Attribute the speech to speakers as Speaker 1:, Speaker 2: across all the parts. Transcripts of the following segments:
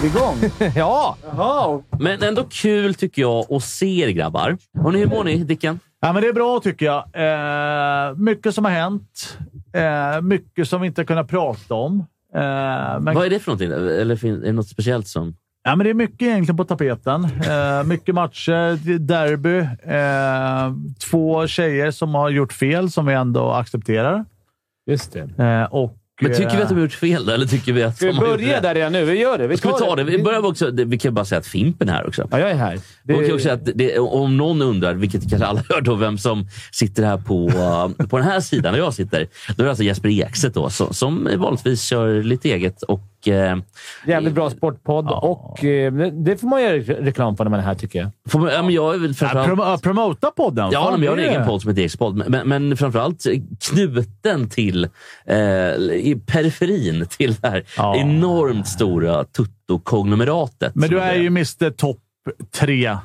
Speaker 1: smygigång.
Speaker 2: Ja!
Speaker 1: Jaha.
Speaker 3: Men ändå kul tycker jag att se er grabbar. Hörrni, hur mår ni Dicken?
Speaker 2: Ja, men det är bra tycker jag. Eh, mycket som har hänt. Eh, mycket som vi inte har kunnat prata om. Eh, men,
Speaker 3: Vad är det för någonting? Eller fin- är det något speciellt som...
Speaker 2: ja, men det är mycket egentligen på tapeten. Eh, mycket matcher, derby. Eh, två tjejer som har gjort fel som vi ändå accepterar.
Speaker 4: Just det.
Speaker 2: Eh, och,
Speaker 3: Men tycker vi att de
Speaker 2: eh,
Speaker 3: har gjort fel då? Eller tycker vi att
Speaker 4: Ska vi
Speaker 3: de har gjort
Speaker 4: börja
Speaker 3: rätt?
Speaker 4: där redan nu? Vi gör det. Vi
Speaker 3: Ska vi ta det? Vi
Speaker 4: Vi-
Speaker 3: börjar med också. det- Vi kan bara säga att Fimpen är här också.
Speaker 4: Ja, jag är här. Det-
Speaker 3: Och också att det, om någon undrar, vilket kanske alla hör då, vem som sitter här på, eh, på den här sidan där jag sitter. Då är det alltså Jesper Ekstedt då, som, som vanligtvis kör lite eget och... Eh,
Speaker 4: Jävligt bra sportpodd och eh, det får man göra re- reklam för när man är här, tycker jag.
Speaker 3: Får, man- ja, men jag är väl
Speaker 2: Ja,
Speaker 3: framförallt...
Speaker 2: eh, prom- promota podden.
Speaker 3: Ja,
Speaker 2: Fan,
Speaker 3: men jag har en
Speaker 2: det är-
Speaker 3: egen podd som heter Ekspodd, men, men framförallt knuten till eh, i periferin till det här
Speaker 2: Ja.
Speaker 3: enormt stora tuttokonglomeratet.
Speaker 2: Men
Speaker 3: som
Speaker 2: du är ju Mr Topp 3.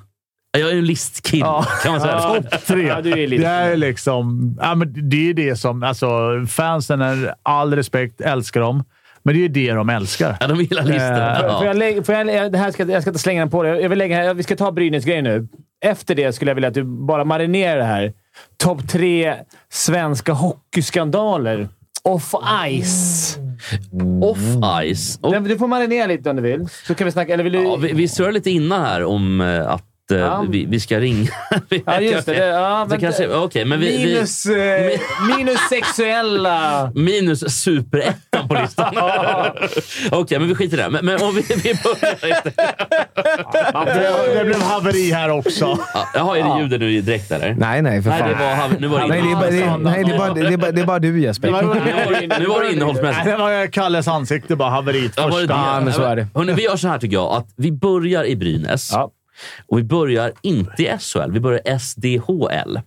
Speaker 3: Jag är ju en listkid, kan man säga.
Speaker 2: Topp 3.
Speaker 4: Ja, du är lite-
Speaker 2: Det är liksom... Ja, men det är ju det som... Alltså, fansen, är all respekt, älskar dem. Men det är ju det de älskar.
Speaker 3: Ja, de gillar listan.
Speaker 2: Eh,
Speaker 3: Ja.
Speaker 4: Får jag, lägga, får jag, lä- det här ska, jag ska inte slänga den på dig. Jag vill lägga, här- vi ska ta Brynäs-grejen nu. Efter det skulle jag vilja att du bara marinerar det här. Topp tre svenska hockeyskandaler. Off ice.
Speaker 3: Off-ice. Och,
Speaker 4: Den- Du får marinera lite om du vill. Så kan vi snacka. Eller vill du...
Speaker 3: ja, vi, vi surrade lite innan här om eh, att eh,
Speaker 4: Ja.
Speaker 3: vi, vi ska ringa.
Speaker 4: Ja, just det. det ja,
Speaker 3: Så
Speaker 4: vänta.
Speaker 3: kanske, okej, men vi, vi,
Speaker 4: minus, eh, minus sexuella...
Speaker 3: Minus superettan på listan. Okej, men vi skiter i det. Men, men om vi, vi börjar istället.
Speaker 2: Det, det blev haveri här också.
Speaker 3: Ja, Jaha, är det ljudet nu direkt eller?
Speaker 5: Nej, nej, för
Speaker 3: Nej,
Speaker 5: fan.
Speaker 3: det var han. Nu var det
Speaker 5: Nej, det är bara, det är, nej, det är bara, det är bara, det är bara du
Speaker 4: Det
Speaker 5: Jesper.
Speaker 4: var-
Speaker 3: Nu var det- nu var det
Speaker 2: Nej,
Speaker 3: innehållsmässigt.
Speaker 2: Det var Kalles ansikte bara. Haveriet
Speaker 3: Ja, var det det?
Speaker 2: första.
Speaker 5: men så är det.
Speaker 3: Hörrni, vi gör så här tycker jag. Att vi börjar i Brynäs.
Speaker 4: Ja.
Speaker 3: Och vi börjar inte i SHL. Vi börjar i SDHL.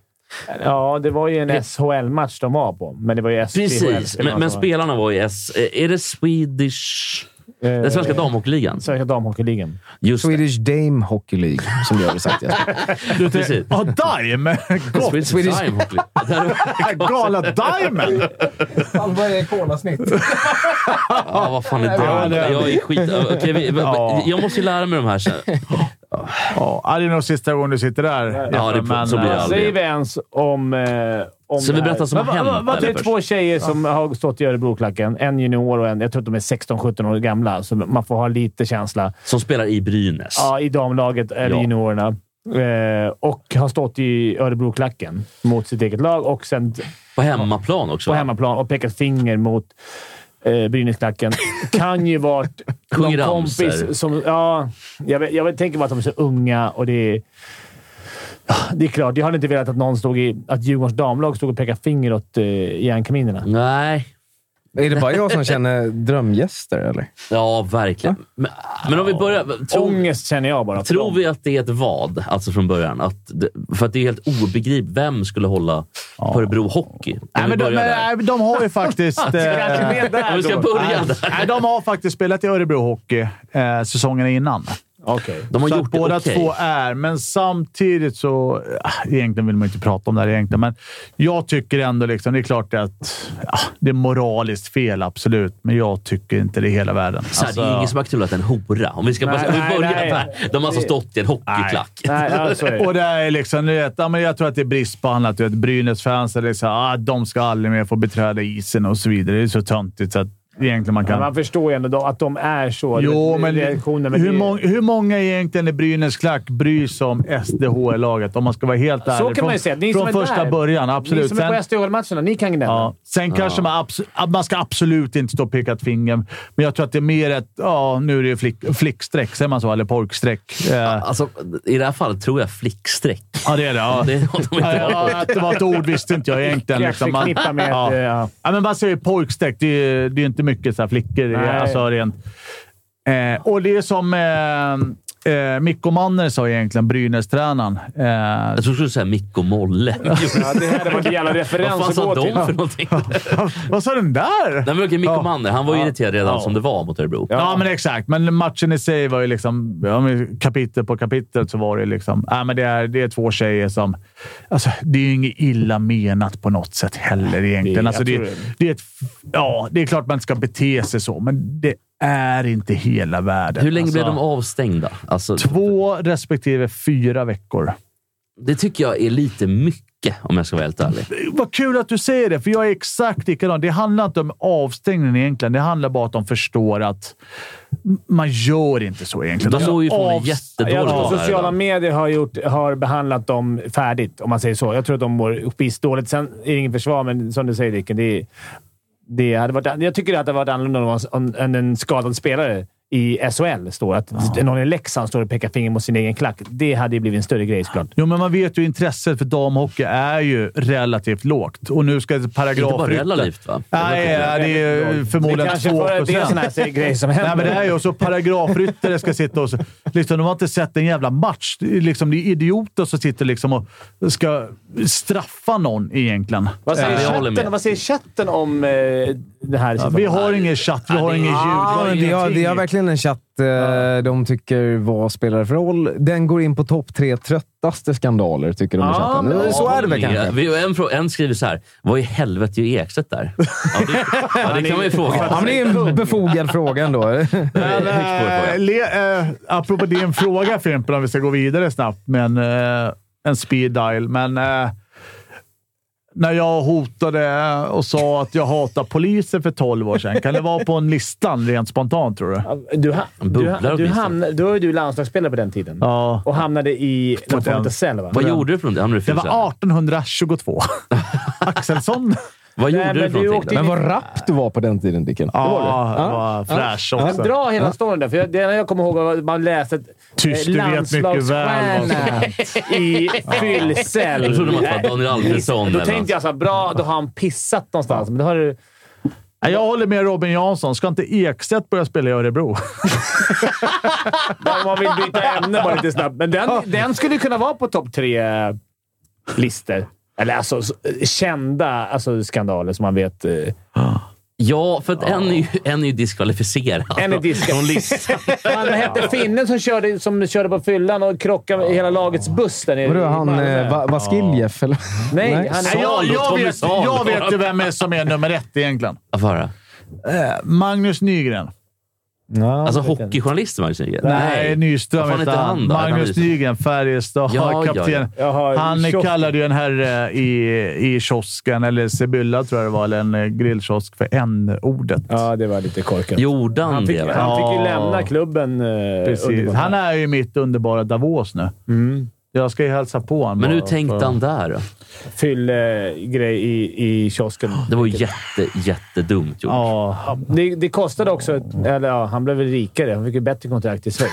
Speaker 4: Ja, det var ju en SHL-match de var på, men det alltså- var ju SDHL.
Speaker 3: Precis. Men, men
Speaker 4: som var-
Speaker 3: spelarna var i S... eh, Är det Swedish...
Speaker 4: Eh,
Speaker 3: Den svenska damhockeyligan?
Speaker 4: Svenska damhockeyligan.
Speaker 3: Just det.
Speaker 5: Swedish Dame Hockey League, som jag vill sagt Jesper.
Speaker 3: Precis.
Speaker 2: Ja, Dime! Gott!
Speaker 3: Swedish,
Speaker 5: Swedish-
Speaker 3: Dime Hockey League.
Speaker 2: Gala Diamond!
Speaker 5: Vad är kolasnitt?
Speaker 3: Ja, vad fan är
Speaker 2: Ja,
Speaker 3: det?
Speaker 2: det-
Speaker 3: Jag är skit... Okej, vi,
Speaker 2: Ja.
Speaker 3: Jag måste ju lära mig de här sen.
Speaker 2: Ja, det är nog sista gången du sitter där.
Speaker 3: Ja, det- så blir det
Speaker 2: eh,
Speaker 3: aldrig.
Speaker 4: Säger vi ens om... Eh, om
Speaker 3: Så vi
Speaker 4: det här.
Speaker 3: berättar som
Speaker 4: Men
Speaker 3: har
Speaker 4: vad-
Speaker 3: hänt,
Speaker 4: vad- vad- Det
Speaker 3: eller?
Speaker 4: är två tjejer som har stått i Örebroklacken. En junior och en... Jag tror att de är 16-17 år gamla, så man får ha lite känsla.
Speaker 3: Som spelar i Brynäs.
Speaker 4: Ja, i damlaget, eller
Speaker 3: Ja.
Speaker 4: juniorerna. Eh, och har stått i Örebroklacken mot sitt eget lag och sen
Speaker 3: På hemmaplan också.
Speaker 4: på
Speaker 3: va?
Speaker 4: hemmaplan och pekat finger mot eh, Brynäsklacken. Kan ju varit någon
Speaker 3: Sjunger ramsor.
Speaker 4: kompis som... Ja, jag, vet- jag vet- tänker bara att de är så unga och det är... Ja, Det är klart, jag hade inte velat att någon stod i... Att Djurgårdens damlag stod och pekade finger åt eh, järnkaminerna.
Speaker 3: Nej.
Speaker 5: Är det bara jag som känner drömgäster, eller?
Speaker 3: Ja, verkligen. Men, men om vi börjar. Tror,
Speaker 4: Ångest känner jag bara. för
Speaker 3: tror
Speaker 4: dem.
Speaker 3: vi att det är ett vad, alltså från början? Att det, för att det är helt obegripligt. Vem skulle hålla på Örebro Hockey? Om
Speaker 2: Nej,
Speaker 3: vi
Speaker 2: men de,
Speaker 3: börjar
Speaker 2: men,
Speaker 3: där.
Speaker 2: nej, men de har ju faktiskt...
Speaker 4: Kanske
Speaker 2: eh,
Speaker 4: med där
Speaker 3: Om vi ska
Speaker 4: då.
Speaker 3: börja där.
Speaker 2: Nej, de har faktiskt spelat i Örebro Hockey eh, säsongen innan.
Speaker 4: Okej.
Speaker 3: De har
Speaker 2: så
Speaker 3: gjort
Speaker 2: att
Speaker 3: det
Speaker 2: båda
Speaker 3: okej.
Speaker 2: två är, men samtidigt så... ah, Egentligen vill man inte prata om det här egentligen, men jag tycker ändå liksom... Det är klart att ah, det är moraliskt fel, absolut, men jag tycker inte det är hela världen. Alltså,
Speaker 3: Så här, Det är ingen som har knulat en hora. Om vi, ska bara, om vi
Speaker 4: nej,
Speaker 3: börjar
Speaker 4: nej.
Speaker 3: där. De har alltså stått i en hockeyklack.
Speaker 4: Nej, ja, så är det.
Speaker 2: Och det är liksom, du vet, ja, men jag tror att det är brist på annat. Du vet, Brynäs-fans är liksom, ah, de ska aldrig mer få beträda isen och så vidare. Det är så töntigt så att egentligen man
Speaker 4: Men
Speaker 2: kan...
Speaker 4: man förstår ju ändå då att de är så.
Speaker 2: Jo, men
Speaker 4: reaktionen,
Speaker 2: hur,
Speaker 4: det-
Speaker 2: mång- hur många egentligen i Brynäs klack bryr sig om SDHL-laget? Om man ska vara helt ärlig.
Speaker 4: Så kan
Speaker 2: från,
Speaker 4: man ju säga. Ni som
Speaker 2: från
Speaker 4: är
Speaker 2: första
Speaker 4: där.
Speaker 2: början, absolut.
Speaker 4: Ni som är på
Speaker 2: Sen-
Speaker 4: SDHL-matcherna, ni kan gnälla.
Speaker 2: Ja. Sen kanske man, abs- att man ska absolut inte stå och peka ett finger, men jag tror att det är mer ett... Ja, nu är det ju flick- flickstreck. Säger man så? Eller pojkstreck. Eh,
Speaker 3: Alltså, I det här fallet tror jag flickstreck.
Speaker 2: ja, det är det. Ja.
Speaker 3: Det är något de
Speaker 2: Ja,
Speaker 3: inte
Speaker 2: ja, att det var ett ord visste inte jag egentligen.
Speaker 4: Jag
Speaker 2: Liksom. Man,
Speaker 4: förknippar med att, eh, ja.
Speaker 2: ja, men man säger pojkstreck. Det är ju det är ju inte mycket så här flickor.
Speaker 4: Nej.
Speaker 2: Alltså, rent. Eh, och det är som eh, eh, Mikko Manner sa egentligen, Brynäs-tränaren. Eh,
Speaker 3: Jag tror du skulle säga Micke och Molle.
Speaker 4: Ja, det här var en jävla
Speaker 3: Vad
Speaker 4: referens
Speaker 3: fan
Speaker 4: att
Speaker 3: sa
Speaker 4: gå
Speaker 3: de
Speaker 4: till.
Speaker 3: för någonting?
Speaker 2: Eh, vad sa den där?
Speaker 3: Nej, men okej, Mikko
Speaker 2: Ja.
Speaker 3: Manner. Han var ju
Speaker 2: Ja.
Speaker 3: irriterad redan
Speaker 2: Ja.
Speaker 3: som det var mot Örebro.
Speaker 2: Ja, men exakt. Men matchen i sig var ju liksom... Ja, men kapitel på kapitel så var det liksom... Ja, men det, är, det är två tjejer som... Alltså, det är ju inget illa menat på något sätt heller egentligen.
Speaker 4: Det-
Speaker 2: alltså,
Speaker 4: jag
Speaker 2: det,
Speaker 4: tror
Speaker 2: det. är ett, ja, det är klart man inte ska bete sig så, men det är inte hela världen.
Speaker 3: Hur länge blev de
Speaker 2: Alltså,
Speaker 3: avstängda? Alltså,
Speaker 2: Två respektive fyra veckor.
Speaker 3: det tycker jag är lite mycket, om jag ska vara helt ärlig.
Speaker 2: Vad kul att du säger det, för jag är exakt likadan. Det handlar inte om avstängningen egentligen. Det handlar bara om att de förstår att man gör inte så egentligen.
Speaker 3: De såg ju från en
Speaker 2: Avs-
Speaker 3: jättedålig
Speaker 4: Jag tror
Speaker 3: vara
Speaker 4: sociala
Speaker 3: idag.
Speaker 4: medier har, gjort, har behandlat dem färdigt, om man säger så. Jag tror att de mår pissdåligt. Sen är det ingen försvar, men som du säger Dicken, det, det hade varit, jag tycker att det hade varit annorlunda om det var en- än en skadad spelare i SHL står. Att någon i Leksand står och pekar finger mot sin egen klack. Det hade ju blivit en större grej såklart.
Speaker 2: Jo, men man vet ju intresset för damhockey är ju relativt lågt. Och nu ska det paragraf...
Speaker 3: Inte bara relativt, va?
Speaker 2: Nej, det är ju
Speaker 4: det
Speaker 2: förmodligen
Speaker 4: kanske
Speaker 2: 2
Speaker 4: för, det är en sån här grej som händer.
Speaker 2: Nej, men det är ju och så paragrafryttare ska sitta och... så- Liksom, de har inte sett en jävla match. Det är, liksom, det är idioter som sitter liksom och ska straffa någon egentligen.
Speaker 4: vad, säger
Speaker 3: Nej, jag håller
Speaker 4: chatten,
Speaker 3: med.
Speaker 4: vad säger chatten om eh, det här?
Speaker 2: Vi har ingen chatt, vi har
Speaker 3: det-
Speaker 2: ingen ljud. vi
Speaker 5: Ja,
Speaker 2: har
Speaker 5: men vi, har,
Speaker 2: ingenting.
Speaker 5: vi har verkligen en chatt eh, de tycker vad spelar för roll. Den går in på topp tre tröttaste skandaler, tycker de i
Speaker 4: Ja,
Speaker 5: chatten.
Speaker 4: men-
Speaker 5: så är det väl kanske.
Speaker 3: typ Vi- En, frå- en skriver så här. Vad i helvete gör Ekstedt där? Ja, det, ja, det kan man ju
Speaker 5: Ja,
Speaker 3: fråga.
Speaker 5: men det är en befogad fråga ändå.
Speaker 3: Högt på det
Speaker 2: Eh,
Speaker 3: frågan.
Speaker 2: le, eh, apropå din fråga Fimpen, om vi ska gå vidare snabbt med en, eh, en speed dial. Men eh, när jag hotade och sa att jag hatar poliser för 12 år sedan. Kan det vara på en listan rent spontant, tror du?
Speaker 4: Du, ha, du,
Speaker 3: Bubblar
Speaker 4: ha, du,
Speaker 3: åtminstone.
Speaker 4: hamn, då var ju du landslagsspelare på den tiden.
Speaker 2: Ja.
Speaker 4: Och hamnade i La Fonte Cell, va?
Speaker 3: Vad gjorde du för någonting? Hamnade du i
Speaker 2: Det
Speaker 3: fyllan?
Speaker 2: var 1822. Axelsson.
Speaker 3: Vad
Speaker 4: Nej,
Speaker 3: gjorde
Speaker 4: men
Speaker 3: du för
Speaker 4: du
Speaker 3: någonting?
Speaker 4: åkte
Speaker 3: då?
Speaker 5: Men vad rapp du var på den tiden, Dicken.
Speaker 2: Ja,
Speaker 4: var det.
Speaker 2: det var fräsch också.
Speaker 4: Dra hela storyn där, för jag, det enda jag kommer ihåg var att man läste att
Speaker 2: Tyst, du vet mycket väl vad som hänt.
Speaker 4: i fyllcell.
Speaker 3: Jag trodde man var Daniel Alfredsson
Speaker 4: Då
Speaker 3: eller något.
Speaker 4: tänkte jag så här, bra, då har han pissat någonstans. Men då har du...
Speaker 2: Nej, Jag håller med Robin Jansson. Ska inte Ekstedt börja spela i Örebro?
Speaker 4: Om man vill byta ämne bara lite snabbt. Men den, den skulle ju kunna vara på topp tre-listor. Eller alltså så- kända alltså, skandaler som man vet. eh,
Speaker 3: Ja, för att en är ju, en är ju diskvalificerad.
Speaker 4: En är diskad.
Speaker 3: Alltså, Från listan.
Speaker 4: Han hette finnen som körde, som körde på fyllan och krockade med hela lagets buss där nere.
Speaker 5: Vadå,
Speaker 4: i
Speaker 5: han
Speaker 4: Malmö.
Speaker 5: eh, Va- Vaskiljev? eller?
Speaker 4: Nej, han är...
Speaker 2: Nej, jag, jag,
Speaker 3: Tommy
Speaker 2: vet,
Speaker 3: Salo.
Speaker 2: jag vet ju vem är som är nummer ett egentligen.
Speaker 3: Vad var det?
Speaker 2: Magnus Nygren.
Speaker 5: Ja.
Speaker 3: Alltså hockeyjournalisten Magnus Nygren?
Speaker 2: Nej, Nyström
Speaker 3: Vad fan
Speaker 2: heter
Speaker 3: heter
Speaker 2: han.
Speaker 3: han då? Han är
Speaker 2: Magnus
Speaker 3: liksom-
Speaker 2: Nygren, Färjestad,
Speaker 3: Ja, ja,
Speaker 2: kapten.
Speaker 4: ja. Jaha, i
Speaker 2: Han
Speaker 4: kiosken.
Speaker 2: kallade ju en herre i, i kiosken, eller Sibylla tror jag det var, eller en eh, grillkiosk, för n-ordet.
Speaker 4: Ja, det var lite korkat.
Speaker 3: Gjorde han,
Speaker 4: Han fick,
Speaker 3: det? va?
Speaker 4: han fick ju
Speaker 2: Ja.
Speaker 4: lämna klubben. eh,
Speaker 2: Precis.
Speaker 4: under-
Speaker 2: Han är Mm. ju mitt underbara Davos nu. Jag ska ju hälsa på honom.
Speaker 3: Men hur
Speaker 2: bara,
Speaker 3: tänkte
Speaker 2: för-
Speaker 3: han där då?
Speaker 4: Fyllegrej eh, i, i kiosken.
Speaker 3: Det var ju jätte, jättedumt gjort.
Speaker 2: Ja.
Speaker 4: Det, det kostade också... Eller ja, han blev väl rikare. Han fick ju bättre kontrakt i Schweiz.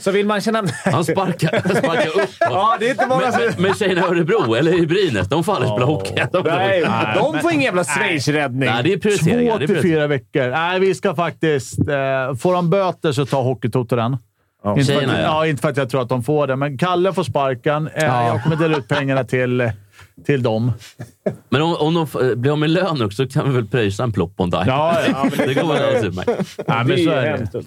Speaker 4: Så vill man känna...
Speaker 3: Han sparkar, han sparkar upp
Speaker 4: Ja, det är inte många
Speaker 3: Men,
Speaker 4: som...
Speaker 3: men, men tjejerna i Örebro, eller i Brynäs, de får aldrig spela hockey. De,
Speaker 4: Nej,
Speaker 3: de,
Speaker 4: de får ingen jävla Schweiz-räddning.
Speaker 3: nej, det är prioriteringar.
Speaker 2: Två
Speaker 3: Det
Speaker 2: till
Speaker 3: är prioriteringar.
Speaker 2: fyra veckor. Nej, vi ska faktiskt... Eh, får de böter så tar Hockeytoto den. Inte, för att,
Speaker 3: Tjejerna,
Speaker 2: ja.
Speaker 3: ja.
Speaker 2: inte för att jag tror att de får det, men Kalle får sparken. Eh,
Speaker 5: Ja.
Speaker 2: Jag kommer dela ut pengarna till, till dem.
Speaker 3: Men om, om de f- blir av med lön också så kan vi väl pröjsa en ploppon där.
Speaker 2: Ja, ja.
Speaker 3: Det går väl alldeles utmärkt.
Speaker 2: Nej, men
Speaker 4: ju
Speaker 2: så är det.
Speaker 4: hemskt.
Speaker 2: Det var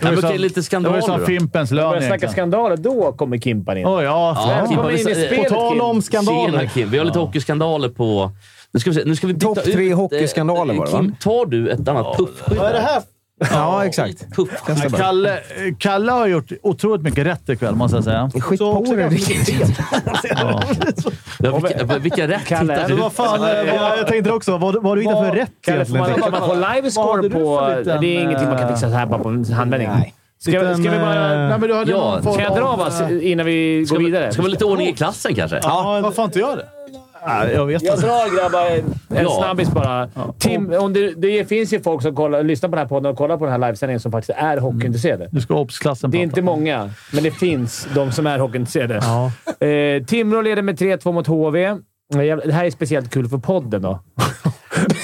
Speaker 3: men
Speaker 2: ju
Speaker 3: okej,
Speaker 2: som-
Speaker 3: lite skandaler
Speaker 2: Det var ju
Speaker 3: då.
Speaker 2: som Fimpens
Speaker 4: Börjar
Speaker 2: lön
Speaker 4: snacka
Speaker 2: egentligen.
Speaker 4: skandaler, då kommer Kimpan in.
Speaker 2: Oj, ja.
Speaker 3: Ja, Kim,
Speaker 4: kommer
Speaker 3: vi
Speaker 4: in
Speaker 3: ska-
Speaker 4: i
Speaker 3: eh,
Speaker 4: spelet,
Speaker 5: På tal
Speaker 4: Kim.
Speaker 5: om skandaler.
Speaker 3: Tjena Kim, vi har lite hockeyskandaler på... Nu ska vi, se, nu ska vi byta
Speaker 5: Topp
Speaker 3: ut...
Speaker 5: tre
Speaker 3: eh,
Speaker 5: hockeyskandaler var det, va?
Speaker 3: Kim, tar du ett annat puffskydd?
Speaker 1: Vad är det här?
Speaker 5: Ja, exakt.
Speaker 3: Puffskydd.
Speaker 5: Testa bara.
Speaker 2: Kalle, Kalle har gjort otroligt mycket rätt ikväll, måste jag säga.
Speaker 5: Skit på dig, Dicken.
Speaker 3: Ja, vilka, vilka rätt
Speaker 4: Kalle,
Speaker 3: hittar du?
Speaker 4: vad
Speaker 1: Fan, eh, vad- jag tänkte också, vad, vad har du hittat för rätt
Speaker 4: Kalle, får man,
Speaker 1: egentligen?
Speaker 4: får man få
Speaker 2: Vad hade
Speaker 4: livescore
Speaker 2: du för
Speaker 4: på...
Speaker 2: liten,
Speaker 4: det är ingenting man kan
Speaker 2: eh,
Speaker 4: fixa så här bara på en handvändning. Ska,
Speaker 1: Liten,
Speaker 4: ska vi bara...
Speaker 1: eh,
Speaker 4: Nej, men du hade
Speaker 3: Ja.
Speaker 4: någon form
Speaker 3: Ska
Speaker 4: Ska jag dra va, innan vi
Speaker 3: Ska
Speaker 4: går
Speaker 3: vi,
Speaker 4: vidare?
Speaker 3: ska vi ha lite ordning i klassen kanske?
Speaker 1: Ja, varför fan inte jag det? Nej, jag vet
Speaker 4: Jag
Speaker 1: inte.
Speaker 4: drar grabbar. En
Speaker 3: Ja.
Speaker 4: snabbis bara. Tim, om det, det finns ju folk som kollar, lyssnar på den här podden och kollar på den här livesändningen som faktiskt är hockeyintresserade.
Speaker 2: Nu ska obsklassen
Speaker 4: Det är
Speaker 2: prata.
Speaker 4: inte många, men det finns de som är hockeyintresserade. Eh, Timrå leder med 3-2 mot HV. Eh, jävla- Det här är speciellt kul för podden då.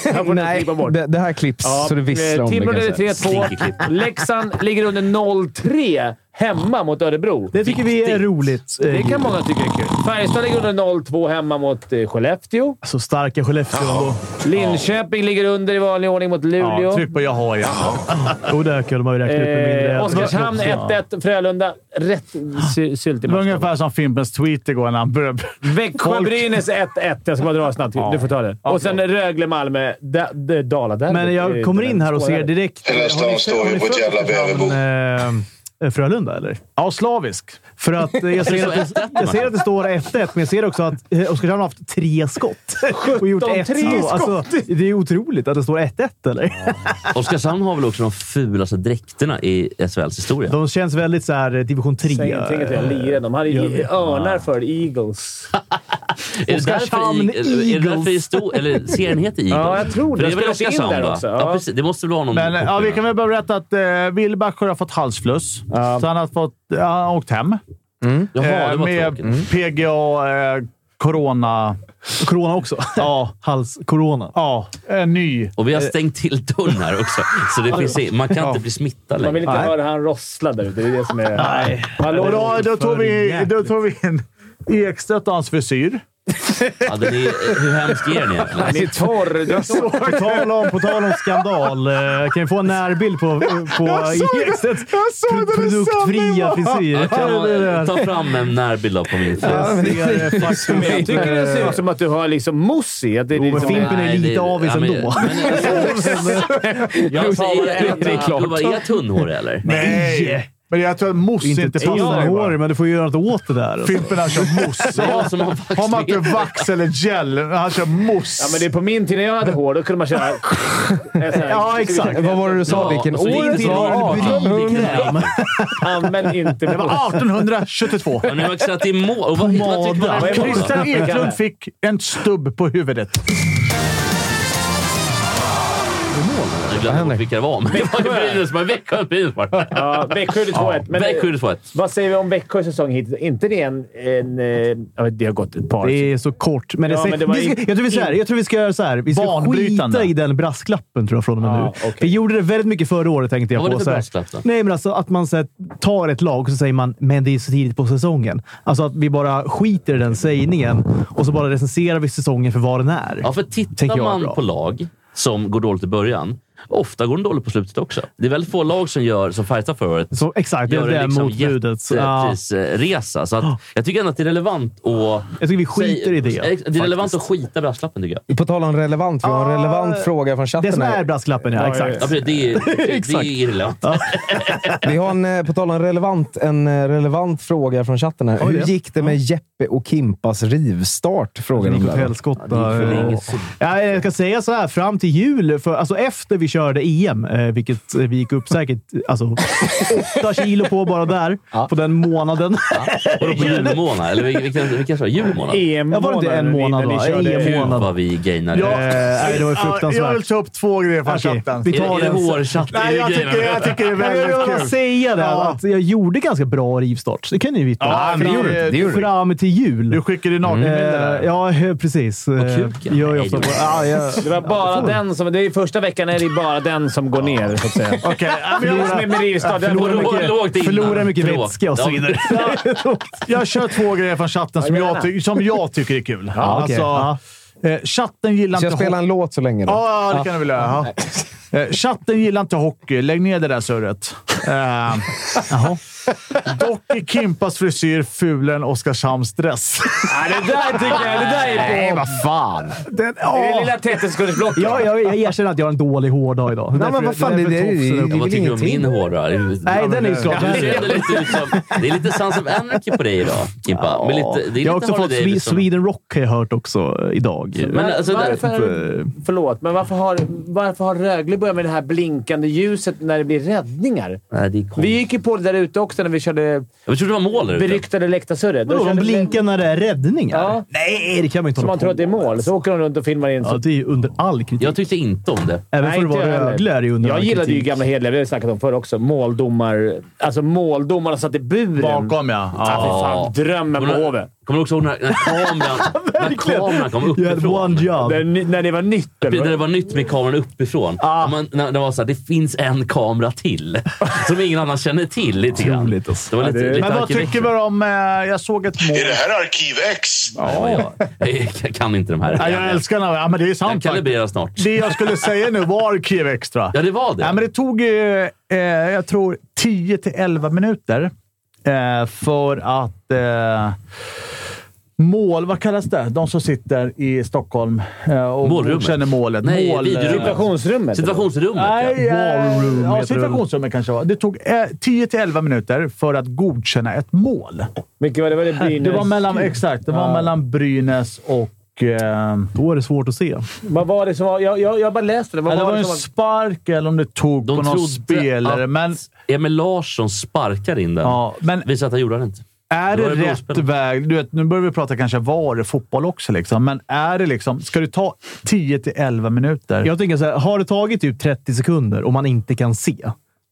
Speaker 4: Här får ni
Speaker 5: Nej,
Speaker 4: klippa bort.
Speaker 5: det, det här klipps så det visslar
Speaker 4: eh,
Speaker 5: om alltså. det.
Speaker 4: Timrå
Speaker 5: kan jag
Speaker 4: leder
Speaker 5: säga.
Speaker 4: 3-2. Leksand ligger under 0-3 hemma mot Örebro.
Speaker 1: Det tycker vi är roligt.
Speaker 2: eh,
Speaker 4: Det kan många tycka är kul. Färjestad ligger under 0-2 hemma mot eh, Skellefteå.
Speaker 2: Så starka Skellefteå ändå.
Speaker 4: Linköping ligger under i vanlig ordning mot Luleå.
Speaker 2: Ja, tryck på jag har igen.
Speaker 1: Jo, det ökar. De har ju räknat ut med mindre.
Speaker 4: Eh, Oskarshamn 1-1. Frölunda rätt sy- sylt
Speaker 2: Det
Speaker 4: i
Speaker 2: var
Speaker 4: matchen.
Speaker 2: ungefär som Fimpens tweet igår när han började...
Speaker 4: Växjö-Brynäs 1-1. Jag ska bara dra snabbt. Du får ta det. Och sen Rögle-Malmö. Da- da- Dala-derbyt.
Speaker 1: Men
Speaker 4: Det är
Speaker 1: jag kommer in här och ser
Speaker 4: svårare.
Speaker 1: direkt...
Speaker 6: Hela stan
Speaker 1: Har ni-
Speaker 6: står ju
Speaker 1: har ni
Speaker 6: på ett
Speaker 1: följt
Speaker 6: jävla bäverbo.
Speaker 1: Oskarshamn, eh, Frölunda, eller?
Speaker 2: Ja, slavisk.
Speaker 1: För att eh, jag ser, att det, jag ser att det står 1-1, men jag ser också att eh, Oskarshamn har haft tre skott. Och gjort ett
Speaker 4: tre
Speaker 1: mål. Alltså, det är otroligt att det står 1-1, eller?
Speaker 3: Oskarshamn har väl också de fulaste dräkterna i SHLs historia.
Speaker 1: De känns väldigt så här eh, division Eh, 3.
Speaker 4: Säg ingenting att jag lirar. De hade ju örnar för Eagles.
Speaker 3: Är det därför,
Speaker 1: Oskarshamn
Speaker 3: i, är det
Speaker 1: Eagles.
Speaker 3: därför histo- eller serien heter Eagles?
Speaker 4: Ja, jag tror det.
Speaker 3: För det är
Speaker 4: Jag
Speaker 3: väl
Speaker 4: skulle också in
Speaker 3: Oskarshamn,
Speaker 4: där
Speaker 3: va?
Speaker 4: också.
Speaker 3: Ja.
Speaker 4: Ja.
Speaker 3: precis. Det måste väl vara någon...
Speaker 2: Men eh, ja, vi kan väl bara berätta att eh, Will Bacher har fått halsfluss. Så han har, fått, ja, han har åkt hem.
Speaker 3: Jaha, det
Speaker 2: Eh,
Speaker 3: var
Speaker 2: med
Speaker 3: tråkigt.
Speaker 2: PGA eh, corona...
Speaker 1: Corona också. Ja. Hals-corona.
Speaker 2: Ja, en ny.
Speaker 3: Och vi har stängt till dörren här också. Så det finns, i- man kan inte bli smittad
Speaker 4: Man vill
Speaker 3: längre.
Speaker 4: inte höra han rossla där ute. Det är det som är... Nej.
Speaker 2: Och då, då, tog vi,
Speaker 1: jävligt.
Speaker 2: då tog vi in Ekstedt och hans frisyr.
Speaker 3: Ja, den är, hur hemsk är den egentligen?
Speaker 4: Han är
Speaker 5: Alltså,
Speaker 4: torr. Du är torr.
Speaker 1: På tal, om, på tal om skandal. eh, Kan vi få en närbild på, eh, på Ekstedts
Speaker 2: Jag såg
Speaker 1: produktfria frisyr?
Speaker 3: Jag kan man ta fram en närbild av på min fest?
Speaker 4: Jag tycker det ser ut som att du har liksom mossi. Att det är
Speaker 1: men
Speaker 4: liksom
Speaker 1: Fimpen är lite avis
Speaker 3: men-
Speaker 1: ändå.
Speaker 3: men- jag sa vad det är.
Speaker 4: Det är klart.
Speaker 3: Gubbar, Är jag tunnhårig eller?
Speaker 2: Nej! Men jag tror att mousse inte,
Speaker 1: Inte
Speaker 2: passar dig. bara.
Speaker 1: tunnhårig, men du får ju göra något åt det där. alltså.
Speaker 2: Fimpen han kör mousse.
Speaker 3: Det är jag som har vax
Speaker 2: Har man inte
Speaker 3: med.
Speaker 2: vax eller gel, han kör mousse.
Speaker 4: Ja, men det är på min tid när jag hade hår. Då kunde man köra... en sån här-
Speaker 2: Ja, exakt.
Speaker 5: Vad var det du sa?
Speaker 3: Ja, alltså,
Speaker 5: Vilken
Speaker 3: och så
Speaker 5: år
Speaker 3: in
Speaker 5: det
Speaker 3: till
Speaker 5: var?
Speaker 3: en brun kräm.
Speaker 4: Använd inte
Speaker 2: Det var 1872.
Speaker 3: Och nu har jag satt i mål. Och vad, vad tyckte man
Speaker 4: Pomada.
Speaker 3: om det?
Speaker 2: Christian Eklund fick en stubb på huvudet.
Speaker 3: Jag glömde bort vilka det var, men det var ju Brynäs. Men Växjö och Brynäs var det.
Speaker 4: Ja, Växjö är det 2-1. Men
Speaker 3: Växjö gjorde 2-1.
Speaker 4: vad säger vi om Växjös säsong hittills? inte det en... en eh, jag vet, det har gått ett par.
Speaker 1: Det är så kort. Men det
Speaker 4: Ja,
Speaker 1: säger,
Speaker 4: men det var
Speaker 1: vi ska,
Speaker 4: in-
Speaker 1: jag, tror vi ska, jag tror vi ska göra så här. Vi ska
Speaker 2: Banbrytande.
Speaker 1: skita i den brasklappen tror jag från och med
Speaker 4: Ja,
Speaker 1: nu.
Speaker 4: okej.
Speaker 1: Vi gjorde det väldigt mycket förra året, tänkte jag.
Speaker 3: Vad var det för
Speaker 1: på, så här.
Speaker 3: brasklapp då?
Speaker 1: Nej, men alltså att man så här, tar ett lag och så säger man “men det är så tidigt på säsongen”. Alltså att vi bara skiter i den sägningen och så bara recenserar vi säsongen för vad den är.
Speaker 3: Ja, för
Speaker 1: Tänker
Speaker 3: tittar
Speaker 1: jag är
Speaker 3: man
Speaker 1: bra.
Speaker 3: på lag som går dåligt i början, ofta går de dåligt på slutet också. Det är väldigt få lag som gör som Färjestad förra året.
Speaker 1: Så, exakt, det
Speaker 3: Gör
Speaker 1: är
Speaker 3: en
Speaker 1: det
Speaker 3: liksom
Speaker 1: motbudet. Ja.
Speaker 3: jätteprisresa. Så att jag tycker ändå att det är relevant att...
Speaker 1: Jag tycker vi skiter i det,
Speaker 3: Det är relevant att skita i brasklappen tycker jag.
Speaker 5: På tal om relevant, vi har en relevant fråga från
Speaker 1: Det
Speaker 5: chatten
Speaker 1: som är
Speaker 5: här.
Speaker 1: brasklappen, ja. Exakt.
Speaker 3: Ja, precis. det, är, det är
Speaker 1: Exakt.
Speaker 3: irrelevant.
Speaker 5: Vi har en, eh, på tal om relevant, en eh, relevant fråga från chatten här. Hur gick det med Jeppe och Kimpas rivstart? Frågar de
Speaker 1: Alltså, Gick åt
Speaker 5: där.
Speaker 1: helskotta.
Speaker 3: Det är inget så-
Speaker 1: Ja, jag ska säga så här, fram till jul, för, alltså efter vi körde EM, eh, vilket eh, vi gick upp säkert alltså, åtta kilo på bara där, på den månaden.
Speaker 3: Vadå på julmånad? Eller vil- vilken, vilken sa jag? Julmånad?
Speaker 4: EM
Speaker 1: Ja, var det inte en månad,
Speaker 4: när ni
Speaker 1: va?
Speaker 4: körde-
Speaker 1: EM.
Speaker 3: Gud
Speaker 1: Eh, månad.
Speaker 3: vad vi gainade.
Speaker 2: Ja.
Speaker 1: Eh, nej, det var ju fruktansvärt.
Speaker 2: Jag vill ta upp två grejer från
Speaker 1: Okej,
Speaker 2: chatten.
Speaker 1: vi
Speaker 3: Är det,
Speaker 1: tar
Speaker 3: är det
Speaker 1: den.
Speaker 3: hårchatt? Är
Speaker 2: Nej,
Speaker 3: det
Speaker 2: jag
Speaker 3: grejerna?
Speaker 2: tycker, jag tycker det är
Speaker 1: Nej, men Jag vill bara
Speaker 2: väldigt kul.
Speaker 1: säga det,
Speaker 2: Ja.
Speaker 1: att jag gjorde ganska bra rivstart. Det kan ni ju vittna om.
Speaker 2: Ja, men det gjorde du. Det gjorde du.
Speaker 1: Fram till jul.
Speaker 2: Mm. Du skickade ju
Speaker 1: Eh,
Speaker 2: nakenbilder där.
Speaker 1: ja, eh, precis. Eh,
Speaker 3: kuken.
Speaker 1: Gör
Speaker 3: Nej,
Speaker 1: jag ofta
Speaker 3: det
Speaker 1: på.
Speaker 3: var-
Speaker 1: Ja, jag,
Speaker 4: Det var bara den som... Det är första veckan är det bara den som går ner, så att säga.
Speaker 2: Okej, ja, men
Speaker 4: Det är
Speaker 2: jag-
Speaker 4: som är med rivstart. Den
Speaker 3: Vadå,
Speaker 4: får-
Speaker 3: lågt innan?
Speaker 1: förlorar mycket
Speaker 3: Förlåt.
Speaker 1: vätska och så
Speaker 3: Ja.
Speaker 1: vidare.
Speaker 2: Jag kör två grejer från chatten som,
Speaker 4: Ja,
Speaker 2: jag,
Speaker 4: gärna.
Speaker 2: ty- som jag tycker är kul.
Speaker 1: okej.
Speaker 2: eh, chatten gillar
Speaker 5: Så jag
Speaker 2: inte
Speaker 5: spelar
Speaker 2: hockey.
Speaker 5: en låt så länge då.
Speaker 2: Ja, ja, det kan du väl göra. ja. Eh, Chatten gillar inte hockey. Lägg ner det där surret. Eh, dock är Kimpas frisyr fulare än Oskarshamns dress.
Speaker 4: Nej, det där tycker jag... Det där är på...
Speaker 2: vad fan! Den,
Speaker 4: Det är det
Speaker 2: ja.
Speaker 4: lilla 30-sekundersblocket.
Speaker 1: Ja, jag, jag erkänner att jag har en dålig hårdag idag.
Speaker 5: Nej, men vad fan, det,
Speaker 1: därför
Speaker 5: det, är
Speaker 1: tofsen-
Speaker 5: ju- det, är
Speaker 3: Ja,
Speaker 5: väl typ
Speaker 3: vad tycker du om min
Speaker 5: ingenting.
Speaker 3: hårrör?
Speaker 1: Nej, den är ju klart
Speaker 3: Du ser
Speaker 1: värre.
Speaker 3: ändå lite ut som... Det är lite Sons of Anarchy på dig idag, Kimpa. Med lite, det är
Speaker 1: jag har
Speaker 3: lite
Speaker 1: också fått
Speaker 3: Harley
Speaker 1: Swe-
Speaker 3: Davidson.
Speaker 1: Sweden Rock har jag hört också eh, idag.
Speaker 3: Men alltså,
Speaker 4: Varför-
Speaker 3: där,
Speaker 1: Eh,
Speaker 4: Förlåt, men varför har, varför har Rögle börjat med det här blinkande ljuset när det blir räddningar?
Speaker 3: nej, det är
Speaker 4: Vi
Speaker 3: konstigt.
Speaker 4: gick ju på det där ute också när vi körde
Speaker 3: Jag trodde det var mål där ute.
Speaker 4: beryktade läktarsurret. Då
Speaker 1: Vadå, de
Speaker 4: körde vi-
Speaker 1: blinkar när det är räddningar?
Speaker 4: Ja.
Speaker 1: Nej, det kan man inte
Speaker 4: Som
Speaker 1: hålla
Speaker 4: man
Speaker 1: på
Speaker 4: tror att det är
Speaker 1: med.
Speaker 4: mål. Så åker de runt och filmar in.
Speaker 1: Ja,
Speaker 4: Så.
Speaker 1: det är ju under all kritik.
Speaker 3: Jag tyckte inte om det.
Speaker 1: Även för att
Speaker 4: inte
Speaker 1: vara
Speaker 4: jag heller.
Speaker 1: Rögle är det ju under
Speaker 4: Jag
Speaker 1: all
Speaker 4: gillade ju
Speaker 1: kritik.
Speaker 4: gamla hederliga, vi har ju snackat om förr också. Måldomar... Alltså måldomarna satt i buren.
Speaker 2: Bakom, ja.
Speaker 4: Ja,
Speaker 2: ja.
Speaker 4: fy fan. Drömmen på
Speaker 3: Kommer du-
Speaker 4: Hovet.
Speaker 3: Kommer du också ihåg när, när kameran, när kameran kom
Speaker 1: You had
Speaker 3: uppifrån?
Speaker 1: one job.
Speaker 4: Där, ni- när det var nytt, eller?
Speaker 3: När det
Speaker 4: vad?
Speaker 3: var nytt med kameran uppifrån. Ah. Man, när det var så här, det finns en kamera till. Som ingen annan känner till. Lite grann.
Speaker 1: Otroligt, alltså.
Speaker 3: Det var lite, lite
Speaker 2: Men vad
Speaker 3: arkivex-
Speaker 2: tycker vi om... Eh, jag såg ett mål.
Speaker 6: Är det här Arkiv X?
Speaker 3: Ja, men jag, jag kan inte de här.
Speaker 2: Ja, jag älskar den. här. Ja, men det är
Speaker 3: Den
Speaker 2: sant. faktiskt.
Speaker 3: kalibreras snart.
Speaker 2: Det jag skulle säga nu var Kiev Extra.
Speaker 3: Ja, det var det.
Speaker 2: Ja, men det tog, eh, eh, jag tror, 10 till 11 minuter eh, för att eh, mål... Vad kallas det? De som sitter i Stockholm eh, och
Speaker 3: Målrummet.
Speaker 2: känner målet.
Speaker 3: Nej,
Speaker 2: mål, eh,
Speaker 3: videorummet.
Speaker 4: Situationsrummet?
Speaker 3: Situationsrummet,
Speaker 2: Nej,
Speaker 3: ja.
Speaker 2: eh,
Speaker 1: Wallroom
Speaker 2: ja,
Speaker 1: heter det.
Speaker 2: situationsrummet kanske var. Det tog eh, 10 till 11 minuter för att godkänna ett mål.
Speaker 4: Vilket var det? Var det Brynäs?
Speaker 2: Det var mellan, exakt, det var
Speaker 4: Ja.
Speaker 2: mellan Brynäs och... Eh,
Speaker 1: Då är det svårt att se.
Speaker 4: Vad var det som var... Jag, jag, jag bara läste det. Vad
Speaker 2: eller
Speaker 4: var
Speaker 2: var det
Speaker 4: det
Speaker 2: en
Speaker 4: som var...
Speaker 2: spark eller om det tog
Speaker 3: De
Speaker 2: på någon
Speaker 3: trodde
Speaker 2: spelare.
Speaker 3: att
Speaker 2: Men,
Speaker 3: Emil Larsson sparkar in den.
Speaker 2: ja, men
Speaker 3: Visar att han gjorde det inte.
Speaker 2: är
Speaker 3: Då
Speaker 2: det
Speaker 3: är det
Speaker 2: rätt
Speaker 3: blåspel.
Speaker 2: väg? Du vet, nu börjar vi prata kanske VAR i fotboll också, liksom. men är det liksom... Ska du ta 10 till 11 minuter?
Speaker 1: Jag tänker så här, har det tagit typ 30 sekunder och man inte kan se,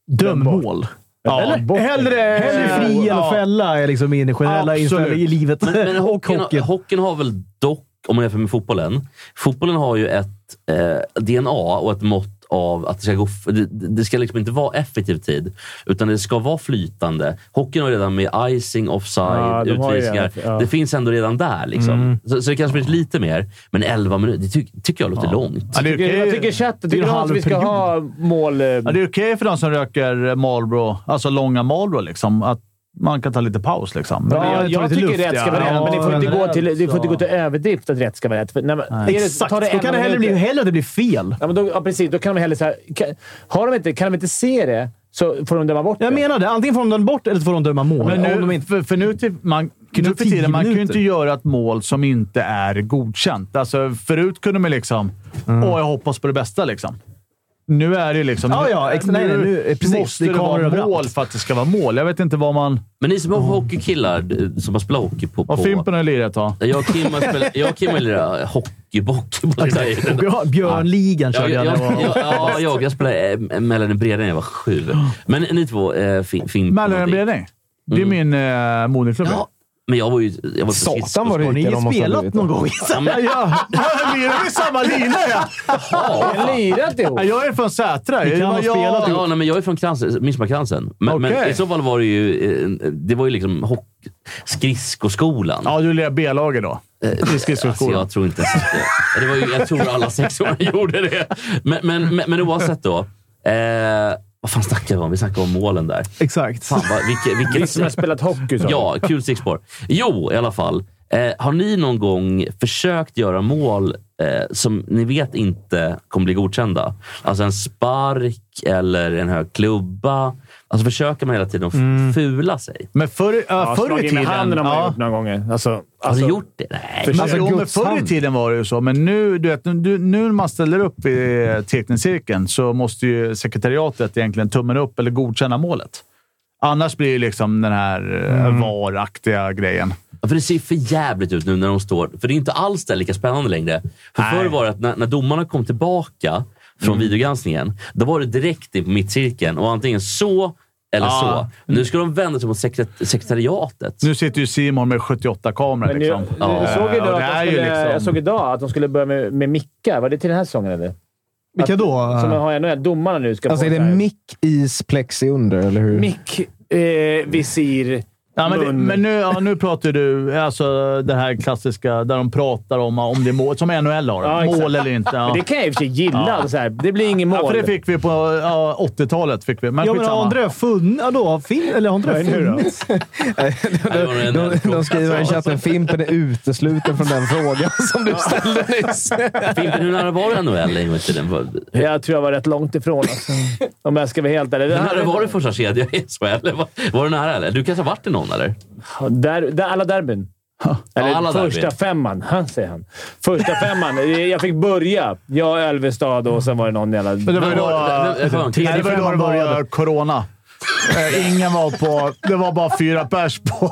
Speaker 1: döm mål.
Speaker 2: Ja, bort- hellre,
Speaker 1: Hellre fri än att fälla är liksom min generella
Speaker 2: Eh, Absolut.
Speaker 1: inställning i livet
Speaker 3: Men, men
Speaker 1: och
Speaker 3: hockeyn,
Speaker 1: hockeyn.
Speaker 3: hockeyn har väl dock, om man jämför med fotbollen, fotbollen har ju ett eh, DNA och ett mått av att det ska, gå, f- det, det ska liksom inte vara effektiv tid, utan det ska vara flytande. Hockeyn har redan med icing, offside,
Speaker 4: Ja, de har ju
Speaker 3: utvisningar.
Speaker 4: redan- ja.
Speaker 3: Det finns ändå redan där. Liksom. Så, så det kanske blir lite mer, men 11 minuter, det ty, tycker jag låter långt.
Speaker 2: Ja, det är
Speaker 4: Jag tycker-
Speaker 2: okej.
Speaker 4: Jag tycker chatten
Speaker 1: Det är
Speaker 4: tycker
Speaker 1: en
Speaker 4: de att vi ska
Speaker 1: halv
Speaker 4: ha mål... eh,
Speaker 2: Ja, det är okej för de som röker Marlboro, alltså långa Marlboro, liksom, att man kan ta lite paus. Liksom. Men
Speaker 4: Ja,
Speaker 1: jag
Speaker 4: jag
Speaker 1: tar lite
Speaker 4: tycker
Speaker 1: luft,
Speaker 4: rätt ska
Speaker 1: ja.
Speaker 4: vara rätt,
Speaker 1: Ja,
Speaker 4: men det får, inte gå
Speaker 2: generellt
Speaker 4: till, det får
Speaker 2: så.
Speaker 4: inte gå till överdrift att rätt ska vara rätt. För, nej, men, är det-
Speaker 1: Exakt!
Speaker 4: tar det
Speaker 1: Då kan det
Speaker 4: elva
Speaker 1: hellre bli,
Speaker 4: minuter-
Speaker 1: hellre det blir fel.
Speaker 4: Ja, men då, ja, precis. Då kan de hellre så här, kan, har de inte, kan de inte se det så får de döma bort
Speaker 1: Jag
Speaker 4: det.
Speaker 1: menar det. Antingen får de den bort eller så får de döma mål.
Speaker 2: Men
Speaker 1: om de
Speaker 2: nu,
Speaker 1: inte...
Speaker 2: för, för nu, till, man,
Speaker 1: ju
Speaker 2: nu
Speaker 1: ta
Speaker 2: för
Speaker 1: tio
Speaker 2: tiden, man kan ju
Speaker 1: minuter.
Speaker 2: inte göra ett mål som inte är godkänt. Alltså, förut kunde man liksom... Åh, jag hoppas på det bästa liksom. Nu är det liksom...
Speaker 1: Ja, ja, ex- nej, nej, nu- eh, precis.
Speaker 2: måste
Speaker 1: Det
Speaker 2: det, vara
Speaker 1: kommer överallt.
Speaker 2: mål för att det ska vara mål. Jag vet inte vad man...
Speaker 3: Men ni som är hockeykillar d- som har spelat hockey på...
Speaker 2: Vad
Speaker 3: på
Speaker 2: Fimpen har lirat då?
Speaker 3: jag och Kim har spelat- jag och Kim har lirat hockey på hockeyboll.
Speaker 1: Björ- Björnligan
Speaker 3: Ja,
Speaker 1: körde
Speaker 3: jag,
Speaker 1: jag.
Speaker 3: jag,
Speaker 1: när jag var-
Speaker 3: jag, ja, jag, jag spelade eh, Mellan Bredning när jag var sju. Men ni två, eh, fin, fin,
Speaker 2: Mälaren Bredäng. Det är min eh, moderklubb.
Speaker 3: Ja, men jag var ju... Jag var
Speaker 5: Satan,
Speaker 3: precis på
Speaker 5: vad
Speaker 1: Har
Speaker 5: du-
Speaker 3: sport.
Speaker 5: Vilka de
Speaker 1: ni
Speaker 5: måste ha
Speaker 1: spelat
Speaker 5: blivit,
Speaker 1: någon
Speaker 5: då?
Speaker 1: gång?
Speaker 3: Ja, men-
Speaker 2: Ja, här lirar vi samma lina ja!
Speaker 4: Har ni lirat ihop?
Speaker 2: Ja, Jag är från Sätra. Det
Speaker 1: kan
Speaker 2: var
Speaker 1: ha
Speaker 2: jag-
Speaker 1: spelat
Speaker 3: Ja, nej, men jag är från Kransen, Midsommarkransen. Men, men
Speaker 2: Okej.
Speaker 3: i så fall var det ju... eh, Det var ju liksom hock- skridskoskolan.
Speaker 2: Ja, du lirar B-laget då. I
Speaker 3: Alltså,
Speaker 2: skridskoskolan.
Speaker 3: jag tror inte ens att det. det var ju, jag tror alla sexåringar gjorde det. Men, men, men, men oavsett då. Eh, vad fan snackar vi om? Vi snackar om målen där.
Speaker 1: Exakt.
Speaker 3: Fan, vad, vilket, vilket,
Speaker 4: Som har spelat hockey. Så.
Speaker 3: Ja, kul stickspår. Jo, i alla fall. Eh, har ni någon gång försökt göra mål eh, som ni vet inte kommer bli godkända? Alltså en spark eller en hög klubba. Alltså försöker man hela tiden att f-
Speaker 2: Mm.
Speaker 3: fula sig?
Speaker 2: Men förr, äh,
Speaker 4: Ja,
Speaker 2: förr i
Speaker 4: slagit
Speaker 2: tiden...
Speaker 4: med handen har man
Speaker 2: ja.
Speaker 4: gjort några gånger. Alltså,
Speaker 3: Har
Speaker 4: alltså-
Speaker 3: du gjort det? Nej.
Speaker 2: Alltså,
Speaker 4: Försök.
Speaker 5: Alltså,
Speaker 2: jo, men
Speaker 5: Guds
Speaker 2: förr i
Speaker 5: hand.
Speaker 2: tiden var det ju så, men nu, du vet, nu, nu när man ställer upp i teckningscirkeln så måste ju sekretariatet egentligen tummen upp eller godkänna målet. Annars blir det liksom den här mm. varaktiga grejen.
Speaker 3: För det ser för jävligt ut nu när de står... För det är inte alls där lika spännande längre. För
Speaker 2: Nej. Mm.
Speaker 3: förr var det att när, när domarna kom tillbaka från videogranskningen, då var det direkt in på mittcirkeln och antingen så eller
Speaker 2: Ja.
Speaker 3: så. Nu ska de vända sig mot sekret- sekretariatet.
Speaker 2: Nu sitter ju Simon med 78 kameror.
Speaker 4: Men jag,
Speaker 2: Liksom.
Speaker 3: Ja.
Speaker 4: jag, såg
Speaker 2: Eh,
Speaker 4: idag
Speaker 2: och
Speaker 4: att
Speaker 2: det är
Speaker 4: de
Speaker 2: ju
Speaker 4: skulle,
Speaker 2: liksom-
Speaker 4: jag såg idag att de skulle börja med, med mickar. Var det till den här säsongen eller?
Speaker 1: Vilka då?
Speaker 4: Som man har i NHL. Domarna nu ska
Speaker 5: Alltså
Speaker 4: få
Speaker 5: är det
Speaker 4: så här-
Speaker 5: mick, is, plexi under, eller hur?
Speaker 4: Mick, eh, visir,
Speaker 2: Ja, men, det,
Speaker 4: mun.
Speaker 2: men nu, ja, nu pratar du alltså det här klassiska där de pratar om om det är mål, som NHL har.
Speaker 4: Ja, exakt.
Speaker 2: mål eller inte. Ja.
Speaker 4: Men det kan jag i och för sig gilla.
Speaker 2: Ja.
Speaker 4: Så här. Det blir inget mål.
Speaker 2: Ja, för det fick vi på ja, 80-talet. Fick vi. Men
Speaker 1: Ja, men
Speaker 2: skitsamma.
Speaker 1: har inte det funnits? Ja, då, har fin, eller har inte det funnits?
Speaker 3: Nej, det var en-
Speaker 5: De, de skriver i chatten Fimpen är utesluten från den frågan som du ställde nyss.
Speaker 3: Fimpen, hur nära var du NHL en gång i tiden? Vad-
Speaker 4: Jag tror jag var rätt långt ifrån. Alltså. Om jag ska vara helt ärlig.
Speaker 3: Hur nära var du första kedjan i SHL? Eller Var, var du nära eller? Du kanske har varit i någon eller?
Speaker 4: Där, där, alla derbyn. Eller
Speaker 3: alla
Speaker 4: första
Speaker 3: derbyn.
Speaker 4: femman, ha, säger han. Första femman. Eh, Jag fick börja. Jag, Ölvestad och sen var det någon jävla...
Speaker 2: det var ju då-
Speaker 3: Men- men-
Speaker 2: Nej, det var ju då det
Speaker 1: femman
Speaker 2: var
Speaker 1: började.
Speaker 2: corona. Eh, Ingen var på... Det var bara fyra pers på...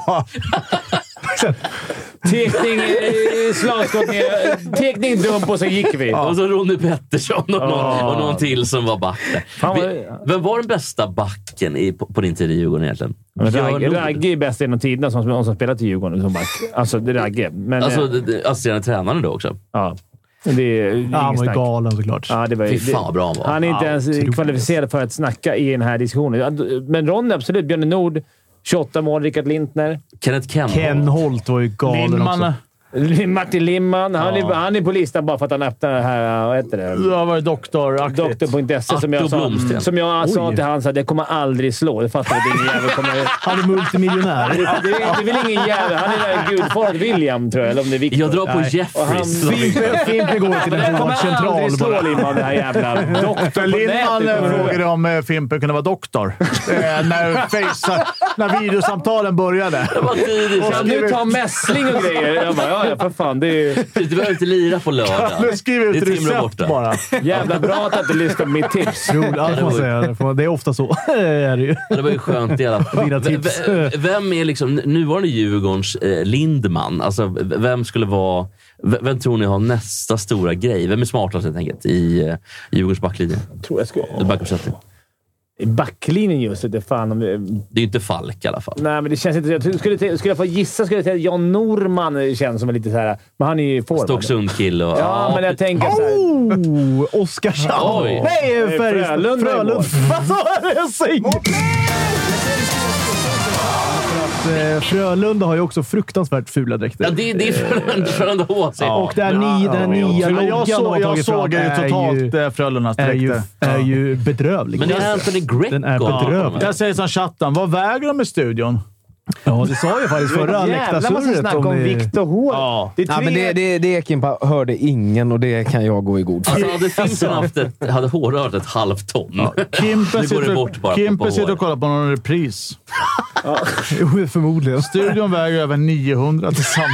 Speaker 4: Tekning, eh, slagskott ner. Tekning, dump och sen gick vi.
Speaker 3: Och så Ronny Pettersson och någon,
Speaker 4: Ja.
Speaker 3: och någon till som var back där.
Speaker 4: Fan, vad-
Speaker 3: Vi- Vem var den bästa backen i, på, på din tid i Djurgården egentligen? Björn
Speaker 4: Ragge,
Speaker 3: Nord.
Speaker 4: Ragge är bäst genom tiderna som, någon som spelat i Djurgården som back. Alltså, det är Ragge. Men,
Speaker 3: Alltså,
Speaker 4: eh,
Speaker 3: det- det- assisterande tränaren då också.
Speaker 4: ja. Det är inget
Speaker 1: Ja, han var ju
Speaker 4: snack.
Speaker 1: galen såklart.
Speaker 4: Ja, det var ju-
Speaker 3: Fy fan vad bra han var.
Speaker 4: Han är inte
Speaker 1: Ja,
Speaker 4: ens
Speaker 1: otroligt.
Speaker 4: kvalificerad för att snacka i den här diskussionen. Men Ronny, absolut. Björn Nord, 28 mål. Rickard Lintner.
Speaker 3: Kenneth Ken.
Speaker 1: Ken Holt var ju galen
Speaker 2: Lindman.
Speaker 1: också.
Speaker 4: Martin Limman. Han, är, han är på listan bara för att han öppnar det här... äh, Vad heter det?
Speaker 2: Jag har varit doktoraktigt.
Speaker 4: Doktor.se som jag
Speaker 3: Arto
Speaker 4: sa,
Speaker 3: Blomsten.
Speaker 4: som jag sa
Speaker 1: Oj.
Speaker 4: till han att det kommer aldrig slå. Det fattar du ingen jävel kommer...
Speaker 1: Han är multimiljonär.
Speaker 4: Ja, Det är, det är väl ingen jävel. Han är den där gudfadern William, tror jag. Eller om det är Victor.
Speaker 3: Jag drar på
Speaker 4: Och han-
Speaker 3: Jeffries.
Speaker 1: Fimpen- Fimpen går till
Speaker 4: Den
Speaker 1: en
Speaker 4: kommer
Speaker 1: vårdcentral
Speaker 4: aldrig slå
Speaker 1: bara.
Speaker 4: Limman, den här jävla doktorn på
Speaker 2: Lindman
Speaker 4: nätet.
Speaker 2: eh,
Speaker 4: kommer ihåg.
Speaker 2: frågade om eh, Fimpen kunde vara doktor eh, när, face, när videosamtalen började.
Speaker 3: Det var tidigt.
Speaker 4: Kan du ta mässling och grejer? Jag bara, ja, ja, för fan. Det är ju
Speaker 3: Du behöver inte lira på lördag.
Speaker 2: Men Skriv
Speaker 3: Det
Speaker 2: ut
Speaker 3: är Timrå
Speaker 2: recept
Speaker 3: borta.
Speaker 2: bara.
Speaker 4: jävla bra att du lyssnar på mitt tips.
Speaker 1: Jo, ja, det får man säga. Det får man- Det är ofta så. Det är det ju.
Speaker 3: Ja, Det var ju skönt i alla fall.
Speaker 1: Dina
Speaker 3: V- v-
Speaker 1: tips.
Speaker 3: Vem är liksom nuvarande Djurgårdens eh, Lindman? Alltså, v- vem skulle vara... v- Vem tror ni har nästa stora grej? Vem är smartast helt enkelt i eh, Djurgårdens backlinje?
Speaker 4: tror jag skulle...
Speaker 3: I backuppsättning.
Speaker 4: I backlinjen just det. Fan om...
Speaker 3: Det är ju inte Falk i alla fall.
Speaker 4: Nej, men det känns inte... Jag tror- skulle, skulle jag få gissa skulle jag säga att John Norman känns som en lite så här... Men han är ju forward.
Speaker 3: Stocksundkille och...
Speaker 4: Ja, men jag tänker så här.
Speaker 1: Oh, Oskarshamn!
Speaker 3: Oj.
Speaker 1: Nej, Färjestad!
Speaker 4: Frölunda i mål.
Speaker 1: Frölunda! Vad sa jag? Jag säger För att, eh, Frölunda har ju också fruktansvärt fula
Speaker 3: Ja,
Speaker 1: dräkter.
Speaker 3: det, det är Frölunda- Frölunda HC.
Speaker 1: Och där ni, den nya
Speaker 2: Men jag
Speaker 1: loggan de har
Speaker 2: såg, jag
Speaker 1: tagit fram
Speaker 2: såg ju
Speaker 1: är ju,
Speaker 2: totalt eh, Frölundas
Speaker 1: är ju,
Speaker 2: dräkter.
Speaker 1: är ju bedrövlig.
Speaker 3: Men det är Anthony Greco.
Speaker 1: Den är bedrövlig.
Speaker 2: Jag säger som chatten. Vad väger de i studion?
Speaker 1: Ja, det sa ju faktiskt förra
Speaker 4: Jävlar massa
Speaker 1: läktarsurret.
Speaker 4: snack om
Speaker 1: ni-
Speaker 4: Victor Hård.
Speaker 2: Ja.
Speaker 4: Det är tre...
Speaker 5: Ja, men det, det, det Kimpa hörde ingen och det kan jag gå i god för.
Speaker 3: Alltså, hade Simpson haft ett, hade hårrört ett halvt ton.
Speaker 2: Kimpen
Speaker 3: nu går det
Speaker 2: sitter,
Speaker 3: bort bara på,
Speaker 2: Kimpen
Speaker 3: på
Speaker 2: sitter och
Speaker 3: håret.
Speaker 2: kollar på någon repris.
Speaker 1: Jo, förmodligen.
Speaker 2: Studion väger över 900 tillsammans.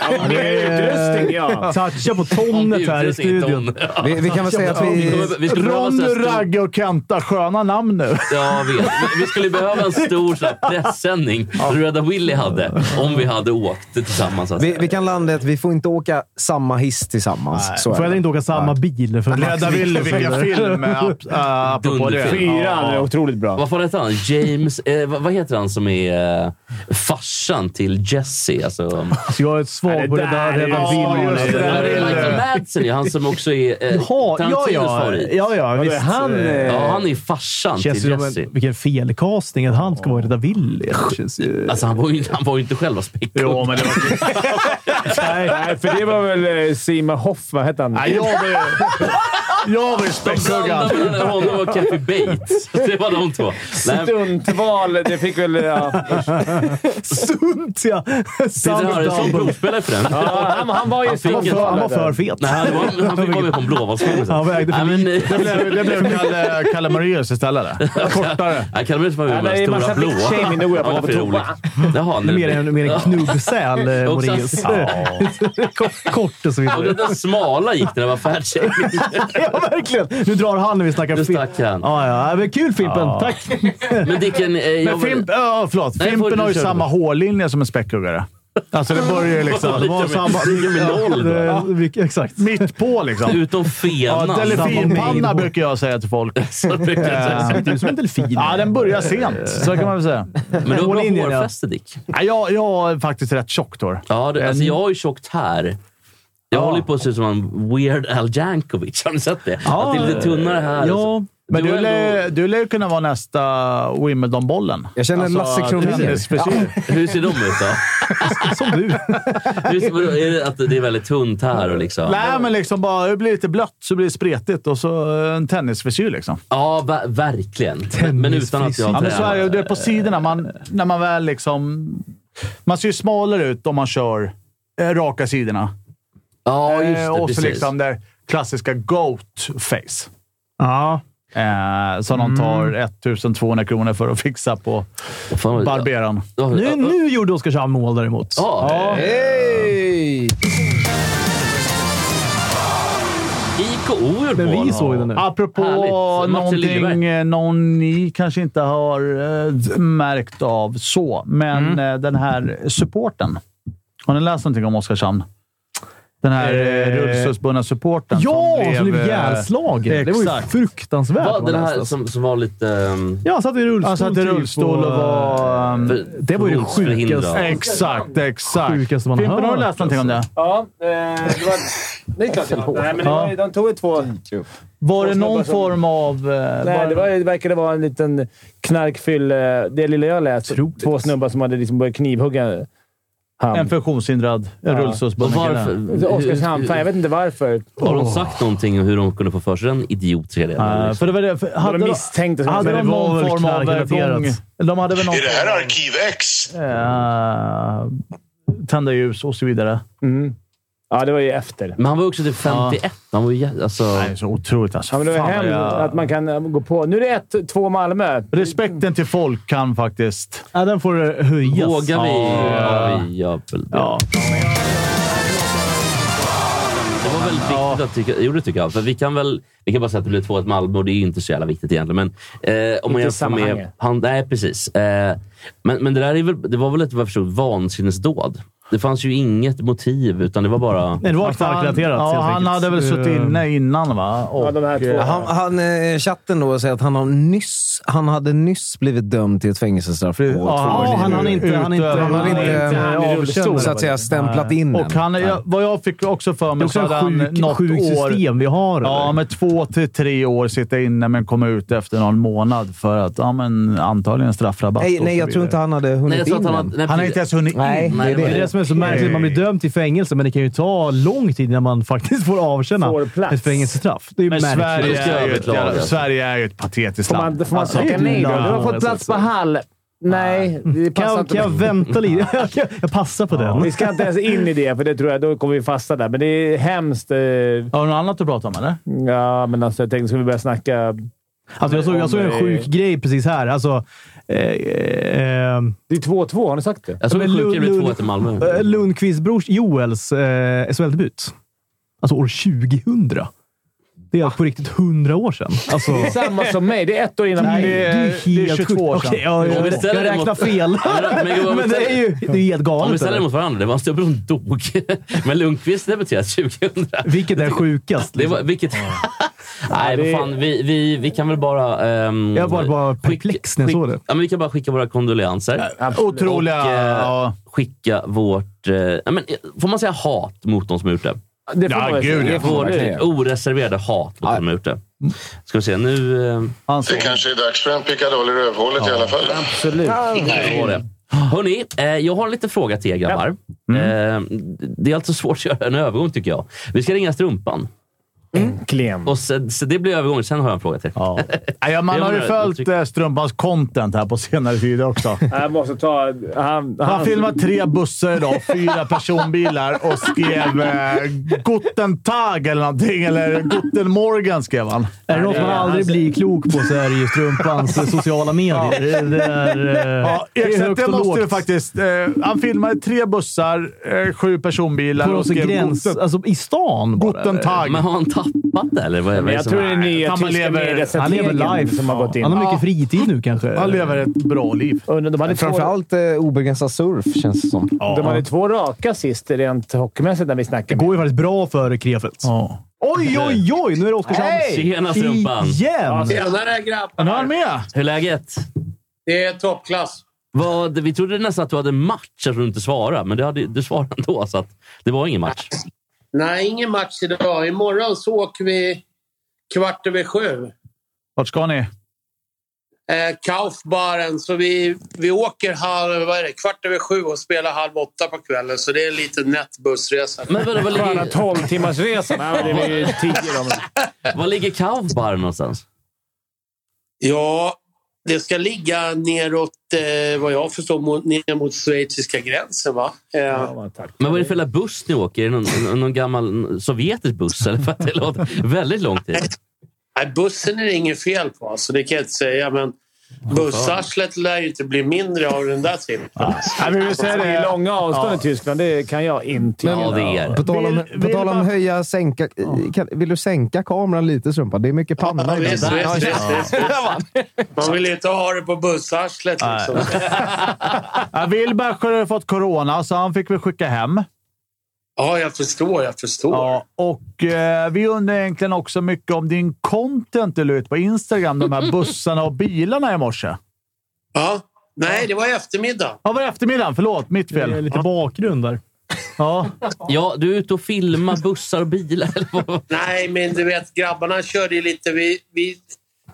Speaker 4: Ja, det är utrustning, ja.
Speaker 1: Toucha på
Speaker 3: Om det
Speaker 1: tonet här i
Speaker 3: utreds inte
Speaker 1: studion.
Speaker 3: om- Ja,
Speaker 5: Vi, vi kan väl säga att
Speaker 3: vi
Speaker 5: vi...
Speaker 3: skulle- vi skulle behöva en
Speaker 2: Ronny,
Speaker 3: sån här stor-
Speaker 2: Ragge och Kenta. Sköna namn nu.
Speaker 3: Ja, jag vet. Men Vi skulle behöva en stor sån här pressändning som Röda Willy hade om vi hade åkt tillsammans. Alltså.
Speaker 5: Vi, vi kan landa i att vi får inte åka samma hiss tillsammans. Så är
Speaker 1: Får jag
Speaker 5: det.
Speaker 1: inte åka samma bil? För
Speaker 2: Röda Ville, vilken film. eh, ap- eh, Apropå det.
Speaker 3: Alltså, Dunderfilm.
Speaker 4: Fyran är otroligt bra.
Speaker 3: Vad fan heter han? James... Eh, vad vad heter han som är eh, farsan till Jesse? Alltså,
Speaker 1: Så jag är ett
Speaker 4: Nej,
Speaker 1: svag på
Speaker 4: det
Speaker 1: det
Speaker 4: där
Speaker 1: där
Speaker 4: är-
Speaker 1: redan
Speaker 2: Ja,
Speaker 1: filmen.
Speaker 2: just det.
Speaker 1: Ja,
Speaker 2: där är-
Speaker 3: Michael Madsen, ja, han som också är eh,
Speaker 1: ja, ja,
Speaker 3: Tarantinos
Speaker 1: ja,
Speaker 3: favorit.
Speaker 1: ja, ja,
Speaker 4: det är
Speaker 1: visst.
Speaker 4: han,
Speaker 1: Eh,
Speaker 4: eh,
Speaker 3: Ja, han är farsan
Speaker 1: känns
Speaker 3: till
Speaker 1: ju som
Speaker 3: Jesse.
Speaker 1: en, vilken felkastning att han ska vara i Rädda Willy. Det känns ju...
Speaker 3: Alltså, han var ju, han var ju inte själva späckad.
Speaker 2: Jo, men det var
Speaker 4: Nej, nej, för det var väl eh, Seymour Hoff, vad hette han?
Speaker 2: Nej, jag var ju... Jag var ju späckhuggad.
Speaker 3: Blandade mellan honom och Kathy Bates. Det var de två. Nej,
Speaker 4: Stuntval. Det fick väl... Ja.
Speaker 1: Sunt ja!
Speaker 3: Peter
Speaker 1: Sam
Speaker 3: Harrison
Speaker 1: Dumbo.
Speaker 3: provspelare för den.
Speaker 4: Ja, han, han var ju
Speaker 3: Han fick
Speaker 1: Han var för- han var för fet.
Speaker 3: Nej, han, var, han fick vara med på en blåvalsfilm.
Speaker 1: Han vägde för
Speaker 2: Det blev, det blev Kalle, Kalle Moraeus istället. där. Kortare.
Speaker 3: Jag kallar mig inte för
Speaker 4: Ja, det är
Speaker 3: den stora
Speaker 4: massa
Speaker 3: blå.
Speaker 4: big-shaming nu, jag
Speaker 3: Ja,
Speaker 4: pratar på
Speaker 3: för
Speaker 4: toa.
Speaker 3: roligt. Jaha, nu.
Speaker 1: Mer en, mer en knubbsäl, eh,
Speaker 3: Också en-
Speaker 1: Moraeus. Kort- Kort och så
Speaker 3: Och
Speaker 1: vidare.
Speaker 3: den där smala gick när det var fatshaming.
Speaker 1: Ja, verkligen! Nu drar han när vi snackar
Speaker 3: Nu
Speaker 1: film.
Speaker 3: stack han.
Speaker 1: Ja, ja. Men kul Fimpen! Tack!
Speaker 3: Men Dicken, eh, jag
Speaker 2: Men
Speaker 3: var-
Speaker 2: Fimp, ja, förlåt.
Speaker 3: Nej, får
Speaker 2: Fimpen
Speaker 3: du
Speaker 2: har ju
Speaker 3: köra
Speaker 2: samma
Speaker 3: då.
Speaker 2: hårlinje som en späckhuggare. Alltså det börjar ju liksom...
Speaker 3: Lite mer- lite med noll då.
Speaker 1: Eh, vilk- Exakt.
Speaker 2: Mitt på liksom.
Speaker 3: Utom fenan.
Speaker 2: Ja, delfinpanna brukar jag säga till folk.
Speaker 3: Så alltså, brukar jag säga.
Speaker 1: Ser inte ut som en delfin.
Speaker 2: Ja, den börjar sent. Så kan man väl säga.
Speaker 3: Men du har
Speaker 1: Hårlinjen,
Speaker 3: bra
Speaker 1: ja.
Speaker 3: hårfäste, Dick.
Speaker 2: Ja, jag, jag har faktiskt rätt tjockt hår.
Speaker 3: Ja, det, alltså jag har ju tjockt här. Jag håller ju på att se ut som en Weird Al Jankovic. Har ni sett det? Att det är lite tunnare här. alltså.
Speaker 1: Ja,
Speaker 2: Men du
Speaker 3: har
Speaker 2: lär
Speaker 3: ändå-
Speaker 2: du lär ju kunna vara nästa Wimbledon-bollen.
Speaker 5: Jag känner Lasse Kronér.
Speaker 2: tennisfrisyr.
Speaker 3: Hur ser de ut då?
Speaker 1: Som du.
Speaker 3: Hur ser, vadå, är det att det är väldigt tunt här och liksom...
Speaker 2: Nej, men liksom bara det blir lite blött så blir det spretigt och så eh, en tennisfrisyr liksom.
Speaker 3: Ja, ver- verkligen. Men- Men utan att jag
Speaker 2: Ja, men så är
Speaker 3: tränar.
Speaker 2: det. Du är på sidorna. Man, när man väl liksom... Man ser ju smalare ut om man kör eh, raka sidorna.
Speaker 3: Ja, just
Speaker 2: Eh,
Speaker 3: det.
Speaker 2: och
Speaker 3: Precis.
Speaker 2: så liksom det klassiska goat-face.
Speaker 1: Ja.
Speaker 2: Eh, som de tar 1200 kronor för att fixa på
Speaker 3: Fan, vad-
Speaker 2: barberaren.
Speaker 3: Ja,
Speaker 1: Nu,
Speaker 3: ja,
Speaker 1: nu gjorde Oskarshamn mål däremot.
Speaker 3: Ja, eh,
Speaker 5: Hej!
Speaker 3: IK Oer
Speaker 1: Men
Speaker 3: mål.
Speaker 1: vi såg den nu.
Speaker 2: Apropå
Speaker 3: Härligt. Mats
Speaker 2: någonting
Speaker 3: Liljeberg.
Speaker 2: eh, någon ni kanske inte
Speaker 1: Mm.
Speaker 2: har eh, märkt av så, men eh, den här supporten Har ni läst någonting om Oskarshamn? Den här eh,
Speaker 1: Eh,
Speaker 2: rullstolsbundna supporten
Speaker 1: Ja, som blev
Speaker 2: eh,
Speaker 1: ihjälslagen. Det var ju
Speaker 3: exakt.
Speaker 1: fruktansvärt.
Speaker 3: Vad,
Speaker 1: vad
Speaker 3: den
Speaker 1: jag
Speaker 3: här
Speaker 1: läste.
Speaker 3: som, som var lite... ehm,
Speaker 1: Ja, han satt i rullstol.
Speaker 2: Han alltså. satt i
Speaker 1: typ
Speaker 2: alltså rullstol och var... ehm,
Speaker 3: för-
Speaker 1: Det var ju det
Speaker 3: funktionsförhindrad.
Speaker 1: sjukaste.
Speaker 2: Exakt, exakt.
Speaker 1: Sjukaste man har
Speaker 2: Fimpen, har du
Speaker 1: hört, alltså.
Speaker 2: läst någonting om det?
Speaker 4: Ja, eh, det var... Det är klart jag har. Nej, men det var, ju- de tog ju två...
Speaker 2: Var det
Speaker 4: Och snubbar
Speaker 2: någon
Speaker 4: som-
Speaker 2: form av... eh,
Speaker 4: Nej,
Speaker 2: var-
Speaker 4: det, var, det verkade vara en liten knarkfyll... eh, Det lilla jag läst.
Speaker 1: Otroligt.
Speaker 4: Två snubbar som hade liksom börjat knivhugga
Speaker 2: En
Speaker 4: han.
Speaker 2: funktionshindrad en
Speaker 3: och
Speaker 2: rullstolsbunden
Speaker 3: varför?
Speaker 2: kille.
Speaker 3: hur-
Speaker 4: Oskarshamn. Fan, jag vet inte varför.
Speaker 3: Har de sagt någonting om hur de kunde få för sig den idiotserien?
Speaker 2: Eh, För det var det... För hade
Speaker 4: de
Speaker 2: de-
Speaker 4: misstänkte som
Speaker 2: Hade
Speaker 1: Men
Speaker 2: de
Speaker 1: det var
Speaker 2: någon
Speaker 1: väl
Speaker 2: form av eh,
Speaker 1: knarkrelaterat.
Speaker 2: gång... De hade väl någon
Speaker 6: Är det här
Speaker 2: form av-
Speaker 6: Arkiv X?
Speaker 2: Eh, tända ljus och så vidare.
Speaker 4: Mm. Ja, det var ju efter.
Speaker 3: Men han var också typ 51. Han var ju jä- alltså,
Speaker 2: Nej, så otroligt alltså.
Speaker 4: Ja, men det var
Speaker 2: Fan,
Speaker 4: hemskt
Speaker 2: jag-
Speaker 4: att man kan eh, gå på. Nu är det ett, två Malmö.
Speaker 2: Respekten till folk kan faktiskt...
Speaker 1: Ja, den får höjas.
Speaker 3: Vågar vi?
Speaker 2: Ja.
Speaker 3: Ja, vi gör väl det.
Speaker 1: Ja.
Speaker 3: Det var väl viktigt att tycka... Jo, det tycker jag. För vi kan väl... Vi kan bara säga att det blev 2-1 Malmö och det är ju inte så jävla viktigt egentligen. Men eh, om man jämför
Speaker 4: i
Speaker 3: med...
Speaker 4: sammanhanget.
Speaker 3: Han, nej, precis. Eh, men, men det där är väl, det var väl ett vad jag förstod, vansinnesdåd. Det fanns ju inget motiv, utan det var bara...
Speaker 1: Nej, det var
Speaker 2: Han-
Speaker 1: knarkrelaterat
Speaker 2: Ja,
Speaker 1: helt
Speaker 2: han
Speaker 1: enkelt.
Speaker 2: hade väl suttit
Speaker 1: Eh,
Speaker 2: inne innan va? Och,
Speaker 4: Ja, de här två.
Speaker 2: eh,
Speaker 5: Han, han, eh, chatten då säger att han, har nyss, han hade nyss blivit dömd till ett fängelsestraff på två
Speaker 1: han-
Speaker 5: år.
Speaker 1: han hann inte- han inte-
Speaker 2: Utöver-
Speaker 5: Han hade
Speaker 1: inte-
Speaker 5: inte
Speaker 1: han
Speaker 5: eh,
Speaker 1: är rullstol,
Speaker 5: så att säga stämplat in
Speaker 2: Och han,
Speaker 5: än.
Speaker 2: jag, vad jag fick också för
Speaker 1: Det är
Speaker 2: mig
Speaker 1: också
Speaker 2: så hade han
Speaker 1: en sjuk,
Speaker 2: något
Speaker 1: sjuk
Speaker 2: år...
Speaker 1: system vi har.
Speaker 2: Ja,
Speaker 1: eller?
Speaker 2: med två till tre år sitta inne men komma ut efter någon månad för att ja, men, antagligen straffrabatt.
Speaker 5: Nej,
Speaker 2: och
Speaker 5: nej,
Speaker 2: så
Speaker 5: jag tror inte
Speaker 2: vidare.
Speaker 5: han hade
Speaker 3: Nej,
Speaker 5: hunnit
Speaker 3: jag tror
Speaker 5: in
Speaker 3: att han
Speaker 5: än.
Speaker 3: hade- nej,
Speaker 2: Han har inte ens hunnit
Speaker 5: Nej,
Speaker 2: in.
Speaker 5: det är
Speaker 3: Nej,
Speaker 5: det.
Speaker 1: Det är det som är så märkligt. Man blir dömd till fängelse, men det kan ju ta lång tid när man faktiskt får avtjäna
Speaker 4: Får plats.
Speaker 1: ett fängelsestraff. Det är ju
Speaker 2: Men
Speaker 1: märkligt.
Speaker 2: Sverige
Speaker 3: Det ska jag
Speaker 2: är, ju ett,
Speaker 3: beklaga,
Speaker 2: jävla-
Speaker 3: alltså.
Speaker 2: Sverige är ju ett patetiskt
Speaker 4: Får
Speaker 2: land.
Speaker 4: man, får man
Speaker 2: Alltså,
Speaker 4: tacka nej då? Du har fått
Speaker 1: alltså.
Speaker 4: plats på Hall. Nej, det
Speaker 1: Kan
Speaker 4: passar
Speaker 1: jag, kan jag
Speaker 4: inte.
Speaker 1: vänta lite? Jag kan- Jag passar på den.
Speaker 4: Vi ska inte ens in i det, för det tror jag, då kommer vi fastna där. Men det är hemskt. eh,
Speaker 2: Har du något annat att prata om eller?
Speaker 4: Ja, men alltså jag tänkte, ska vi börja snacka...
Speaker 1: Alltså, jag, såg, jag såg en sjuk grej precis här. Alltså, eh, eh,
Speaker 4: Det är 2-2, har ni sagt det?
Speaker 3: Jag såg
Speaker 1: Men
Speaker 3: att sjuka
Speaker 1: Lund-
Speaker 3: det blev
Speaker 1: Lund-
Speaker 3: 2-1 till Malmö.
Speaker 1: eh, Lundqvists brors Joels eh, SHL-debut. Alltså år 2000. Det är på riktigt 100 år sedan. Alltså,
Speaker 4: Det är samma som mig. Det är ett år innan
Speaker 1: Nej,
Speaker 4: mig.
Speaker 1: det
Speaker 2: det
Speaker 1: är
Speaker 2: är
Speaker 1: helt
Speaker 2: 22
Speaker 1: sjukt.
Speaker 2: år
Speaker 1: Okej, ja,
Speaker 3: Om
Speaker 1: jag,
Speaker 3: vi
Speaker 1: jag,
Speaker 3: ställer
Speaker 1: räknar
Speaker 3: emot-
Speaker 1: fel.
Speaker 3: men om vi
Speaker 1: men det är
Speaker 3: ställer-
Speaker 1: ju det är ju helt
Speaker 3: Om vi
Speaker 1: galet.
Speaker 3: ställer
Speaker 1: eller?
Speaker 3: mot varandra, det var Österbron dog. Men Lundqvist debuterade 2000.
Speaker 1: Vilket är sjukast?
Speaker 3: Det
Speaker 1: Liksom.
Speaker 3: var, vilket... Nej,
Speaker 4: det-
Speaker 3: vad fan. Vi, vi, vi kan väl bara... ehm,
Speaker 1: Jag var bara
Speaker 3: skicka-
Speaker 1: perplex när jag
Speaker 3: skick-
Speaker 1: såg det.
Speaker 3: Ja, men vi kan bara skicka våra kondolenser.
Speaker 2: Otroliga...
Speaker 3: Och, eh,
Speaker 2: ja.
Speaker 3: Skicka vårt... eh, ja, men, eh, får man säga hat mot de som har gjort det?
Speaker 4: Det får
Speaker 2: Ja,
Speaker 4: man väl säga.
Speaker 2: gud, ja.
Speaker 4: Det får man
Speaker 3: Vårt
Speaker 4: verkligen
Speaker 5: verkligen.
Speaker 3: oreserverade hat mot de som har gjort det.
Speaker 1: Mm.
Speaker 3: Ska vi se, nu... eh,
Speaker 2: Han såg.
Speaker 6: Det kanske är dags för en pickadoll i rövhålet i alla fall.
Speaker 4: Absolut. Mm.
Speaker 3: Det var det. Hörrni, eh, jag har en liten fråga till er grabbar.
Speaker 1: Mm.
Speaker 3: Eh, det är alltså svårt att göra en övergång tycker jag. Vi ska ringa Strumpan.
Speaker 4: Äntligen.
Speaker 3: Och så, så det blir övergången. Sen har jag en fråga till.
Speaker 2: Ja. Nej, ja, man
Speaker 3: Det
Speaker 2: har ju
Speaker 3: var-
Speaker 2: följt eh, Strumpans content här på senare tid också.
Speaker 4: Jag måste ta... Han,
Speaker 2: Han filmade tre bussar idag, fyra personbilar och skrev eh, “Guten Tag” eller någonting. Eller “Guten Morgen” skrev han.
Speaker 1: Är det något man
Speaker 4: det är
Speaker 1: aldrig
Speaker 4: hans-
Speaker 1: blir klok på så är det ju strumpans sociala medier. Det, det är, eh,
Speaker 2: Ja,
Speaker 1: det är
Speaker 2: Ekstedt,
Speaker 1: högt
Speaker 2: det
Speaker 1: och
Speaker 2: måste vi
Speaker 1: lågt.
Speaker 2: faktiskt... Eh, han filmade tre bussar, eh, sju personbilar
Speaker 1: På
Speaker 2: och
Speaker 1: någon
Speaker 2: skrev
Speaker 1: gräns,
Speaker 2: “Guten,
Speaker 1: alltså i stan bara.
Speaker 2: guten
Speaker 1: eller?
Speaker 2: Tag”.
Speaker 3: Men har han tappat det, eller? Vad, vad
Speaker 4: Men
Speaker 3: är
Speaker 4: jag
Speaker 3: som-
Speaker 4: tror det är
Speaker 2: Nej,
Speaker 4: nya
Speaker 2: han
Speaker 4: tyska
Speaker 2: lever-
Speaker 1: Han lever
Speaker 4: mediacentreringen
Speaker 1: life.
Speaker 4: som har gått in.
Speaker 1: Han har mycket fritid nu kanske.
Speaker 2: Han lever ett bra liv.
Speaker 4: Undrar, de hade två-
Speaker 5: Framförallt eh, obegränsad surf, känns det som.
Speaker 4: De hade två raka sist rent hockeymässigt när vi
Speaker 1: Det
Speaker 4: snackade.
Speaker 1: går ju faktiskt bra för Krefeld.
Speaker 2: Ja.
Speaker 1: Oj, oj, oj! Nu är det Oskarshamn
Speaker 3: Tjena Strumpan!
Speaker 1: igen!
Speaker 7: Tjenare
Speaker 2: Men nu är han
Speaker 7: grabbar!
Speaker 2: med!
Speaker 3: Hur är läget?
Speaker 7: Det är toppklass.
Speaker 3: Vad, vi trodde nästan att du hade match eftersom du inte svarade, men du, hade, du svarade ändå. Så att det var ingen match.
Speaker 7: Nej, ingen match idag. Imorgon så åker vi kvart över sju.
Speaker 2: Vart ska ni?
Speaker 7: Eh, Kaufbaren. Så vi, vi åker halv, vad är det, kvart över sju och spelar halv åtta på kvällen. Så det är en liten nätt bussresa.
Speaker 3: Men vad, vad,
Speaker 4: Sköna
Speaker 3: ligger,
Speaker 4: 12-timmarsresan. Nej, men det var ju tio då.
Speaker 3: vad ligger Kaufbar någonstans?
Speaker 7: Ja, det ska ligga neråt, eh, vad jag förstår, mot, ner mot schweiziska gränsen. Va? Eh,
Speaker 4: Ja, tack.
Speaker 3: Men vad är det för jävla buss ni åker? Är det någon, någon gammal sovjetisk buss? Eller? För att det låter väldigt lång tid.
Speaker 7: Nej, bussen är det inget fel på, alltså, det kan jag inte säga. Men Bussarslet lär ju inte bli mindre av den där simmen.
Speaker 2: Nej, men vi säger
Speaker 4: Alltså, Det är
Speaker 2: det.
Speaker 4: långa avstånd i Tyskland, det kan jag inte.
Speaker 3: Ja, det är det.
Speaker 5: På tal om,
Speaker 2: Vill-
Speaker 5: på tal om
Speaker 2: vill man-
Speaker 5: höja, sänka. Kan, vill du sänka kameran lite, Strumpa? Det är mycket panna
Speaker 7: Ja,
Speaker 5: i den.
Speaker 7: visst, visst, visst, visst, visst. Man vill ju inte ha det på bussarslet liksom.
Speaker 2: Ja, Wilbach har ju fått corona, så han fick vi skicka hem.
Speaker 7: Ja, jag förstår. Jag förstår.
Speaker 2: Ja, och eh, vi undrar egentligen också mycket om din content du la ut på Instagram, de här bussarna och bilarna i morse.
Speaker 7: Ja. Nej, det var i eftermiddag.
Speaker 2: Ja, var det eftermiddagen? Förlåt, mitt
Speaker 1: Det är
Speaker 2: fel.
Speaker 1: lite bakgrund där.
Speaker 2: Ja.
Speaker 3: Ja, du är ute och filmar bussar och bilar. eller vad?
Speaker 7: Nej, men du vet, grabbarna körde ju lite. Vi, vi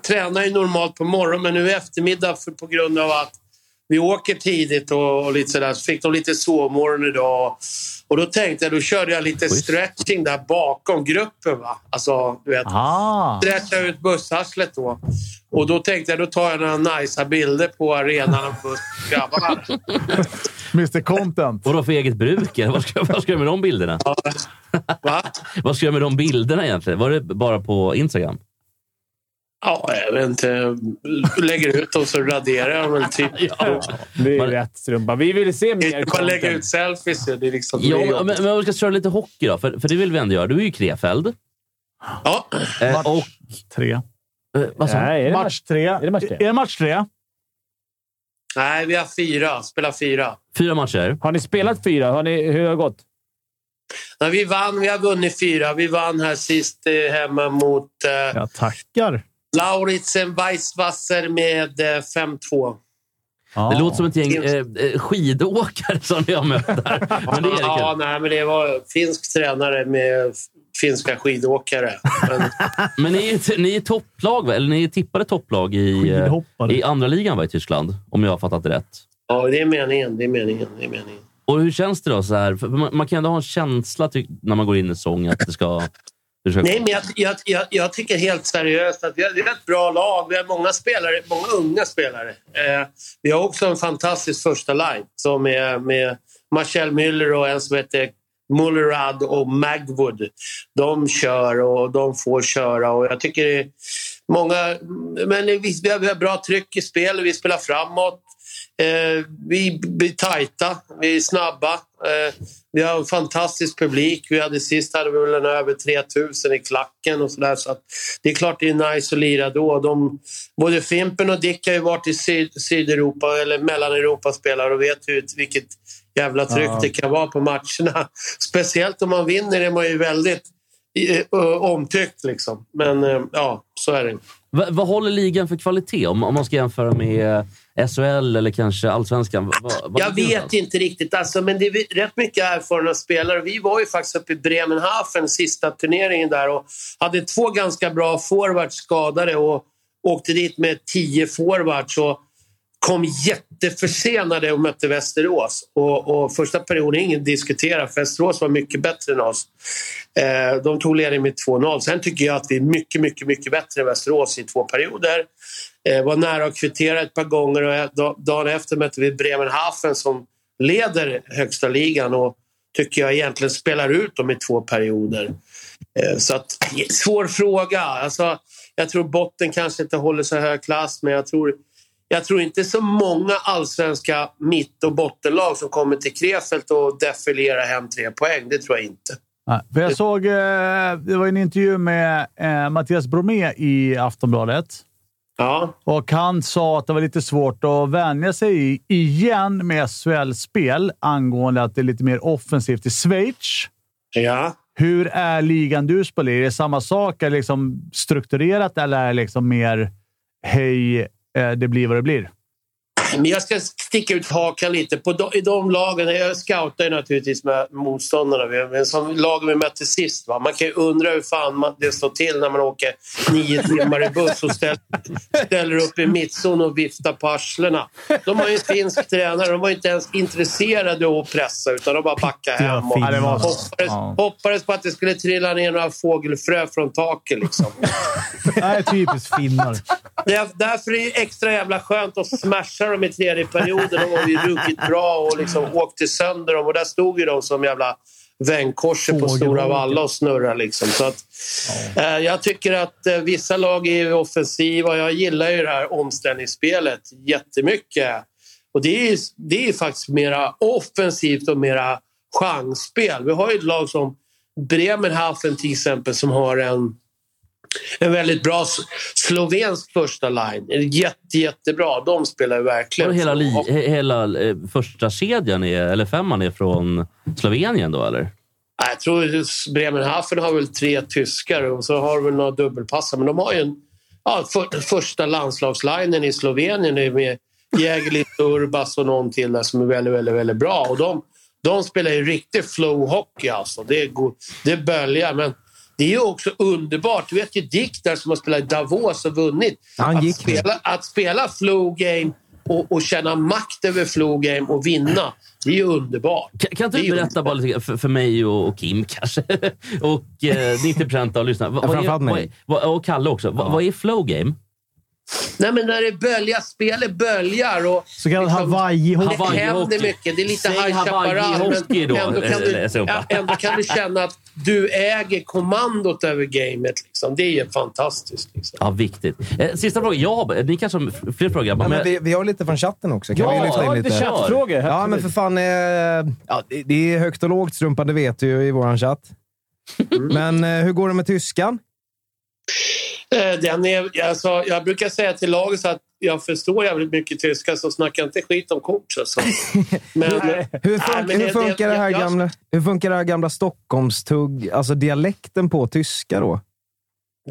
Speaker 7: tränar ju normalt på morgonen, men nu i eftermiddag för, på grund av att vi åker tidigt och, och lite sådär, så fick de lite sovmorgon idag. Och då tänkte jag, då körde jag lite
Speaker 3: Schysst.
Speaker 7: stretching där bakom gruppen. Va? Alltså, du vet,
Speaker 2: Ah.
Speaker 7: stretcha ut bussarslet då. Och då tänkte jag, då tar jag några nice bilder på arenan och buss grabbarna.
Speaker 2: Mr Content.
Speaker 3: Vadå för eget bruk? eller? Vad ska, vad ska jag med de bilderna?
Speaker 7: Va?
Speaker 3: Vad ska jag med de bilderna egentligen? Var det bara på Instagram?
Speaker 7: Ja, jag vet inte. Lägger ut dem så raderar jag dem. Typ.
Speaker 3: Ja.
Speaker 4: Det är
Speaker 3: Man-
Speaker 4: rätt strumpa. Vi vill se mer
Speaker 7: Inte bara lägga
Speaker 4: content.
Speaker 7: ut selfies. Det är liksom
Speaker 3: Ja, men, men om vi ska köra lite hockey då, för, för det vill vi ändå göra. Du är ju Krefeld.
Speaker 7: Ja.
Speaker 3: Eh, och,
Speaker 2: Match tre.
Speaker 3: eh, vad sa du?
Speaker 4: Nej, är det match?
Speaker 2: Match tre.
Speaker 4: Är det match tre?
Speaker 2: Är det match tre?
Speaker 7: Nej, vi har fyra. Spelar fyra.
Speaker 3: Fyra matcher.
Speaker 4: Har ni spelat fyra? Har ni, hur har det gått?
Speaker 7: Nej, vi vann. Vi har vunnit fyra. Vi vann här sist eh, hemma mot eh,
Speaker 1: Jag tackar.
Speaker 7: Lauritsen Weisswasser med eh, 5-2.
Speaker 3: Det låter som ett gäng eh, eh, skidåkare som jag mött där. Men det är det
Speaker 7: ja,
Speaker 3: kul.
Speaker 7: nej, men det var finsk tränare med finska skidåkare. Men,
Speaker 3: Men ni är, t- ni är topplag, va? eller ni är tippade topplag i, eh,
Speaker 1: Skidhoppare.
Speaker 3: i andra ligan va, i Tyskland, om jag har fattat det rätt.
Speaker 7: ja, det är meningen. Det är meningen. Det är meningen.
Speaker 3: Och hur känns det då? Så här? För man, man kan ändå ha en känsla ty- när man går in i sång att det ska... Det ska
Speaker 7: Nej, men jag, jag, jag, jag tycker helt seriöst att vi har, vi har ett bra lag. Vi har många spelare, många unga spelare. Eh, vi har också en fantastisk första line som är med Marcel Müller och en som heter Mullerad och Magwood. De kör och de får köra och jag tycker det är många... Men vi, vi, har, vi har bra tryck i spel, vi spelar framåt. Eh, vi blir tajta, vi är snabba. Eh, vi har en fantastisk publik. Vi hade sist hade vi väl en över 3000 i klacken och sådär. Så att det är klart det är nice att lira då. De, både Fimpen och Dick har ju varit i syd, Sydeuropa eller Mellaneuropa spelar och vet hur, vilket jävla tryck det kan vara på matcherna. Speciellt om man vinner är man ju väldigt eh, ö, omtyckt liksom. Men eh, ja, så är det.
Speaker 3: Va, vad håller ligan för kvalitet om, om man ska jämföra med SHL eller kanske allsvenskan? Va, va, vad
Speaker 7: Jag
Speaker 3: ligger det
Speaker 7: vet
Speaker 3: någonstans?
Speaker 7: inte riktigt. Alltså, men det är rätt mycket erfarna spelare. Vi var ju faktiskt uppe i Bremenhaven sista turneringen där och hade två ganska bra forwards skadade och åkte dit med tio forwards och kom jätteförsenade och mötte Västerås. Och, och första perioden, ingen diskutera, för Västerås var mycket bättre än oss. Eh, de tog ledningen med 2-0. Sen tycker jag att vi är mycket, mycket, mycket bättre än Västerås i två perioder. Eh, var nära att kvittera ett par gånger och eh, da- dagen efter mötte vi Bremenhaven som leder högsta ligan och tycker jag egentligen spelar ut dem i två perioder. Eh, Så att, svår fråga. Alltså, jag tror botten kanske inte håller så hög klass, men jag tror, jag tror inte så många allsvenska mitt och bottenlag som kommer till Krefeld och defilerar hem tre poäng. Det tror jag inte.
Speaker 2: Nej, för jag såg, eh, det var en intervju med eh, Mattias Bromé i Aftonbladet.
Speaker 7: Ja,
Speaker 2: Och han sa att det var lite svårt att vänja sig i, igen med SHL-spel angående att det är lite mer offensivt i Schweiz.
Speaker 7: ja.
Speaker 2: Hur är ligan du spelar i? Är det samma sak? Är det liksom strukturerat eller är det liksom mer hej, eh, det blir vad det blir?
Speaker 7: Men jag ska sticka ut hakan lite. På de, I de lagen, jag scoutar ju naturligtvis med motståndarna, vi- men som lagen vi mötte sist. Va? Man kan ju undra hur fan man, det står till när man åker nio timmar i buss och ställer, ställer upp i mittzon och viftar på arslena. De har ju en finsk tränare, de var ju inte ens intresserade av att pressa utan de bara backade hem och
Speaker 1: Ja, det var så.
Speaker 7: hoppades,
Speaker 2: Ja.
Speaker 7: hoppades på att det skulle trilla ner några fågelfrö från taket. Liksom.
Speaker 1: Nej, typiskt finnar.
Speaker 7: Där- Därför är det extra jävla skönt att smasha dem i tredje perioden. De har ju ruggigt bra och liksom åkte sönder dem. Och där stod ju de som jävla vändkorset på Stora Valla och snurra. Liksom. Så att, eh, jag tycker att eh, vissa lag är ju offensiva. Jag gillar ju det här omställningsspelet jättemycket. Och det är ju det är ju faktiskt mera offensivt och mera chansspel. Vi har ju ett lag som Bremerhaven till exempel som har en en väldigt bra s- slovensk första line. Jätte, jättebra. De spelar ju verkligen.
Speaker 3: Och hela, li,
Speaker 7: Och-
Speaker 3: he- hela eh, första kedjan, är, eller femman, är från Slovenien då, eller?
Speaker 7: Nej, Jag tror Bremerhaven har väl tre tyskar och så har de väl några dubbelpassare. Men de har ju en, ja, för, första landslagslinen i Slovenien är med Jägerlic, Urbas och någon till där som är väldigt, väldigt, väldigt bra. Och de, de spelar ju riktig flow-hockey alltså. Det, är go- det böljar. Men det är ju också underbart. Du vet ju Dick där som har spelat i Davos och vunnit.
Speaker 5: Han
Speaker 7: att,
Speaker 5: gick.
Speaker 7: spela, att spela flow-game och, och känna makt över flow-game och vinna. Det är ju underbart.
Speaker 3: Kan, kan inte
Speaker 7: Det är
Speaker 3: du
Speaker 7: ju
Speaker 3: berätta bara lite grann för, för mig och, och Kim kanske? och eh, 90 procent av lyssnarna. Vad-
Speaker 5: Ja,
Speaker 3: vad är-
Speaker 5: framförallt mig.
Speaker 3: vad är- vad- Och Kalle också. Vad, vad är flow game?
Speaker 7: Nej, men när det böljar, spelet böljar och
Speaker 1: Så kallad
Speaker 7: Liksom-
Speaker 1: hawaii-hockey.
Speaker 7: det
Speaker 3: Hawaii-hockey.
Speaker 7: händer mycket. Det är lite
Speaker 3: Säg
Speaker 7: High Chaparral,
Speaker 3: Hawaii-hockey
Speaker 7: men
Speaker 3: då,
Speaker 7: ändå kan, du,
Speaker 3: läser jag upp.
Speaker 7: ja, ändå kan du känna att du äger kommandot över gamet. Liksom. Det är ju fantastiskt. Liksom.
Speaker 3: Ja, viktigt. Eh, sista frågan. Ja, ni kanske har f- fler frågor. grabbar,
Speaker 5: Ja, men
Speaker 3: men-
Speaker 5: vi, vi har lite från chatten också. Kan
Speaker 3: Ja,
Speaker 5: vi lyfta in
Speaker 3: lite
Speaker 5: lite?
Speaker 3: chatt.
Speaker 4: Chattfrågor?
Speaker 5: Ja, men för fan. Eh, ja, det, det är högt och lågt, Strumpan. Det vet du ju i vår chatt. Men eh, hur går det med tyskan?
Speaker 7: Eh, Den är, alltså, jag brukar säga till laget så att jag förstår jävligt mycket tyska så snacka inte skit om coach. Alltså. Men, eh,
Speaker 5: Hur,
Speaker 7: Nej,
Speaker 5: fun-
Speaker 7: men
Speaker 5: hur, funkar det här
Speaker 7: jag-
Speaker 5: gamla, hur funkar det här gamla Stockholmstugg, alltså dialekten på tyska då?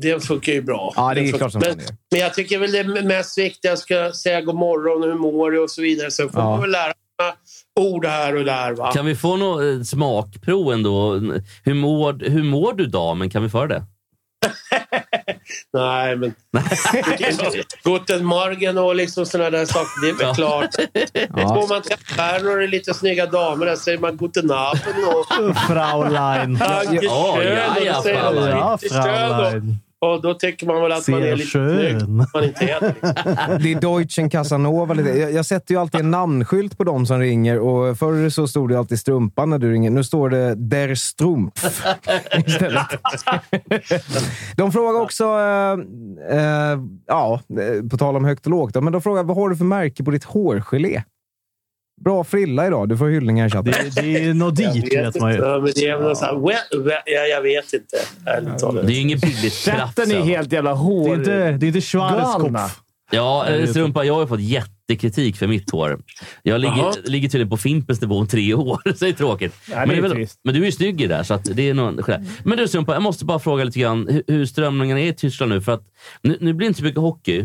Speaker 7: Det funkar ju bra.
Speaker 5: Ja, det är
Speaker 7: funkar-
Speaker 5: klart som fan
Speaker 7: men,
Speaker 5: det gör.
Speaker 7: men jag tycker väl det mest viktiga ska jag säga god morgon, hur mår du och så vidare. Sen får
Speaker 5: Ja.
Speaker 7: man väl lära sig ord här och där. Va?
Speaker 3: Kan vi få något eh, smakprov ändå? Hur mår, hur mår du damen? Kan vi föra det?
Speaker 7: Nej, men... Guten Morgen och liksom sådana där saker, det är väl
Speaker 3: Ja.
Speaker 7: klart.
Speaker 5: Ja.
Speaker 7: Går man till affären och det är lite snygga damer där säger man Guten Abend och
Speaker 1: Fraulein.
Speaker 7: Danke schön.
Speaker 3: ja, ja,
Speaker 7: och
Speaker 3: ja,
Speaker 7: då säger man
Speaker 3: Fraulein.
Speaker 1: Ja,
Speaker 7: "Bitte schön",
Speaker 1: Fraulein.
Speaker 7: och, och då tycker man väl att man
Speaker 1: Sehr
Speaker 7: är lite
Speaker 1: schön.
Speaker 7: snygg. att Man inte heter liksom.
Speaker 5: Det är Deutschen Casanova. Lite. Jag, jag sätter ju alltid en namnskylt på de som ringer och förr så stod det alltid Strumpan när du ringer. Nu står det Der Strumpf istället. De frågar också, eh, eh, ja, eh, på tal om högt och lågt, då, men de frågar vad har du för märke på ditt hårgelé? Bra frilla idag. Du får hyllningar i chatten.
Speaker 1: Det, det är något dit, vet man ju.
Speaker 7: Ja, men det är väl något så här, well, well, ja, jag vet inte. Ärligt talat.
Speaker 3: Det är ju inget billigt
Speaker 4: Chatten
Speaker 3: krafs,
Speaker 4: är
Speaker 3: va?
Speaker 4: helt jävla
Speaker 1: Det
Speaker 4: hår...
Speaker 1: är inte, det är inte
Speaker 4: galna.
Speaker 1: Schwarzkopf.
Speaker 3: Ja, eh, strumpa. Jag har ju fått jättekritik för mitt hår. Jag
Speaker 7: Jaha.
Speaker 3: ligger, ligger tydligen på Fimpens nivå om tre år. Så det är tråkigt.
Speaker 4: Ja, det
Speaker 3: men,
Speaker 4: är
Speaker 3: väl-
Speaker 4: trist.
Speaker 3: men du är ju snygg i det där, så att det är någon skillnad. Men du strumpa, jag måste bara fråga lite grann hur, hur strömningen är i Tyskland nu. För att nu, nu blir det inte så mycket hockey,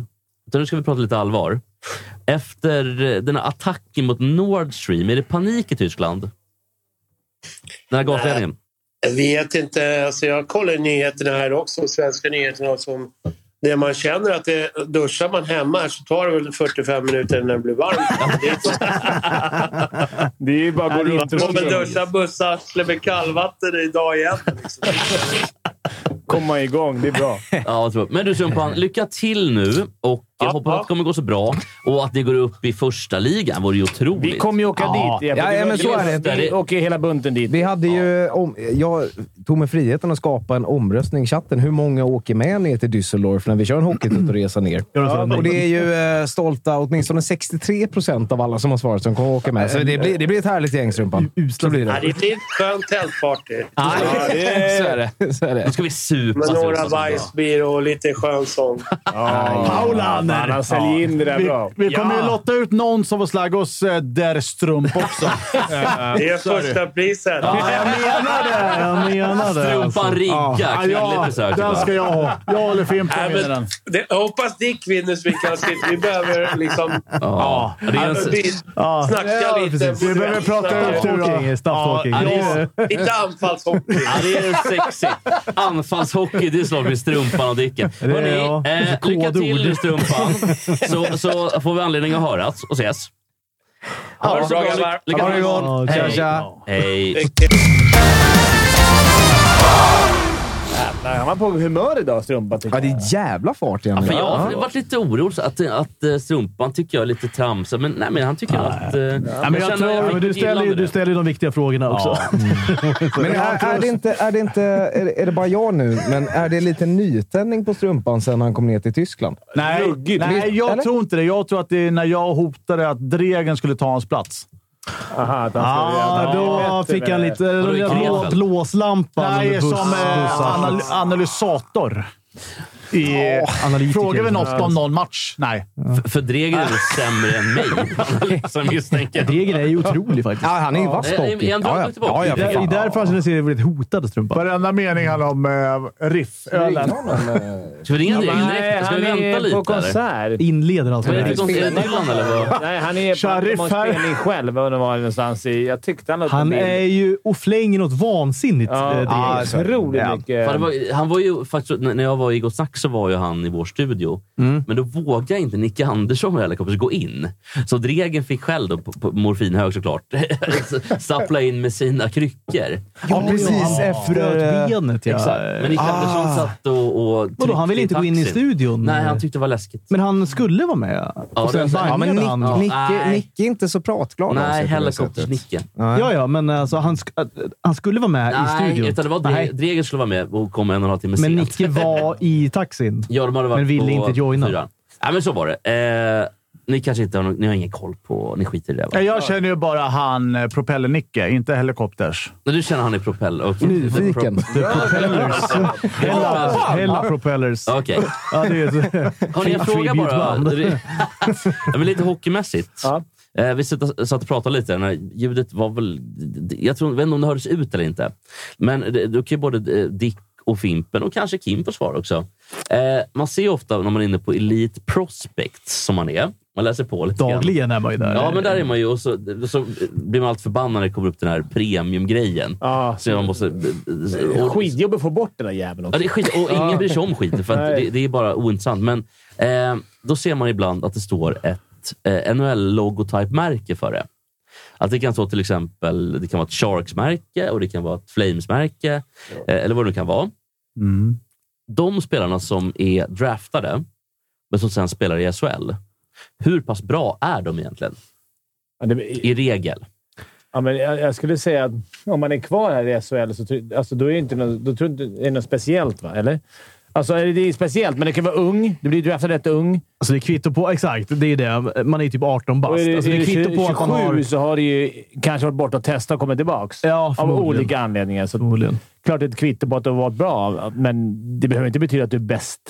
Speaker 3: utan nu ska vi prata lite allvar. Efter eh, den här attacken mot Nord Stream, är det panik i Tyskland? Den här gasledningen?
Speaker 7: Jag vet inte. Alltså jag kollar nyheterna här också, svenska nyheterna. Som, när man känner att det, duschar man hemma här så tar det väl 45 minuter innan det blir varmt. Det är så.
Speaker 4: Det är ju bara att gå runt
Speaker 7: Kommer
Speaker 4: och
Speaker 7: duscha bussarsle med kallvatten idag igen. Liksom.
Speaker 4: komma igång. Det är bra.
Speaker 3: Ja, vad tror jag. Men du Sumpan, lycka till nu. Och jag
Speaker 7: Ja,
Speaker 3: hoppas
Speaker 7: ja.
Speaker 3: att det kommer gå så bra och att ni går upp i första ligan. vore ju otroligt.
Speaker 4: Vi kommer ju åka
Speaker 5: Ja.
Speaker 4: dit. Jeppe.
Speaker 5: Ja, ja, men
Speaker 4: Vi
Speaker 5: så
Speaker 4: åker-
Speaker 5: är
Speaker 3: det.
Speaker 4: Vi åker hela bunten dit.
Speaker 5: Vi hade ju... Om, jag tog mig friheten att skapa en omröstning i chatten. Hur många åker med ner till Düsseldorf när vi kör en hockeytutorresa ner?
Speaker 1: Gör de så?
Speaker 5: Och det är ju eh, stolta åtminstone 63 procent av alla som har svarat som kommer åka med. Så det blir, det blir ett härligt gäng, Strumpan. Så blir
Speaker 7: Nej,
Speaker 5: det.
Speaker 7: det blir ett skönt tältparty.
Speaker 5: Ja, det- Så är det. Så är det.
Speaker 3: Nu ska vi supa.
Speaker 7: Med
Speaker 3: Sumpan,
Speaker 7: några
Speaker 3: Sumpan.
Speaker 7: bajsbir och lite skön sång.
Speaker 1: Paulaner!
Speaker 4: Fan, han säljer in det där
Speaker 2: Vi,
Speaker 4: bra.
Speaker 2: vi kommer ju
Speaker 1: Ja.
Speaker 2: lotta ut någon som får slagga oss eh, där strump också. Eh,
Speaker 7: Det är
Speaker 2: så är det.
Speaker 7: första priset.
Speaker 1: Jag menar det! Jag menar det. alltså.
Speaker 3: Strumpan rigga.
Speaker 2: Ja,
Speaker 3: Kvinnligt
Speaker 2: ja,
Speaker 3: besök.
Speaker 2: den ska jag ha. Jag håller Fimpen
Speaker 7: Nej,
Speaker 2: med
Speaker 7: men
Speaker 2: den.
Speaker 7: det, jag hoppas Dick vinner så vi kan sitta. Vi behöver liksom...
Speaker 3: Ja. Det är en...
Speaker 7: alltså, vi
Speaker 1: Ja.
Speaker 7: snacka
Speaker 1: Ja,
Speaker 7: lite.
Speaker 1: precis. Vi behöver prata
Speaker 7: Ja.
Speaker 1: ut hur... Staffhockey.
Speaker 3: Ja, det är-
Speaker 7: Lite anfallshockey.
Speaker 3: Ja, det är sexigt. Anfallshockey, det är snart med strumpan och Dicken.
Speaker 1: är
Speaker 3: Hörrni,
Speaker 1: jag.
Speaker 3: eh, lycka
Speaker 1: Kodord.
Speaker 3: till nu strumpan, så, så får vi anledning att höras och ses. Ha det så bra. Lycka till.
Speaker 5: Ha det gott!
Speaker 1: Hej.
Speaker 5: Tja, tja!
Speaker 3: Hej.
Speaker 4: Jävlar, han var på humör idag, Strumpa. tycker
Speaker 5: Ja, det är jävla fart igen.
Speaker 3: Ja, för
Speaker 5: idag.
Speaker 3: jag har varit lite orolig så att, att eh, strumpan tycker jag är lite tramsig, men, nej, men han tycker att... eh,
Speaker 2: men jag
Speaker 3: känner
Speaker 2: tror-
Speaker 3: fick
Speaker 1: Ja, men du,
Speaker 3: ett
Speaker 1: ställer ju,
Speaker 3: gillande
Speaker 1: du ställer ju de viktiga frågorna också.
Speaker 5: Men är, är det inte, är det inte, är det, är det bara jag nu, men är det lite nytändning på strumpan sen han kom ner till Tyskland?
Speaker 2: Nej,
Speaker 4: Ruggigt.
Speaker 2: nej jag
Speaker 5: Eller?
Speaker 2: tror inte det. Jag tror att det är när jag hotade att Dregen skulle ta hans plats.
Speaker 4: Aha, att han
Speaker 1: Ja, då fick han lite...
Speaker 3: Vadå,
Speaker 1: Den
Speaker 3: i
Speaker 1: där
Speaker 3: Krefeld?
Speaker 1: blå- blåslampan.
Speaker 2: Nej,
Speaker 1: med buss-
Speaker 2: som eh,
Speaker 1: bussar.
Speaker 2: anal analysator. I,
Speaker 1: analytiker.
Speaker 2: frågar vi något om någon match? Nej.
Speaker 3: För- För Dreger är väl sämre än mig, som misstänker.
Speaker 1: Degen är ju otrolig faktiskt.
Speaker 5: Ja, han är ju vass
Speaker 3: Ja,
Speaker 5: på
Speaker 3: är-
Speaker 5: hockey.
Speaker 3: är han bra
Speaker 5: ja,
Speaker 3: på tillbaka?
Speaker 5: ja, ja,
Speaker 1: Det
Speaker 5: för
Speaker 1: är
Speaker 5: fan.
Speaker 1: ju därför han känner sig väldigt hotad, Strumpan.
Speaker 2: Varenda mening handlar om eh, riffölen.
Speaker 3: Ska vi ringa Dreger
Speaker 4: Nej,
Speaker 3: direkt? Ska vi
Speaker 4: han
Speaker 3: vänta
Speaker 4: är
Speaker 3: lite?
Speaker 4: på
Speaker 3: eller?
Speaker 4: konsert.
Speaker 1: Inleder alltså
Speaker 3: Är
Speaker 1: med
Speaker 3: det
Speaker 1: det här.
Speaker 3: Dylan eller vad?
Speaker 4: Nej, han är
Speaker 2: Sharif
Speaker 4: på
Speaker 2: här.
Speaker 4: en spelning själv. och det var någonstans i, jag tyckte han låg på
Speaker 1: Han
Speaker 4: bild.
Speaker 1: är ju och flänger något vansinnigt. eh,
Speaker 4: Ja,
Speaker 1: Degen.
Speaker 4: ja, otroligt
Speaker 5: Ja.
Speaker 4: mycket.
Speaker 3: Fan, det var, han var ju faktiskt, när när jag var i Gott Snack så var ju han i vår studio. Men då vågade inte Nicke Andersson och Helicopters gå in. Så Dregen fick själv, då, på, på morfinhög såklart, stappla in med sina kryckor.
Speaker 5: Ja, precis efter...
Speaker 1: Bröt
Speaker 5: eh,
Speaker 1: benet, ja. Ah.
Speaker 3: Men Nicke Andersson satt och, och
Speaker 1: Vadå, han ville
Speaker 3: tryckte
Speaker 1: inte gå in i
Speaker 3: taxin.
Speaker 1: studion?
Speaker 3: Nej, han tyckte det var läskigt.
Speaker 1: Men han skulle vara med.
Speaker 3: Ja,
Speaker 1: och sen
Speaker 3: det-
Speaker 5: Ja, men
Speaker 1: bangade han.
Speaker 5: Nick- Nicke
Speaker 3: Nej.
Speaker 5: Nick är inte så pratglad av
Speaker 3: Nej,
Speaker 5: sig på det sättet.
Speaker 3: Helicopters-Nicke.
Speaker 5: Nej.
Speaker 1: Ja, ja, men alltså, han, sk äh, han skulle vara med i
Speaker 3: Nej,
Speaker 1: studion.
Speaker 3: utan det var
Speaker 1: Nej,
Speaker 3: Dre- Dreger skulle vara med och kom en och en halv timme
Speaker 1: Men
Speaker 3: sent.
Speaker 1: Nicke var i taxin.
Speaker 3: Ja, de hade varit
Speaker 1: Men ville
Speaker 3: på
Speaker 1: inte joina.
Speaker 3: fyran. Nej, men så var det. Eh, ni kanske inte har, någon- ni har ingen koll på... Ni skiter i det, va?
Speaker 2: Nej, Jag känner ju bara han eh, propeller-Nicke, inte helikopters.
Speaker 3: Men du känner han är propeller? Okay.
Speaker 5: Nyfiken.
Speaker 1: Propellers. Hella, Hella Propellers.
Speaker 3: Okej.
Speaker 1: Ja, det är ett
Speaker 3: Har ni en fråga bara?
Speaker 1: tributeband.
Speaker 3: ja, men lite hockeymässigt.
Speaker 4: Ja.
Speaker 3: Eh, vi satt, satt och pratade lite. När ljudet var väl... Jag tror, vet inte om det hördes ut eller inte. Men det- då kan ju både eh, Dick och Fimpen och kanske Kim få svara också. Eh, man ser ju ofta när man är inne på Elite Prospects, som man är. Man läser på lite grann.
Speaker 1: Dagligen är man ju där.
Speaker 3: Ja, men där är man ju. Och så, så blir man allt förbannad när det kommer upp den här premiumgrejen.
Speaker 4: Ja.
Speaker 3: Så man måste... och-
Speaker 4: Skitjobbigt att få bort den där jäveln
Speaker 3: Ja,
Speaker 4: också.
Speaker 3: det är skit. Och ingen bryr sig om skiten, för att
Speaker 4: Nej.
Speaker 3: det, det är bara ointressant. Men eh, då ser man ibland att det står ett eh, NHL-logotypmärke för det. Att det kan stå till exempel det kan vara ett Sharks-märke och det kan vara ett Flames-märke. Eh, eller vad det nu kan vara.
Speaker 2: Mm.
Speaker 3: De spelarna som är draftade, men som sen spelar i SHL. Hur pass bra är de egentligen?
Speaker 4: Ja, det,
Speaker 3: I regel.
Speaker 4: ja, men jag, jag skulle säga att om man är kvar här i SHL så tror- alltså, då är det inte något, då tror jag inte, är det något speciellt, va? Eller? Alltså, är det- det är speciellt, men det kan vara ung. Du blir draftad rätt ung.
Speaker 1: Alltså det är kvitto på... Exakt, det är det. Man är ju typ 18
Speaker 4: Och
Speaker 1: bast.
Speaker 4: är det,
Speaker 1: Alltså det är
Speaker 4: är det
Speaker 1: kvitto på
Speaker 4: 27
Speaker 1: att man har...
Speaker 4: så har det ju kanske varit borta och testat och kommit tillbaka.
Speaker 1: Ja,
Speaker 4: av
Speaker 1: förmodligen.
Speaker 4: olika anledningar. Så
Speaker 1: Förmodligen.
Speaker 4: klart det är ett kvitto på att du har varit bra, men det behöver inte betyda att du är bäst.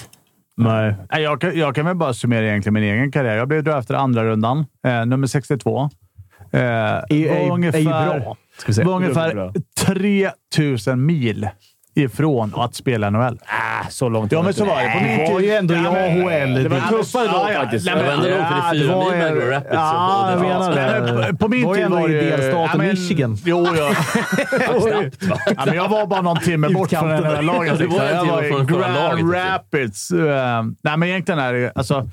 Speaker 1: Nej.
Speaker 2: Nej, Jag kan, jag kan väl bara summera egentligen min egen karriär. Jag blev draftad andra rundan, eh, nummer 62. Eh, var
Speaker 1: Är, är, är ju E bra, ska vi säga.
Speaker 2: var ungefär
Speaker 4: Bra.
Speaker 2: 3000 mil ifrån att spela NHL.
Speaker 4: Ah, så långt
Speaker 2: Ja, men så var det. På min
Speaker 1: Det var
Speaker 2: tid-
Speaker 1: ju ändå i
Speaker 2: Ja, men-
Speaker 1: AHL.
Speaker 4: Det var tuffare då
Speaker 2: Ja, ja.
Speaker 4: faktiskt.
Speaker 2: Nej,
Speaker 3: Det
Speaker 2: men-
Speaker 3: var ändå långt, för det
Speaker 2: Ja,
Speaker 3: är fyra
Speaker 2: det var
Speaker 3: mil mellan
Speaker 2: en-
Speaker 3: Rapids och
Speaker 1: Ja, jag
Speaker 3: Golden Knights.
Speaker 1: menar det.
Speaker 2: Nej, men På min
Speaker 1: Var
Speaker 2: tid
Speaker 1: ändå
Speaker 2: var
Speaker 1: i
Speaker 2: det ju-
Speaker 1: delstaten
Speaker 2: Ja, men-
Speaker 1: Michigan.
Speaker 2: Jo, ja.
Speaker 3: Knappt, va?
Speaker 2: Ja, men jag var bara någon timme bort från
Speaker 1: Utkanten.
Speaker 2: den här laget. liksom.
Speaker 3: Det var en
Speaker 2: jag
Speaker 3: timme
Speaker 2: var i
Speaker 3: från själva
Speaker 2: Grand
Speaker 3: laget. liksom.
Speaker 2: Rapids. Eh, nej, men egentligen är det ju- alltså,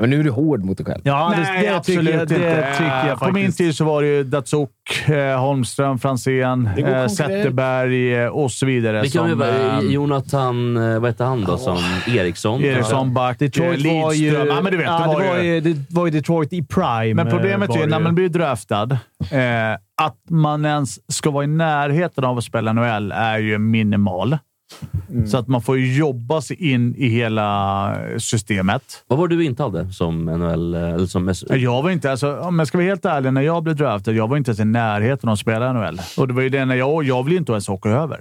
Speaker 5: Men nu är du hård mot dig själv.
Speaker 1: Ja, det,
Speaker 2: Nej,
Speaker 1: det tycker jag, det tycker jag
Speaker 2: Eh, På min
Speaker 1: faktiskt.
Speaker 2: tid så var det ju Datsuk, eh, Holmström, Franzén,
Speaker 4: går
Speaker 2: eh,
Speaker 4: konkurrens.
Speaker 2: Zetterberg eh, och så vidare.
Speaker 3: Vilka
Speaker 2: som,
Speaker 3: som,
Speaker 2: eh,
Speaker 3: Jonathan, eh, vad hette han då, som Eriksson?
Speaker 2: Eriksson, Back,
Speaker 1: Detroit
Speaker 2: eh,
Speaker 1: var ju...
Speaker 2: Lidström. Ja, men du vet,
Speaker 1: ja,
Speaker 2: det var, ju...
Speaker 1: det var ju Detroit i prime.
Speaker 2: Men problemet
Speaker 1: eh,
Speaker 2: är ju
Speaker 1: var
Speaker 2: när
Speaker 1: det
Speaker 2: man blir
Speaker 1: ju.
Speaker 2: draftad, eh, att man ens ska vara i närheten av att spela NHL är ju minimal. Så att man får ju jobba sig in i hela systemet.
Speaker 3: Vad var du inte hade som NHL? eh, Eller som S-
Speaker 2: Jag var inte, alltså, om jag ska vara helt ärlig, när jag blev draftad, jag var inte ens i närheten av att spela NHL. Och det var ju det när jag, jag ville ju inte ens åka över.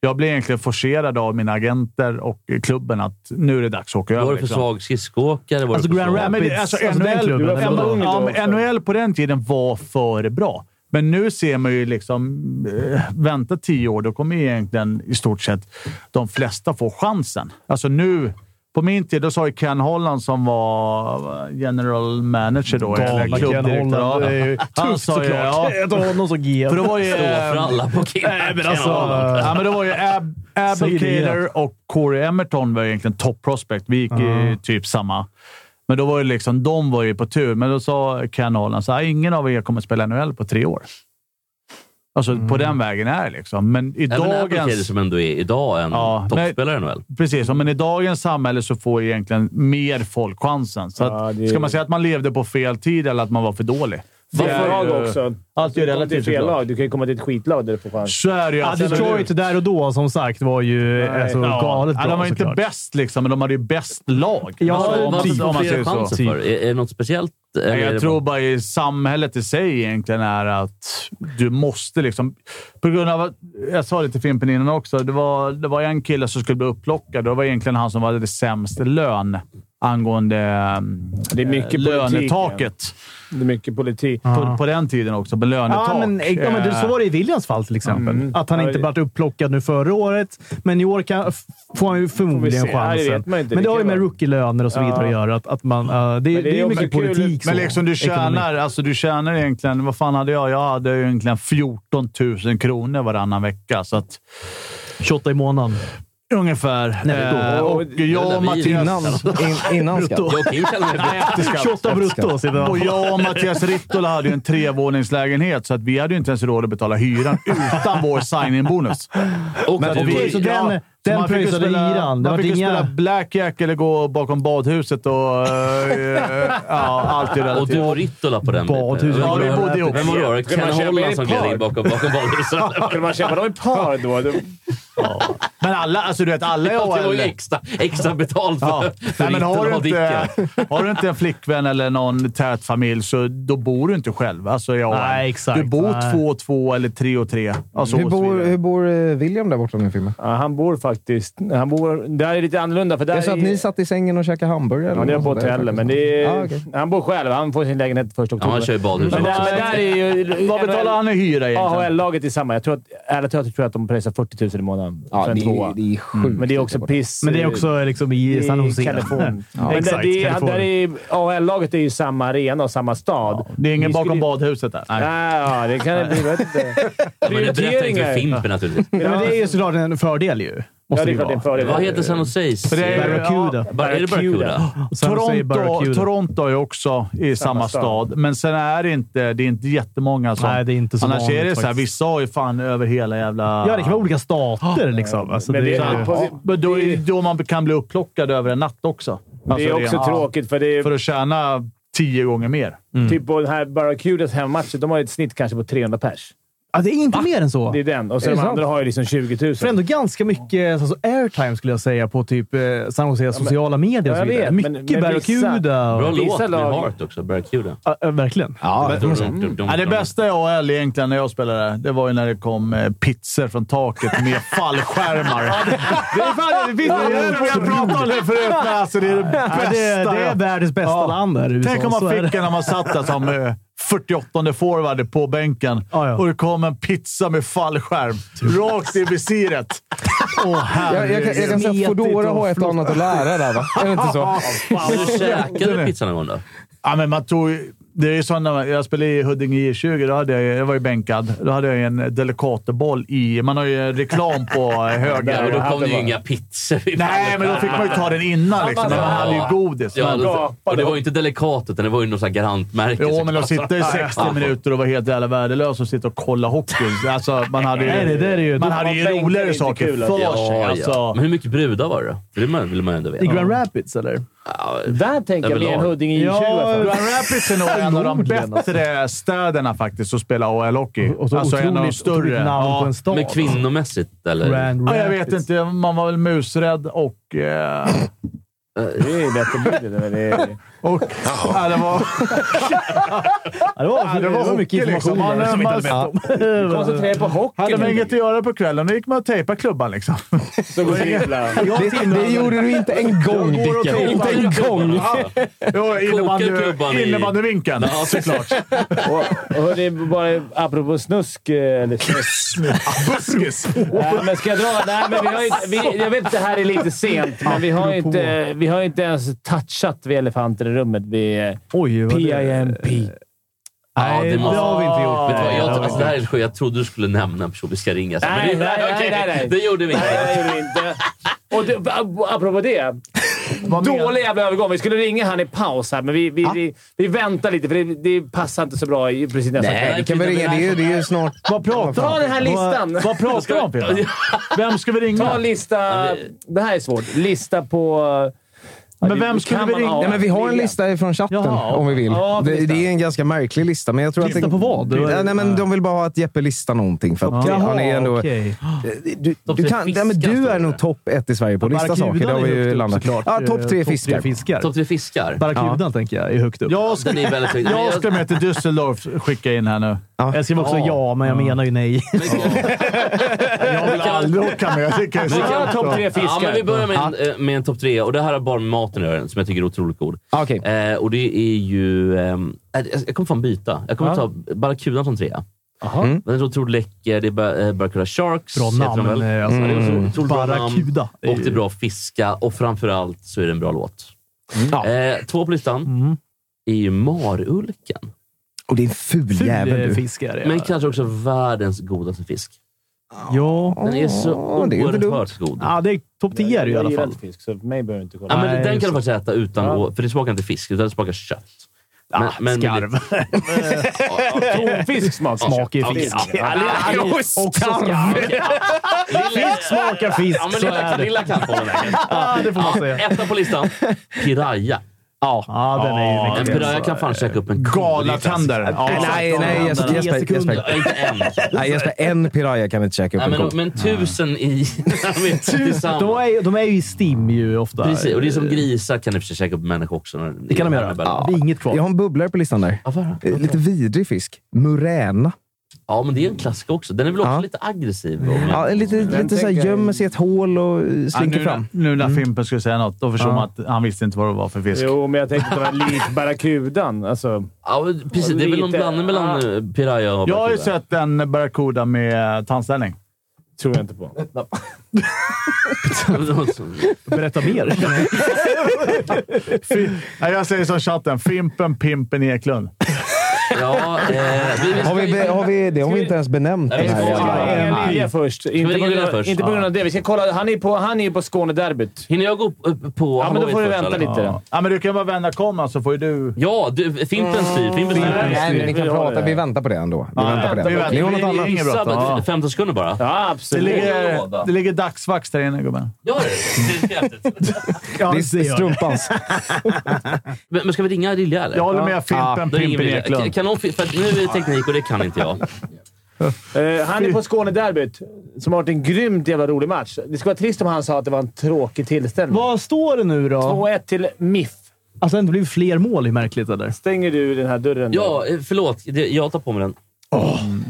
Speaker 2: Jag blev egentligen forcerad av mina agenter och klubben att nu är det dags att åka över.
Speaker 3: Vad var det för
Speaker 2: liksom.
Speaker 3: svag skridskoåkare? Var
Speaker 1: Alltså,
Speaker 3: det för
Speaker 1: Grand
Speaker 3: svag-
Speaker 2: Ja, men det, alltså,
Speaker 1: Alltså, den
Speaker 2: NHL,
Speaker 1: klubben,
Speaker 2: du var
Speaker 1: den var
Speaker 2: ung
Speaker 4: ung
Speaker 2: ja,
Speaker 4: då
Speaker 2: men
Speaker 4: också.
Speaker 2: NHL på den tiden var för bra. Men nu ser man ju liksom... eh, Vänta tio år, då kommer ju egentligen i stort sett de flesta få chansen. Alltså nu... På min tid då sa ju Ken Holland, som var eh, general manager då, eller
Speaker 1: Galna Ken
Speaker 2: klubbdirektör.
Speaker 1: Holland. Det är ju
Speaker 2: Han
Speaker 1: tufft
Speaker 2: sa ju-
Speaker 1: såklart.
Speaker 2: ja.
Speaker 1: Jag tar honom som GM.
Speaker 2: För det var ju...
Speaker 3: Stå för
Speaker 2: eh,
Speaker 3: alla på killarna.
Speaker 2: Nej, men alltså, ja, men det var ju Ab
Speaker 1: Säg
Speaker 2: Abel
Speaker 1: det igen.
Speaker 2: Cater och Corey Emerton var egentligen top prospect. Vi gick i typ samma. Men då var det liksom, de var ju på tur, men då sa Ken Holland så här, ingen av er kommer spela NHL på tre år. Alltså på den vägen är det liksom. Men i
Speaker 3: Även Abdelkader
Speaker 2: dagens...
Speaker 3: som ändå är idag en
Speaker 2: Ja,
Speaker 3: toppspelare i NHL.
Speaker 2: Precis, men i dagens samhälle så får ju egentligen mer folk chansen. Så
Speaker 4: Ja,
Speaker 2: att,
Speaker 4: det-
Speaker 2: Ska man säga att man levde på fel tid eller att man var för dålig?
Speaker 4: Det är
Speaker 2: är
Speaker 4: lag
Speaker 2: ju-
Speaker 4: också.
Speaker 2: Allt är ju
Speaker 4: Du kommer
Speaker 2: relativt
Speaker 4: till fel
Speaker 2: såklart.
Speaker 4: lag. Du kan ju komma till ett skitlag där du får chans.
Speaker 2: Så är det ju.
Speaker 1: Ja,
Speaker 2: absolut.
Speaker 1: Detroit där och då, som sagt, var ju
Speaker 4: Nej.
Speaker 1: alltså, galet bra
Speaker 2: ja, de var ju inte
Speaker 1: såklart.
Speaker 2: bäst, liksom, men de hade ju bäst lag.
Speaker 1: Ja,
Speaker 2: Alltså, om, man-
Speaker 3: Varför
Speaker 1: typ.
Speaker 2: om
Speaker 3: får
Speaker 2: man
Speaker 3: fler
Speaker 2: säger så.
Speaker 3: chanser för? Är, är det något speciellt? eller
Speaker 2: Nej,
Speaker 3: är det
Speaker 2: jag tror bara i samhället i sig egentligen är att du måste liksom... På grund av att, jag sa det till Fimpen innan också. Det var, det var en kille som skulle bli upplockad. Det var egentligen han som hade det sämsta lön angående
Speaker 4: Det är mycket
Speaker 2: eh,
Speaker 4: politik,
Speaker 2: lönetaket.
Speaker 4: Det är mycket politik.
Speaker 2: På, på den tiden också. På lönetak.
Speaker 1: Ja, men, ja, men du, så var det i Williams fall till exempel. Att han
Speaker 4: Mm. Ja,
Speaker 1: inte
Speaker 4: det-
Speaker 1: varit upplockad nu förra året, men i år kan, f- får han ju förmodligen
Speaker 4: se. Ja, det vet
Speaker 1: chansen.
Speaker 4: man inte.
Speaker 1: men det
Speaker 4: Det
Speaker 1: har ju
Speaker 4: kan
Speaker 1: med
Speaker 4: vara-
Speaker 1: rookie-löner och så vidare
Speaker 4: Ja.
Speaker 1: att göra. Att, att man, eh, det,
Speaker 4: det
Speaker 1: är- det är
Speaker 4: är
Speaker 1: ju
Speaker 4: också
Speaker 1: mycket
Speaker 4: kul-
Speaker 1: politik.
Speaker 2: Men
Speaker 1: så,
Speaker 2: liksom du
Speaker 1: ekonomi.
Speaker 2: tjänar, alltså du tjänar egentligen... Vad fan hade jag? Jag hade ju egentligen 14 000 kronor varannan vecka. Så att,
Speaker 1: 28 i månaden.
Speaker 2: ungefär.
Speaker 1: Netto.
Speaker 2: Eh, och jag och
Speaker 3: Eller vi-
Speaker 2: Mattias...
Speaker 5: Innan, in, innan skatt.
Speaker 3: Jag och Kim känner mig bra.
Speaker 1: 28 brutto. sitter han.
Speaker 2: Och jag och Mattias Rittola hade ju en trevåningslägenhet, så att vi hade ju inte ens råd att betala hyran utan vår signing-bonus.
Speaker 3: Och att
Speaker 2: och vi-
Speaker 3: du-
Speaker 1: Okej, så den- den
Speaker 2: så man fick ju
Speaker 1: pröjsade
Speaker 2: spela-
Speaker 1: hyran. Det
Speaker 2: Man
Speaker 1: vart
Speaker 2: fick ju
Speaker 1: inga-
Speaker 2: spela blackjack eller gå bakom badhuset och... eh, ja, allt är
Speaker 3: Och du
Speaker 2: relativt.
Speaker 3: och Rittola på den
Speaker 1: Badhus.
Speaker 3: Vem
Speaker 2: Ja,
Speaker 3: var
Speaker 2: vi
Speaker 3: det?
Speaker 2: bodde ihop.
Speaker 3: Vem var det? då?
Speaker 4: Kunde man
Speaker 3: Ken
Speaker 4: köpa
Speaker 3: Holland
Speaker 4: er
Speaker 3: som
Speaker 4: par?
Speaker 3: gled in bakom, bakom badhuset.
Speaker 4: Kunde man köpa dem i par då? Det-
Speaker 2: Men alla, alltså du vet, alla i
Speaker 3: Det var ju
Speaker 2: AHL...
Speaker 3: extra, extra betalt för,
Speaker 2: Ja.
Speaker 3: för
Speaker 2: Nej, men har,
Speaker 3: Rittola
Speaker 2: du
Speaker 3: och Dicken.
Speaker 2: inte, har du inte en flickvän eller någon tät familj, så då bor du inte själv. Alltså, jag,
Speaker 1: Nej, exakt.
Speaker 2: Du bor
Speaker 1: Nej.
Speaker 2: två och två eller tre och tre. Alltså,
Speaker 5: Hur
Speaker 2: och så
Speaker 5: bor,
Speaker 2: vidare.
Speaker 5: hur bor eh, William där borta nu, Fimme?
Speaker 4: Ja, han bor faktiskt... Han bor, det här är lite annorlunda. För där
Speaker 5: Jag sa att
Speaker 4: är-
Speaker 5: ni satt i sängen och käkade hamburgare.
Speaker 4: Ja,
Speaker 5: eller
Speaker 4: det är
Speaker 5: något
Speaker 4: på
Speaker 5: sånt där
Speaker 4: hotellet,
Speaker 5: faktiskt.
Speaker 4: men det är,
Speaker 5: Ah, okej.
Speaker 4: han bor själv. Han får sin lägenhet första oktober.
Speaker 3: Ja, han kör i badhuset
Speaker 4: men där,
Speaker 3: också.
Speaker 4: men där är ju...
Speaker 2: Vad betalar han i hyra
Speaker 1: Liksom.
Speaker 2: egentligen?
Speaker 4: AHL-laget är samma. Jag tror att, ärligt talat tror jag att de pröjsar 40 000 i månaden
Speaker 5: Ja,
Speaker 4: för en
Speaker 5: det,
Speaker 4: tvåa. Mm.
Speaker 5: är, Mm. det är sjukt.
Speaker 4: men det är också
Speaker 5: mycket
Speaker 4: piss.
Speaker 1: Men det är också liksom, i San Jose.
Speaker 4: Kalifornien.
Speaker 1: Ja,
Speaker 4: Men
Speaker 1: exakt,
Speaker 4: där, det, är-
Speaker 1: Kalifornien.
Speaker 4: där är, AHL-laget är ju samma arena och samma stad.
Speaker 2: Det är ingen
Speaker 4: Vi
Speaker 2: bakom
Speaker 4: skulle-
Speaker 2: badhuset där? Eh, Nej.
Speaker 4: Nej, ja, det kan det bli. Vet inte.
Speaker 3: Ja, Men det berättar inte för Fimpen naturligtvis.
Speaker 1: Ja, men det är ju såklart en fördel ju.
Speaker 4: Ja,
Speaker 1: Måste
Speaker 4: det är
Speaker 1: ju
Speaker 4: klart det är en
Speaker 1: vara.
Speaker 4: fördel.
Speaker 3: Vad heter San Jose's?
Speaker 2: det är-
Speaker 1: Barracuda.
Speaker 3: Bara- Är det Barracuda?
Speaker 1: Och sen
Speaker 2: Toronto,
Speaker 1: säger Barracuda.
Speaker 2: Toronto är också i samma,
Speaker 4: Samma
Speaker 2: stad.
Speaker 4: stad.
Speaker 2: men sen är det inte, det är inte jättemånga som...
Speaker 1: Nej, det är inte så
Speaker 2: Annars
Speaker 1: vanligt
Speaker 2: är det så här,
Speaker 1: faktiskt.
Speaker 2: vissa har ju fan över hela jävla...
Speaker 1: Ja, det kan vara olika stater liksom. Alltså,
Speaker 4: Men
Speaker 1: det
Speaker 4: det
Speaker 1: är,
Speaker 4: är-
Speaker 2: Ja, men då, är- då man kan bli upplockad över en natt också.
Speaker 4: Det är
Speaker 2: Alltså,
Speaker 4: också
Speaker 2: rent-
Speaker 4: tråkigt, för det är
Speaker 2: För att tjäna tio gånger mer.
Speaker 1: Mm.
Speaker 4: typ på den här Barracudas hemmamatcher. De har ju ett snitt kanske på 300 pers.
Speaker 1: ja, det är inte mer än så.
Speaker 4: Det är den. Och sen
Speaker 5: Är det
Speaker 4: de
Speaker 5: sant?
Speaker 4: andra har ju liksom 20 000.
Speaker 1: För ändå ganska mycket alltså, airtime skulle jag säga på typ eh, San Jose sociala medier och så
Speaker 4: jag
Speaker 1: vidare.
Speaker 4: vet, men-
Speaker 1: mycket
Speaker 4: men
Speaker 1: Barracuda.
Speaker 3: Bra
Speaker 1: och-
Speaker 3: låt
Speaker 4: Vissa
Speaker 3: med
Speaker 4: lag-
Speaker 3: Heart också, Barracuda.
Speaker 1: Ja, ja, verkligen.
Speaker 5: Ja,
Speaker 3: Dum, dum, dum, dum.
Speaker 2: Ja, det bästa i AHL egentligen när jag spelade, där, det var ju när det kom eh, pizzor från taket med fallskärmar.
Speaker 1: Det är fan, det finns
Speaker 2: Ja, det är det jag pratade om det förut, men alltså det är det
Speaker 1: Ja,
Speaker 2: bästa.
Speaker 1: det, det är
Speaker 2: jag-
Speaker 1: världens bästa
Speaker 2: Ja.
Speaker 1: land där i USA.
Speaker 2: Tänk om
Speaker 1: Så
Speaker 2: man
Speaker 1: är
Speaker 2: fick
Speaker 1: det.
Speaker 2: en när man satt där som eh, 48 forward på bänken
Speaker 1: Ja, ja.
Speaker 2: och det kom en pizza med fallskärm rakt i visiret. Åh,
Speaker 5: Jag, jag, kan- jag kan säga
Speaker 1: Smetigt
Speaker 5: att Foodora
Speaker 1: och
Speaker 5: har ett och annat att lära där, va? Är det inte så?
Speaker 3: Fan, du käkade du pizza någon gång då?
Speaker 2: Ja, men man tog, ju- det är ju sådana, jag spelade i Huddinge J20. Då hade jag, jag var ju bänkad. Då hade jag ju en Delicatoboll i... Man har ju en reklam på
Speaker 3: Ja, men
Speaker 2: höger.
Speaker 3: då
Speaker 4: hade
Speaker 3: kom det ju
Speaker 4: bara-
Speaker 3: inga pizzor.
Speaker 2: Nej, men då fick man ju ta den innan liksom. Men man hade ju godis.
Speaker 3: Ja,
Speaker 2: Men-
Speaker 3: då, och det var ju inte delikat, utan det var ju något sånt här garantmärke. Alltså.
Speaker 2: Jo,
Speaker 3: såklart.
Speaker 2: men att sitta i 60 minuter och vara helt jävla värdelös och sitta och kolla hockey. Alltså, man hade ju,
Speaker 1: Nej, det där är ju-
Speaker 2: man
Speaker 1: då-
Speaker 2: hade ju
Speaker 4: man tänker
Speaker 2: roligare
Speaker 4: inte
Speaker 2: saker
Speaker 4: kul, alltså.
Speaker 2: för sig.
Speaker 3: Ja,
Speaker 2: Alltså.
Speaker 3: ja. Men hur mycket brudar var det då? För det man- vill man ju ändå
Speaker 1: I
Speaker 3: veta.
Speaker 1: Grand Rapids, eller?
Speaker 3: Ja,
Speaker 4: Där tänker jag mer än
Speaker 3: Överlag.
Speaker 4: Huddinge i 20
Speaker 2: Ja, Grand
Speaker 4: ja,
Speaker 2: Rapids är nog en av de bättre städerna faktiskt att spela AHL-hockey.
Speaker 1: Och så
Speaker 2: Alltså en av de
Speaker 1: otroligt, otroligt
Speaker 2: större.
Speaker 1: namn på
Speaker 2: Ja.
Speaker 1: en stad.
Speaker 3: men kvinnomässigt, eller?
Speaker 1: Grand
Speaker 2: Ja,
Speaker 1: Rapids.
Speaker 2: jag vet inte. Man var väl musrädd och... Eh,
Speaker 4: Det är lätt att bli det. men det är-
Speaker 2: och ja, det var,
Speaker 1: Ja, det var,
Speaker 2: ja, det var
Speaker 1: mycket
Speaker 2: hockey liksom.
Speaker 1: information
Speaker 2: Man,
Speaker 1: där som vi inte
Speaker 2: man,
Speaker 1: hade
Speaker 2: man,
Speaker 4: Koncentrera dig på
Speaker 2: hade man
Speaker 4: hockeyn.
Speaker 2: inget att göra på kvällen, då gick man och tejpade klubban liksom.
Speaker 4: Så går det illa.
Speaker 5: Det, det gjorde du inte en gång, Dicken. Inte en gång!
Speaker 2: Ja,
Speaker 3: klubban i-
Speaker 2: innebandy- Innebandyvinkeln.
Speaker 3: Ja, såklart.
Speaker 4: Och, och det är bara apropå snusk. eh, Eller snusk.
Speaker 2: Buskis!
Speaker 4: Nej, men ska jag dra? Nej, men vi har ju, vi, jag vet att det här är lite sent, men vi har ju inte, vi har ju inte ens touchat vid elefanten i rummet. Vid eh,
Speaker 1: Oj, vad det...
Speaker 4: PIMP.
Speaker 3: Ja, det, måste...
Speaker 1: har vi inte gjort.
Speaker 3: Vet du vad?
Speaker 1: Nej,
Speaker 3: Jag,
Speaker 1: det har vi
Speaker 3: alltså, det här är sjukt. jag trodde du skulle nämna en person vi ska ringa. sen, men
Speaker 4: Nej,
Speaker 3: det,
Speaker 4: nej, nej,
Speaker 3: okej,
Speaker 4: nej, nej.
Speaker 3: Det gjorde vi inte.
Speaker 4: Nej, det gjorde vi inte. Och det, apropå det.
Speaker 2: Vad menar-
Speaker 4: Dålig jävla övergång. Vi skulle ringa han i paus här, men vi, vi, vi, vi väntar lite för det, det passar inte så bra i precis nästa
Speaker 3: Nej,
Speaker 5: Vi kan väl ringa. Det är ju- det är ju snart...
Speaker 2: Vad pratar
Speaker 4: Ta den här
Speaker 2: Vad,
Speaker 4: listan!
Speaker 2: vad pratar du om, Pippa? Vem ska vi
Speaker 4: Ta
Speaker 2: ringa?
Speaker 4: lista... Det här är svårt. Lista på... Ja,
Speaker 2: Men
Speaker 4: det-
Speaker 2: vem
Speaker 4: det
Speaker 2: skulle
Speaker 4: kan
Speaker 2: vi
Speaker 4: man
Speaker 2: ringa?
Speaker 4: ha.
Speaker 2: Nej,
Speaker 5: Nej, men vi har en lista ifrån chatten
Speaker 2: Jaha.
Speaker 5: om vi vill.
Speaker 4: Ja,
Speaker 5: det,
Speaker 4: lista.
Speaker 5: det är en ganska märklig lista. Men jag tror
Speaker 1: Lista
Speaker 5: att det,
Speaker 1: på vad?
Speaker 5: Ja, nej, men de vill bara ha att Jeppe listar någonting. För att
Speaker 1: Jaha,
Speaker 5: han är ändå, Eh,
Speaker 1: okej.
Speaker 5: du,
Speaker 3: Topp
Speaker 5: du,
Speaker 3: tre
Speaker 5: kan, nej, men
Speaker 3: fiskar
Speaker 5: du
Speaker 3: står
Speaker 5: är
Speaker 3: det.
Speaker 5: nog topp ett i Sverige på att lista saker. Det har vi ju landat. Ja, Eh, topp tre fiskar.
Speaker 1: eh, fiskar.
Speaker 3: Topp tre fiskar.
Speaker 1: Barracudan tänker jag är högt upp.
Speaker 2: Jag ska,
Speaker 3: Den är väldigt hög.
Speaker 2: jag ska med till Düsseldorf skicka in här nu.
Speaker 5: Ja.
Speaker 1: Jag skrev också ja, men jag menar ju nej.
Speaker 2: Jag vill aldrig åka med. Det kan jag
Speaker 4: Vi kan
Speaker 2: säga.
Speaker 4: ha topp tre
Speaker 3: Ja,
Speaker 4: fiskar.
Speaker 3: men vi börjar med en, eh, med en topp tre och det här har bara med maten att göra, som jag tycker är otroligt god.
Speaker 5: Ah, Okej.
Speaker 3: Eh, och det är ju... ehm, jag- jag kommer fan byta. Jag kommer ta barracudan som trea.
Speaker 5: Mm.
Speaker 3: Den är så otroligt läcker. Det är ba- eh, Barracuda Sharks.
Speaker 1: Bra
Speaker 3: heter de
Speaker 1: namn.
Speaker 3: väl?
Speaker 1: eh, Alltså,
Speaker 3: Ja, det är så otroligt bra namn.
Speaker 1: Barracuda.
Speaker 3: Och det är bra att fiska och framförallt så är det en bra låt.
Speaker 5: Ja.
Speaker 3: Eh, två på listan
Speaker 1: Mm.
Speaker 3: är ju marulken.
Speaker 5: Och det är en ful,
Speaker 1: Ful
Speaker 5: jävel
Speaker 1: eh,
Speaker 5: du.
Speaker 1: fisk är det.
Speaker 3: Men kanske också världens godaste fisk.
Speaker 1: Ja.
Speaker 3: Den är så
Speaker 5: Ja, det är inte dumt.
Speaker 3: oerhört god.
Speaker 1: Ja, det är topp 10 är det ju i alla fall.
Speaker 4: fisk, så för mig behöver du inte kolla.
Speaker 3: Ja, men
Speaker 1: Nej,
Speaker 3: den
Speaker 1: just
Speaker 3: kan du faktiskt äta utan
Speaker 4: Ja.
Speaker 3: att... För det smakar inte fisk, utan det smakar kött.
Speaker 1: Ah, skarv.
Speaker 4: Tonfisk smakar
Speaker 1: Smakar ju
Speaker 3: Okej,
Speaker 1: fisk.
Speaker 3: ja. Ja,
Speaker 4: Och skarv!
Speaker 1: Fisk smakar fisk,
Speaker 3: Ja, men
Speaker 1: så
Speaker 3: lilla,
Speaker 1: är det.
Speaker 3: lilla kan hålla med.
Speaker 1: Ja, det får man säga.
Speaker 3: Etta på listan. Piraya.
Speaker 1: Ja, den är ju
Speaker 3: En
Speaker 1: mycket
Speaker 3: piraya kan fan käka upp en ko.
Speaker 2: Galatänder. Ja,
Speaker 5: Nej, nej, nej, Jesper.
Speaker 1: Tio
Speaker 5: Jesper,
Speaker 1: sekunder.
Speaker 5: Jesper.
Speaker 3: Det är Inte en.
Speaker 5: Nej, Jesper, en piraya kan inte käka upp
Speaker 3: Nej,
Speaker 5: en
Speaker 3: men,
Speaker 5: ko.
Speaker 3: men tusen i...
Speaker 1: De
Speaker 3: tillsammans.
Speaker 1: är, ju- de är ju i STIM ju ofta.
Speaker 3: Precis, och det är som grisar kan i och för sig käka upp människor också. när-
Speaker 1: Det kan de göra.
Speaker 3: Ja.
Speaker 1: Det är inget kvar.
Speaker 5: Jag har en bubblare på listan där.
Speaker 3: Ja, vad-
Speaker 5: Eh, Lite vidrig fisk. Muräna.
Speaker 3: ja, men det är en klassiker också. Den är väl också
Speaker 5: Ja.
Speaker 3: lite aggressiv.
Speaker 5: Ja, en lite, lite så här
Speaker 4: tänker jag-
Speaker 5: gömmer sig i ett hål och eh,
Speaker 2: Ja,
Speaker 5: slinker
Speaker 2: nu,
Speaker 5: fram.
Speaker 2: Nu när Fimpen skulle säga något, då förstod man att han visste inte vad det var för fisk.
Speaker 4: Jo, men jag tänkte att det var likt barracudan. Alltså,
Speaker 3: Ja, men precis. Det är väl någon
Speaker 4: Lite-
Speaker 3: blandning mellan
Speaker 4: Ja.
Speaker 3: eh, piraya och
Speaker 2: Jag har ju
Speaker 3: barracuda.
Speaker 2: sett en barracuda med tandställning.
Speaker 4: tror jag inte på.
Speaker 1: Berätta mer.
Speaker 2: Fi- Nej, jag säger som chatten. Fimpen Pimpen Eklund.
Speaker 3: ja, eh, vi, vi
Speaker 5: Har vi, be- har vi, det har vi inte ens benämnt.
Speaker 3: Nej,
Speaker 5: Den
Speaker 3: vi
Speaker 5: här
Speaker 3: får-
Speaker 5: jävla...
Speaker 4: Ja, ringa Lilja först. Inte på
Speaker 3: ringa
Speaker 4: grund
Speaker 3: Lilja
Speaker 4: av,
Speaker 3: först?
Speaker 4: inte på grund av det. Vi ska kolla. Han är på, han är på Skånederbyt.
Speaker 3: Hinner jag gå upp upp på
Speaker 4: Ja, men då
Speaker 3: Halloween
Speaker 4: får du
Speaker 3: först,
Speaker 4: vänta
Speaker 3: eller?
Speaker 4: lite.
Speaker 2: Ja. Ja, men du kan bara vända kameran så alltså, får ju du...
Speaker 3: Ja, du, Fimpen styr. Fimpen styr.
Speaker 5: Nej, men ni kan
Speaker 4: Vi har
Speaker 5: prata.
Speaker 4: det.
Speaker 5: Vi väntar på det ändå. Vi väntar på det.
Speaker 2: vi väntar.
Speaker 5: Det var något annat.
Speaker 2: annat. Inget bra.
Speaker 3: Ja.
Speaker 2: Ja.
Speaker 3: 15 sekunder bara.
Speaker 4: Ja,
Speaker 2: Det
Speaker 4: absolut.
Speaker 2: ligger, det ligger dagsvax där inne, gubben.
Speaker 3: Gör det. det. är jävligt.
Speaker 1: Ja,
Speaker 5: Det är
Speaker 1: det gör det.
Speaker 5: strumpans.
Speaker 3: Men men ska vi ringa Lilja eller? Ah,
Speaker 2: Jag håller med
Speaker 5: Ja,
Speaker 2: Fimpen
Speaker 3: Då ringer
Speaker 2: Pimpen
Speaker 3: vi Lilja. Kan-
Speaker 2: Eklund.
Speaker 3: Kan hon, fi- för att nu är det teknik och det kan inte jag.
Speaker 4: Eh, han är på Skånederbyt, som har varit en grymt jävla rolig match. Det skulle vara trist om han sa att det var en tråkig tillställning.
Speaker 1: Vad står det nu då?
Speaker 4: 2-1 till MIF.
Speaker 1: Alltså, det har inte blivit fler mål. Det är märkligt, eller?
Speaker 4: Stänger du den här dörren? nu?
Speaker 3: Ja, eh, förlåt. Det- Jag tar på mig den.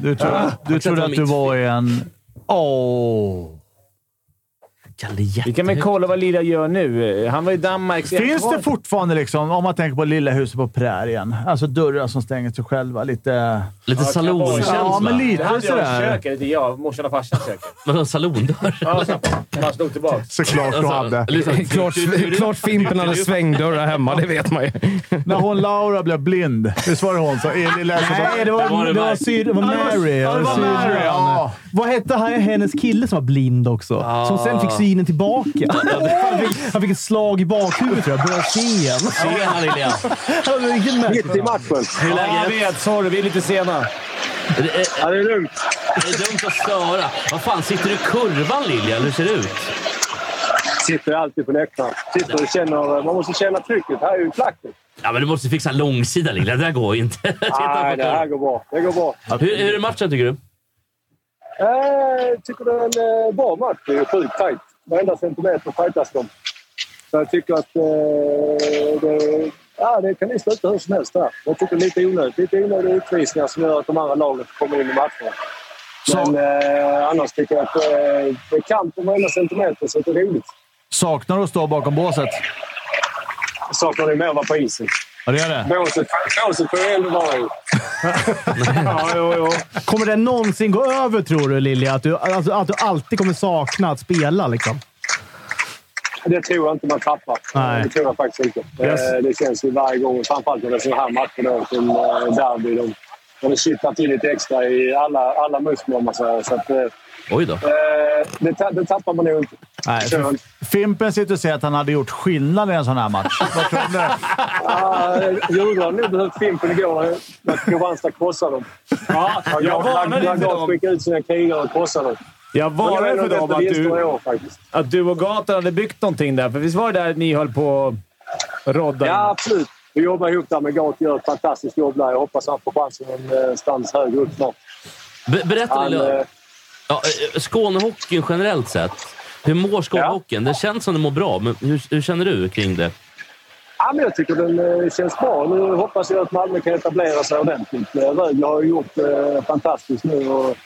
Speaker 2: Du, tro, du trodde att du var i en... Åh!
Speaker 3: Kalle
Speaker 4: Vi kan väl
Speaker 3: jättehögt.
Speaker 4: kolla vad Lilja gör nu. Han var i Danmarks...
Speaker 2: Finns det fortfarande, liksom, om man tänker på lilla huset på prärien, alltså dörrar som stänger sig själva lite...
Speaker 3: Lite salonkänsla.
Speaker 2: Ja, men
Speaker 4: Det
Speaker 2: lite
Speaker 4: hade jag i
Speaker 2: sådär.
Speaker 4: köket. Det är jag, morsan och farsan i köket.
Speaker 3: Vadå, salondörr?
Speaker 4: Ja, så- Han slog tillbaka.
Speaker 2: Såklart du hade.
Speaker 3: Liksom,
Speaker 5: Klart, klart Fimpen hade svängdörrar hemma, det vet man ju.
Speaker 2: När hon Laura blev blind, visst var det hon som... i Lilla huset på-
Speaker 1: Nej, det
Speaker 3: Det var
Speaker 1: var,
Speaker 3: det
Speaker 1: det var,
Speaker 3: Mary.
Speaker 1: syd, det var
Speaker 2: Ja, det var-
Speaker 1: Mary.
Speaker 2: ja, det var
Speaker 1: Sydran.
Speaker 2: Mary, ja.
Speaker 1: Vad hette han, hennes kille som var blind också? Som sen fick synen tillbaka. Han fick, han fick ett slag i bakhuvudet, tror jag. Började se igen.
Speaker 3: Tjena Lilja!
Speaker 1: Han var riktigt märklig.
Speaker 8: Mitt i matchen.
Speaker 3: Hur är
Speaker 4: Ja, jag
Speaker 3: läget?
Speaker 4: vet. Sorry, vi är lite sena.
Speaker 3: Är det- är-
Speaker 8: Ja, det är lugnt.
Speaker 3: Det är dumt att störa. Vad fan, sitter du i kurvan Lilja? Eller hur ser det ut?
Speaker 8: Sitter alltid på läktaren. Sitter och känner, man måste känna trycket. Här är ju flacken.
Speaker 3: Ja, men du måste fixa en långsida Lilja. Det där går ju inte. Titta på
Speaker 8: Nej, det här
Speaker 3: kurvan.
Speaker 8: går bra. Det går bra.
Speaker 3: Hur, hur är matchen tycker du?
Speaker 8: Jag tycker det är en eh, bra match. Det är sjukt tajt. Varenda centimeter fightas de. Så jag tycker att eh, det, ja, det kan ju sluta hur som helst där. Jag tycker det är lite onödigt. Lite onödiga utvisningar som gör att de andra lagen får komma in i matcherna. Men eh, annars tycker jag att eh, det är kamp om varenda centimeter, så det är roligt.
Speaker 2: Saknar du att stå bakom båset?
Speaker 8: Jag saknar det mer att vara på isen.
Speaker 2: Ja, det gör det.
Speaker 8: Båset båset får ju ändå vara i.
Speaker 4: Ja, jo, jo.
Speaker 1: Kommer det någonsin gå över, tror du, Lilja? Att du, alltså, att du alltid kommer sakna att spela, liksom?
Speaker 8: Det tror jag inte man tappar.
Speaker 1: Nej.
Speaker 8: Det tror jag faktiskt inte.
Speaker 1: Yes.
Speaker 8: Eh, Det känns ju varje gång, framförallt när det är sådana här matcher då, som eh, derby. De, och det kittlar till lite extra i alla, alla muskler, om man säger. Så att, eh,
Speaker 3: Oj då.
Speaker 8: eh, det, ta- det tappar man nog inte.
Speaker 2: Nej, för Fimpen sitter och säger att han hade gjort skillnad i en sån här match. Vad tror du?
Speaker 8: Ah, Djurgården har nog behövt Fimpen igår när Kristianstad krossade dem.
Speaker 4: Ja, jag varnade
Speaker 8: Lagat
Speaker 4: för dem.
Speaker 8: skickade ut sina krigare och krossade dem.
Speaker 4: Jag
Speaker 8: Det var
Speaker 4: varnade
Speaker 8: en
Speaker 4: för
Speaker 8: av de
Speaker 4: dem
Speaker 8: bästa
Speaker 4: att
Speaker 8: vinsterna i
Speaker 4: du,
Speaker 8: år faktiskt.
Speaker 4: att du och Gatan hade byggt någonting där. För visst var det där ni höll på och roddade?
Speaker 8: Ja, absolut. Vi jobbar ihop där med Gart. gör ett fantastiskt jobb där. Jag hoppas han får chansen någonstans högre upp snart.
Speaker 3: Be berätta
Speaker 8: Han,
Speaker 3: lite.
Speaker 8: eh,
Speaker 3: Ja, eh, Skånehockeyn generellt sett. Hur mår Skånehockeyn? Det känns som det mår bra, men hur, hur känner du kring det?
Speaker 8: Ja, men jag tycker den eh, känns bra. Nu hoppas jag att Malmö kan etablera sig ordentligt. Eh, Rögle har ju gjort eh, fantastiskt nu och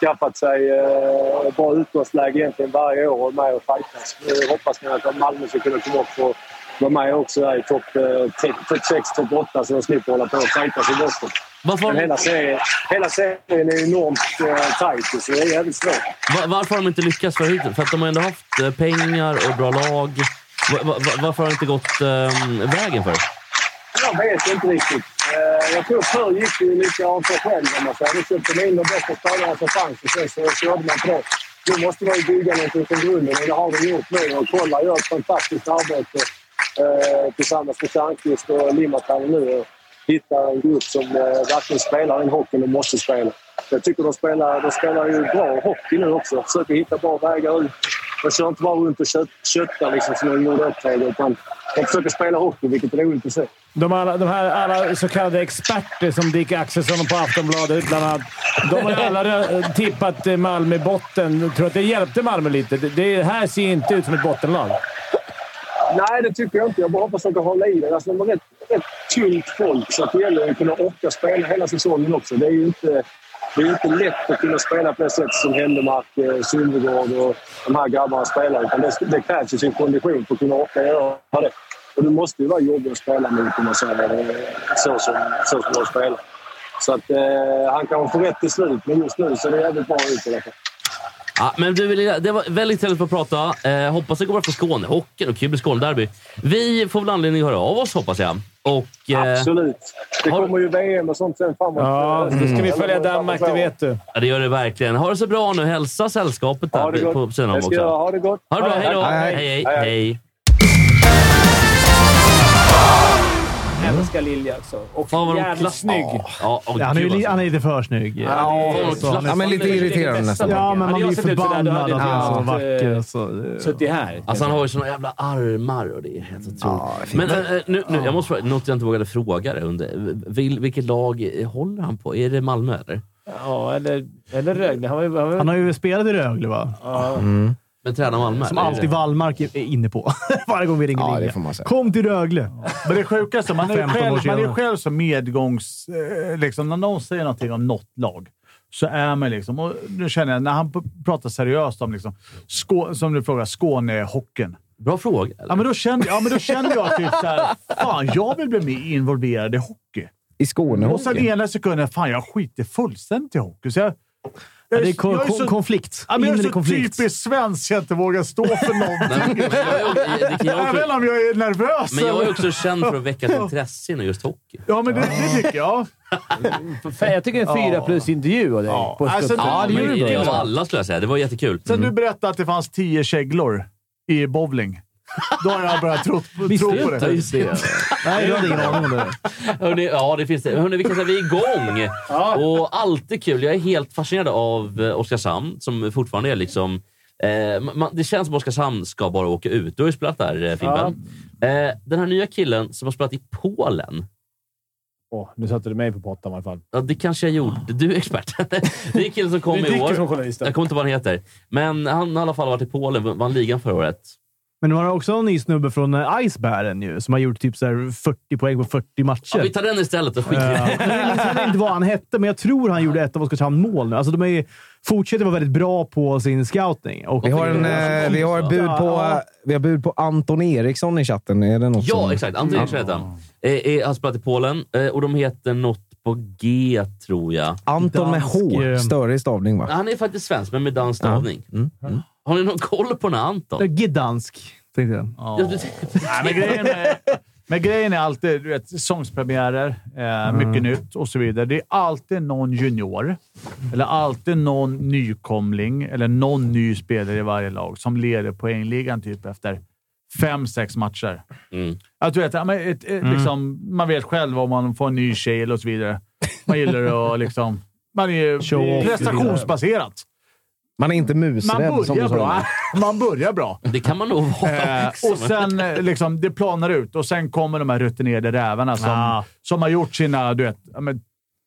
Speaker 8: skaffat sig eh, bra utgångsläge egentligen varje år och med och fightas. Nu hoppas man att Malmö ska kunna komma upp och vara med också där i topp eh, te- topp 6, topp 8 så de slipper hålla på och fightas i botten.
Speaker 3: Varför,
Speaker 8: Men
Speaker 3: har-
Speaker 8: hela serien, hela serien är enormt eh, tajt så det är jävligt svårt.
Speaker 3: va- varför har de inte lyckats för hittills? För att de har ändå haft eh, pengar och bra lag. Va- va- va- varför har det inte gått eh, vägen för det?
Speaker 8: Jag vet inte riktigt. Eh, Jag tror förr gick det ju lite av sig själv om man säger. Då köpte man in de bästa spelarna som fanns och sen så körde man på det. Nu måste man ju bygga någonting från grunden och det har vi gjort nu. Och kolla, gör ett fantastiskt arbete eh, tillsammans med Stjernquist och Limatalo nu. Och hitta en grupp som eh, verkligen spelar den hockeyn de måste spela. Jag tycker de spelar, de spelar ju bra hockey nu också. Försöker hitta bra vägar ut. De kör inte bara runt och kött, köttar liksom, som de gjorde ett tag. utan De försöker spela hockey, vilket är roligt att se.
Speaker 4: De, alla, de här alla så kallade experter som Dick Axelsson på Aftonbladet bland annat. De har ju alla rö- tippat eh, Malmö i botten. Tror att det hjälpte Malmö lite? Det- Det här ser inte ut som ett bottenlag.
Speaker 8: Nej, det tycker jag inte. Jag bara hoppas att de håller i det. Alltså, de är rätt, rätt tungt folk, så att det gäller att kunna orka spela hela säsongen också. Det är ju inte, det är ju inte lätt att kunna spela på det sätt som Händemark, eh, Sundegård och de här grabbarna spelar. Utan det, det krävs ju sin kondition för att kunna orka göra det. Och det måste ju vara jobbigt att spela mot om man säger det, så som, så som de spelar. Så att, eh, han kanske får rätt till slut, men just nu ser det jävligt bra ut i alla fall.
Speaker 3: Ja, men du, Elina, det var väldigt trevligt att prata. Eh, hoppas det går bra för Skåne. Hockeyn och kul i Skånederby. Vi får väl anledning att höra av oss, hoppas jag. Och, eh,
Speaker 8: Absolut. Det
Speaker 3: har-
Speaker 8: kommer ju VM och sånt sen framåt. Eh,
Speaker 4: Ja, Mm. då ska vi följa Danmark, det vet du.
Speaker 3: ja, det gör det verkligen. Ha det så bra nu. Hälsa sällskapet
Speaker 8: Ha det
Speaker 3: där på
Speaker 8: gott.
Speaker 3: sidan om
Speaker 8: Jag ska
Speaker 3: också.
Speaker 8: ha det gott.
Speaker 3: Ha det bra. Hej då!
Speaker 5: Hej,
Speaker 3: Hej, hej, hej.
Speaker 4: Älskar Lilja också. Och
Speaker 3: Fan vad de
Speaker 4: jävligt
Speaker 3: klass-
Speaker 4: snygg.
Speaker 3: Ja, åh,
Speaker 1: Han är, ju,
Speaker 3: gud,
Speaker 1: li-
Speaker 3: alltså.
Speaker 1: han är lite för snygg.
Speaker 3: Fan, vad klass-
Speaker 5: Ja, men lite irriterande nästan.
Speaker 1: Ja, men man
Speaker 4: Hade jag
Speaker 1: blir
Speaker 4: sett ut sådär, då
Speaker 1: förbannad
Speaker 4: hade
Speaker 1: att han är så
Speaker 4: jag inte
Speaker 1: vacker.
Speaker 4: haft,
Speaker 1: Så, eh,
Speaker 4: eh, Suttit här.
Speaker 3: Alltså han har ju såna jävla armar och det är helt otroligt. men eh, nu, nu, jag måste fråga, något jag inte vågade fråga dig under. Vil, vilket lag eh, håller han på? Är det Malmö eller?
Speaker 4: Ja, eller, eller Rögle. Han var ju... Han var ju
Speaker 1: Han har ju spelat i Rögle, va?
Speaker 3: Men tränar Malmö? Eh,
Speaker 1: Som
Speaker 3: eller?
Speaker 1: alltid Wallmark är inne på. Varje gång vi ringer
Speaker 5: Ja, det
Speaker 1: Linge.
Speaker 5: får man säga.
Speaker 1: Kom till Rögle!
Speaker 2: Men det sjukaste, man är ju
Speaker 1: 15 år
Speaker 2: själv, man är ju
Speaker 1: senare.
Speaker 2: själv som medgångs... Eh, liksom, när någon säger någonting om något lag så är man liksom... Och nu känner jag, när han p- pratar seriöst om, liksom, Skå, som du frågar, Skånehockeyn.
Speaker 3: Bra fråga. Eller?
Speaker 2: Ja, men då känner, ja, men då känner jag typ såhär, fan jag vill bli mer involverad i hockey.
Speaker 5: I Skåne
Speaker 2: Och sen ena sekunden, fan jag skiter fullständigt i hockey. Så jag,
Speaker 1: Ja, det är kon-
Speaker 2: jag
Speaker 1: kon-
Speaker 2: så-
Speaker 1: konflikt.
Speaker 2: Ja, men jag är
Speaker 1: Inre
Speaker 2: så
Speaker 1: konflikt.
Speaker 2: typiskt svensk, jag inte vågar stå för någonting.
Speaker 3: Men jag är- det kan jag
Speaker 2: Även
Speaker 3: också-
Speaker 2: om jag är nervös.
Speaker 3: Men jag
Speaker 2: eller-
Speaker 3: är också känd för att väcka ett intresse inom just hockey.
Speaker 2: Ja, men det, det tycker jag.
Speaker 4: Fan, jag tycker en fyra plus-intervju av dig.
Speaker 2: Ja.
Speaker 4: På
Speaker 2: Alltså,
Speaker 4: Stuttgart.
Speaker 2: Ja, det gjorde
Speaker 3: men
Speaker 2: du.
Speaker 3: av alla skulle jag säga. Det var jättekul. Mm.
Speaker 2: Sen
Speaker 1: Mm.
Speaker 2: du berättade att det fanns tio käglor i bowling. Då har jag börjat tro, tro på
Speaker 3: Ja,
Speaker 2: det.
Speaker 3: just det.
Speaker 1: Nej, jag hade ingen aning om det.
Speaker 3: Hörrni, ja, det finns det. Hörrni, vi kan säga att vi är igång. Och alltid kul. Jag är helt fascinerad av eh, Oskarshamn som fortfarande är liksom... Eh, man, det känns som Oskarshamn ska bara åka ut. Du har ju spelat där, eh, Fimpen. Eh, den här nya killen som har spelat i Polen.
Speaker 4: Åh, nu satte du mig på pottan i alla fall.
Speaker 3: Ja, det kanske jag gjorde. Du är expert. det är killen som kom
Speaker 4: Det är
Speaker 3: i
Speaker 4: Dicken
Speaker 3: år.
Speaker 4: som journalist.
Speaker 3: Jag kommer inte ihåg vad han heter. Men han har i alla fall varit i Polen. Vann ligan förra året.
Speaker 1: Men nu har jag också en ny snubbe från eh, Icebären ju, som har gjort typ så här 40 poäng på 40 matcher.
Speaker 3: Ja, vi tar den istället och skiter i det.
Speaker 1: Ja. Men Jag minns heller inte vad han hette, men jag tror han gjorde ett av Oskarshamns mål nu. Alltså, de är ju, fortsätter vara väldigt bra på sin scouting. Och
Speaker 5: Vi har, en, eh, vi, har bud på, vi har bud på Anton Eriksson i chatten. Är det något som...
Speaker 3: Ja, exakt. Anton Eriksson heter han. Eh, eh, Han spelar i Polen eh, och de heter något på G, tror jag.
Speaker 5: Anton med H.
Speaker 1: Dansk, eh,
Speaker 5: Större i stavning, va?
Speaker 3: Han är faktiskt svensk, men med dansk stavning.
Speaker 2: Mm.
Speaker 3: Mm. Har ni någon koll på den här Anton?
Speaker 1: Gdansk, tänkte jag.
Speaker 3: Ja, du-
Speaker 2: Nej, men grejen är, Men grejen är alltid du vet, säsongspremiärer, eh,
Speaker 1: Mm.
Speaker 2: mycket nytt och så vidare. Det är alltid någon junior, eller alltid någon nykomling, eller någon ny spelare i varje lag som leder poängligan typ efter fem, sex matcher.
Speaker 3: Mm.
Speaker 2: Att du vet, ja, men ett, ett,
Speaker 1: Mm.
Speaker 2: liksom, man vet själv om man får en ny tjej eller och så vidare. Man gillar att liksom... Man
Speaker 1: Show
Speaker 2: är
Speaker 1: off.
Speaker 2: prestationsbaserat.
Speaker 5: Man är inte
Speaker 2: Man
Speaker 5: musrädd, som du
Speaker 2: börjar
Speaker 5: sa.
Speaker 2: bra. Man börjar bra.
Speaker 3: Det kan man nog vara.
Speaker 2: Eh,
Speaker 3: liksom.
Speaker 2: och sen eh, liksom, det planar ut och sen kommer de här rutinerade rävarna som,
Speaker 1: Ah.
Speaker 2: som har gjort sina, du vet, ja, men,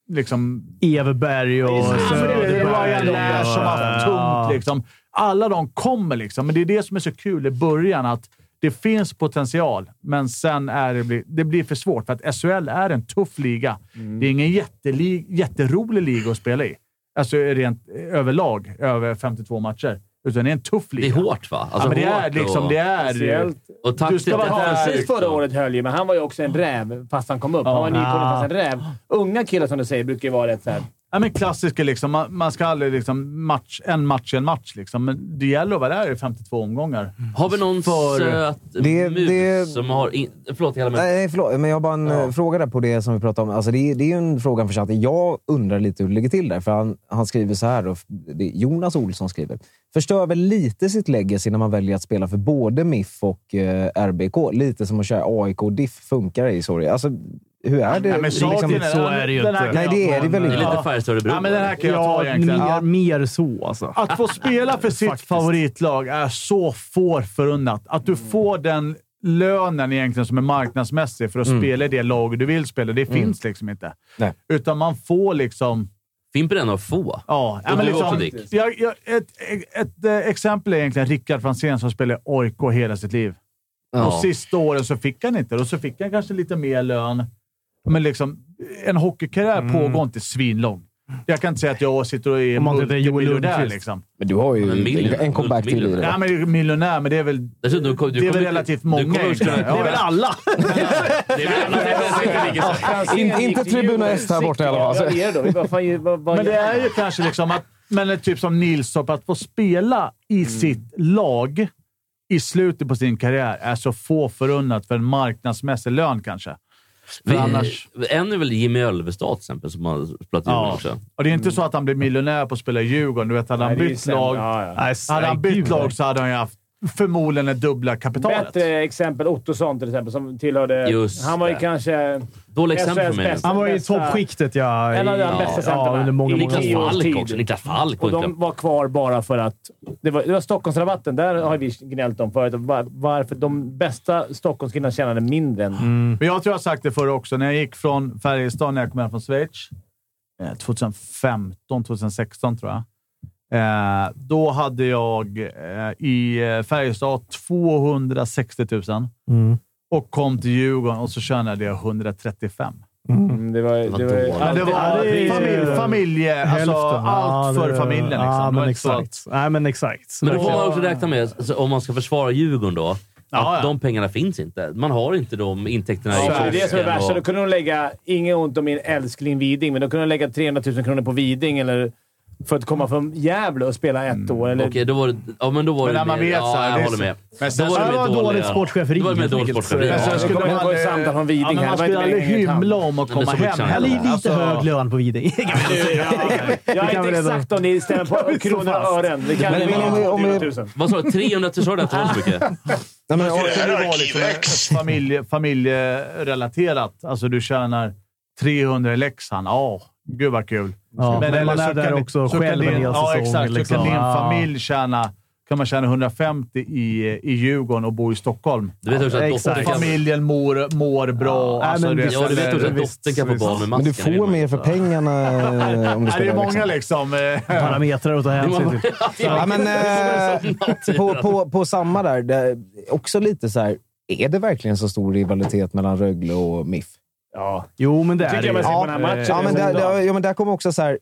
Speaker 2: liksom...
Speaker 1: Everberg och
Speaker 2: Ja, men det är
Speaker 1: Söderberg.
Speaker 2: Ryan Lash som har haft
Speaker 1: Ja.
Speaker 2: tungt. Liksom. Alla de kommer liksom, men det är det som är så kul i början. att Det finns potential, men sen är det, bli- det blir för svårt. För att SHL är en tuff liga. Det är ingen jätteli, jätterolig liga att spela i. Alltså rent överlag, över 52 matcher. Utan det är en tuff liga.
Speaker 3: Det är hårt, va?
Speaker 2: Ja,
Speaker 3: Alltså,
Speaker 2: men det
Speaker 3: hårt
Speaker 2: är liksom...
Speaker 3: och,
Speaker 2: Det är,
Speaker 4: Speciellt.
Speaker 3: och taktiskt,
Speaker 2: du ska vara
Speaker 3: det är
Speaker 4: Precis
Speaker 3: starkt,
Speaker 4: förra
Speaker 3: va?
Speaker 4: året höll ju, men han var ju också en räv fast han kom upp. Han var nykomling fast en räv. Unga killar, som du säger, brukar ju vara rätt såhär...
Speaker 2: Ja, men klassiska liksom. Man, man ska aldrig liksom match, en match i en match. Liksom. Men det gäller att vara där i 52 omgångar.
Speaker 5: Mm.
Speaker 3: Har vi någon
Speaker 2: För-
Speaker 3: söt
Speaker 5: Det-
Speaker 3: mus
Speaker 5: det-
Speaker 3: som har... In, förlåt, hela mig.
Speaker 5: Nej, förlåt. Men jag har bara en eh, fråga där på det som vi pratade om. Alltså det, är- det är ju en fråga för chatten. Jag undrar lite hur det ligger till där. För han, han skriver så här. Då, det är Jonas Olsson skriver. Förstör väl lite sitt legacy när man väljer att spela för både MIF och eh, RBK. Lite som att köra AIK och DIF funkar ej, sorry. Alltså, hur är det?
Speaker 2: Nej, men
Speaker 5: Liksom-
Speaker 2: saken
Speaker 1: så är det ju
Speaker 2: den här
Speaker 1: inte.
Speaker 2: kan
Speaker 5: Nej, det
Speaker 2: jag
Speaker 5: är det
Speaker 2: ta
Speaker 5: väl
Speaker 2: en-
Speaker 3: Det är lite
Speaker 2: Ja.
Speaker 3: Färjestad Örebro.
Speaker 2: Ja, men den här kan jag
Speaker 1: Ja,
Speaker 2: ta egentligen.
Speaker 1: mer, mer så alltså.
Speaker 2: Att få spela för sitt favoritlag är så få förunnat. Att
Speaker 5: Mm.
Speaker 2: du får den lönen egentligen som är marknadsmässig för att spela i det lag du vill spela, det finns liksom inte.
Speaker 5: Mm. Nej.
Speaker 2: Utan man får liksom...
Speaker 3: Fimpen är en av få.
Speaker 2: Ja, ja,
Speaker 3: Och
Speaker 2: men
Speaker 3: du
Speaker 2: liksom,
Speaker 3: också, Dick.
Speaker 2: jag, jag, ett, ett, ett eh, exempel är egentligen Rickard Franzén som spelade i AIK hela sitt liv. Och
Speaker 3: Ja.
Speaker 2: sista åren så fick han inte det och så fick han kanske lite mer lön. Men liksom, en hockeykarriär pågår inte svinlång. Jag kan inte säga att jag sitter och är
Speaker 1: Om man inte heter Joel
Speaker 2: multimiljonär.
Speaker 1: Lundqvist.
Speaker 2: Liksom.
Speaker 5: Men du har ju
Speaker 3: Men miljon-
Speaker 5: en comeback till i
Speaker 3: multimiljon.
Speaker 5: det.
Speaker 2: Nej, men miljonär, men det är väl...
Speaker 3: Dessutom, du kom-
Speaker 2: det
Speaker 3: du
Speaker 2: är väl
Speaker 3: kommer-
Speaker 2: relativt
Speaker 3: du
Speaker 2: många
Speaker 3: kommer också-
Speaker 2: egentligen.
Speaker 1: Det är väl alla!
Speaker 3: Det är väl alla- det är väl alla som inte ligger så.
Speaker 5: In, inte Tribuna S här borta i alla
Speaker 4: Ja,
Speaker 5: fall.
Speaker 4: det är det då. Vad fan, ju- vad, vad
Speaker 2: Men det
Speaker 4: gör
Speaker 2: är
Speaker 4: han?
Speaker 2: ju kanske liksom att... Men det är typ som Nilsson, att få spela i
Speaker 4: Mm.
Speaker 2: sitt lag i slutet på sin karriär är så få förunnat för en marknadsmässig lön kanske. För
Speaker 3: Vi-
Speaker 2: annars...
Speaker 3: En är väl Jimmy Ölvestad till exempel, som har spelat i Djurgården
Speaker 2: Ja.
Speaker 3: också.
Speaker 2: Och det är inte så att han blir miljonär på att spela i Djurgården. Du vet, hade han
Speaker 4: Nej, det är ju
Speaker 2: bytt
Speaker 4: sämre.
Speaker 2: lag,
Speaker 4: Ja, ja.
Speaker 1: Nej,
Speaker 2: hade han bytt
Speaker 1: gud.
Speaker 2: lag så hade han ju haft förmodligen det dubbla kapitalet.
Speaker 4: Bättre exempel Ottosson till exempel, som tillhörde...
Speaker 3: Just
Speaker 4: han var ju
Speaker 3: det.
Speaker 4: kanske...
Speaker 3: Dåligt exempel för mig.
Speaker 4: SHLs
Speaker 1: Han var ju i
Speaker 4: Bästa-
Speaker 1: toppskiktet, ja. i-
Speaker 4: En av de
Speaker 1: ja,
Speaker 4: bästa centrarna.
Speaker 1: under många,
Speaker 4: I
Speaker 1: många
Speaker 3: Niklas
Speaker 4: tio
Speaker 1: år.
Speaker 4: år. års
Speaker 3: Falk
Speaker 4: tid.
Speaker 3: också. Niklas Falk
Speaker 4: Och
Speaker 3: var
Speaker 4: de
Speaker 3: inte...
Speaker 4: var kvar bara för att... Det var, det var Stockholmsrabatten. Där har vi gnällt om förut. Var, varför de bästa Stockholmskillarna tjänade mindre än...
Speaker 2: Men jag tror jag har sagt det förr också. När jag gick från Färjestad, när jag kom hem från Schweiz, eh, 2015, 2016 tror jag. Eh, då hade jag eh, i eh, Färjestad 260 000 Mm. och kom till Djurgården och så tjänade jag 135.
Speaker 4: Mm, det var... Det var,
Speaker 3: var dåligt.
Speaker 4: ja, det var
Speaker 1: det är-
Speaker 2: familj, familje, alltså,
Speaker 1: Hälften.
Speaker 2: allt
Speaker 1: Ja,
Speaker 2: för
Speaker 1: det-
Speaker 2: familjen. Liksom.
Speaker 1: Ja,
Speaker 2: Det var
Speaker 1: men
Speaker 2: inte så att-
Speaker 1: exakt. Nej, men exakt.
Speaker 3: Men då får man också räkna med, alltså, om man ska försvara Djurgården då, att
Speaker 2: Ja, ja.
Speaker 3: de pengarna finns inte. Man har inte de intäkterna
Speaker 4: Ja,
Speaker 3: i
Speaker 4: det är det som är
Speaker 3: kiosken
Speaker 4: värsta.
Speaker 3: och-
Speaker 4: Då kunde de lägga, inget ont om min älskling Widing, men då kunde de lägga 300 000 kronor på Widing eller för att komma från Gävle och spela ett
Speaker 1: Mm,
Speaker 4: år. Eller,
Speaker 3: Okej, då var det... Ja, men då var
Speaker 2: Men
Speaker 3: det...
Speaker 2: när man
Speaker 3: mer-
Speaker 2: vet
Speaker 3: ja,
Speaker 2: så här,
Speaker 3: jag
Speaker 2: det är
Speaker 3: håller
Speaker 2: så-
Speaker 3: med.
Speaker 2: Men sen-
Speaker 3: Då
Speaker 2: Ja,
Speaker 1: det
Speaker 3: mer
Speaker 1: var dåligt sportcheferi,
Speaker 3: Det var mer
Speaker 1: helt
Speaker 3: dåligt
Speaker 1: enkelt.
Speaker 3: sportcheferi.
Speaker 2: Men sen
Speaker 3: ja.
Speaker 2: skulle
Speaker 4: det
Speaker 2: man
Speaker 4: var ju
Speaker 2: aldrig-
Speaker 4: samtal från Widing
Speaker 2: ja, men
Speaker 4: här.
Speaker 2: Man
Speaker 4: Det
Speaker 2: skulle
Speaker 4: var inte
Speaker 2: aldrig
Speaker 4: längre än
Speaker 2: hymla om att
Speaker 3: Nej,
Speaker 2: komma
Speaker 3: men så
Speaker 2: hem
Speaker 3: skitsamma.
Speaker 1: Eller
Speaker 2: heller.
Speaker 1: lite
Speaker 2: Alltså-
Speaker 1: hög lön på Widing.
Speaker 4: Jag är
Speaker 1: kan vi
Speaker 4: inte
Speaker 1: reda
Speaker 4: exakt om ni stämmer på kronor och ören. Det kan
Speaker 5: Men-
Speaker 4: ju
Speaker 5: men om vi-
Speaker 4: vara
Speaker 5: om vi-
Speaker 4: 300 000.
Speaker 3: Vad sa du? 300 000? Sa du det? Att det var så mycket?
Speaker 5: Nej, men,
Speaker 2: Det kan ju vara liksom
Speaker 6: Arkivex.
Speaker 2: familje, familjerelaterat. Alltså du tjänar 300 i Leksand. Ja, gud vad kul.
Speaker 1: Ja, men
Speaker 2: eller
Speaker 1: man
Speaker 2: så
Speaker 1: är
Speaker 2: kan
Speaker 1: där
Speaker 2: din-
Speaker 1: också
Speaker 2: så kan
Speaker 1: själv en
Speaker 2: din-
Speaker 1: hel
Speaker 2: Ja,
Speaker 1: säsong,
Speaker 2: exakt. Så
Speaker 1: liksom.
Speaker 2: kan din
Speaker 1: Ja.
Speaker 2: familj tjäna... Kan man tjäna 150 i, i Djurgården och bo i Stockholm?
Speaker 3: Du vet också att
Speaker 1: Exakt.
Speaker 3: dottern kan...
Speaker 2: Familjen mår, mår bra.
Speaker 1: Ja,
Speaker 2: alltså,
Speaker 1: nej, men
Speaker 2: det-
Speaker 1: visst,
Speaker 3: Ja, du vet också att
Speaker 2: visst,
Speaker 3: dottern kan få
Speaker 2: visst.
Speaker 3: barn med
Speaker 5: men
Speaker 3: masken.
Speaker 5: du
Speaker 3: i
Speaker 5: får
Speaker 3: munnen.
Speaker 5: mer för pengarna eh, om du
Speaker 2: Ja, det
Speaker 5: spelar
Speaker 2: är många
Speaker 5: Leksand.
Speaker 2: liksom. eh,
Speaker 1: Parametrar att ta hänsyn till.
Speaker 5: Ja, men,
Speaker 3: Det
Speaker 5: eh,
Speaker 3: kommer en sån
Speaker 5: på,
Speaker 3: natt.
Speaker 5: på, på samma där, där, också lite så här. Är det verkligen så stor rivalitet mellan Rögle och MIF?
Speaker 4: Ja,
Speaker 1: Jo, men det är
Speaker 4: tycker
Speaker 1: det
Speaker 4: jag man ser
Speaker 1: ju.
Speaker 4: på den här matchen.
Speaker 5: Ja, men där, där, ja, men där kommer också så här.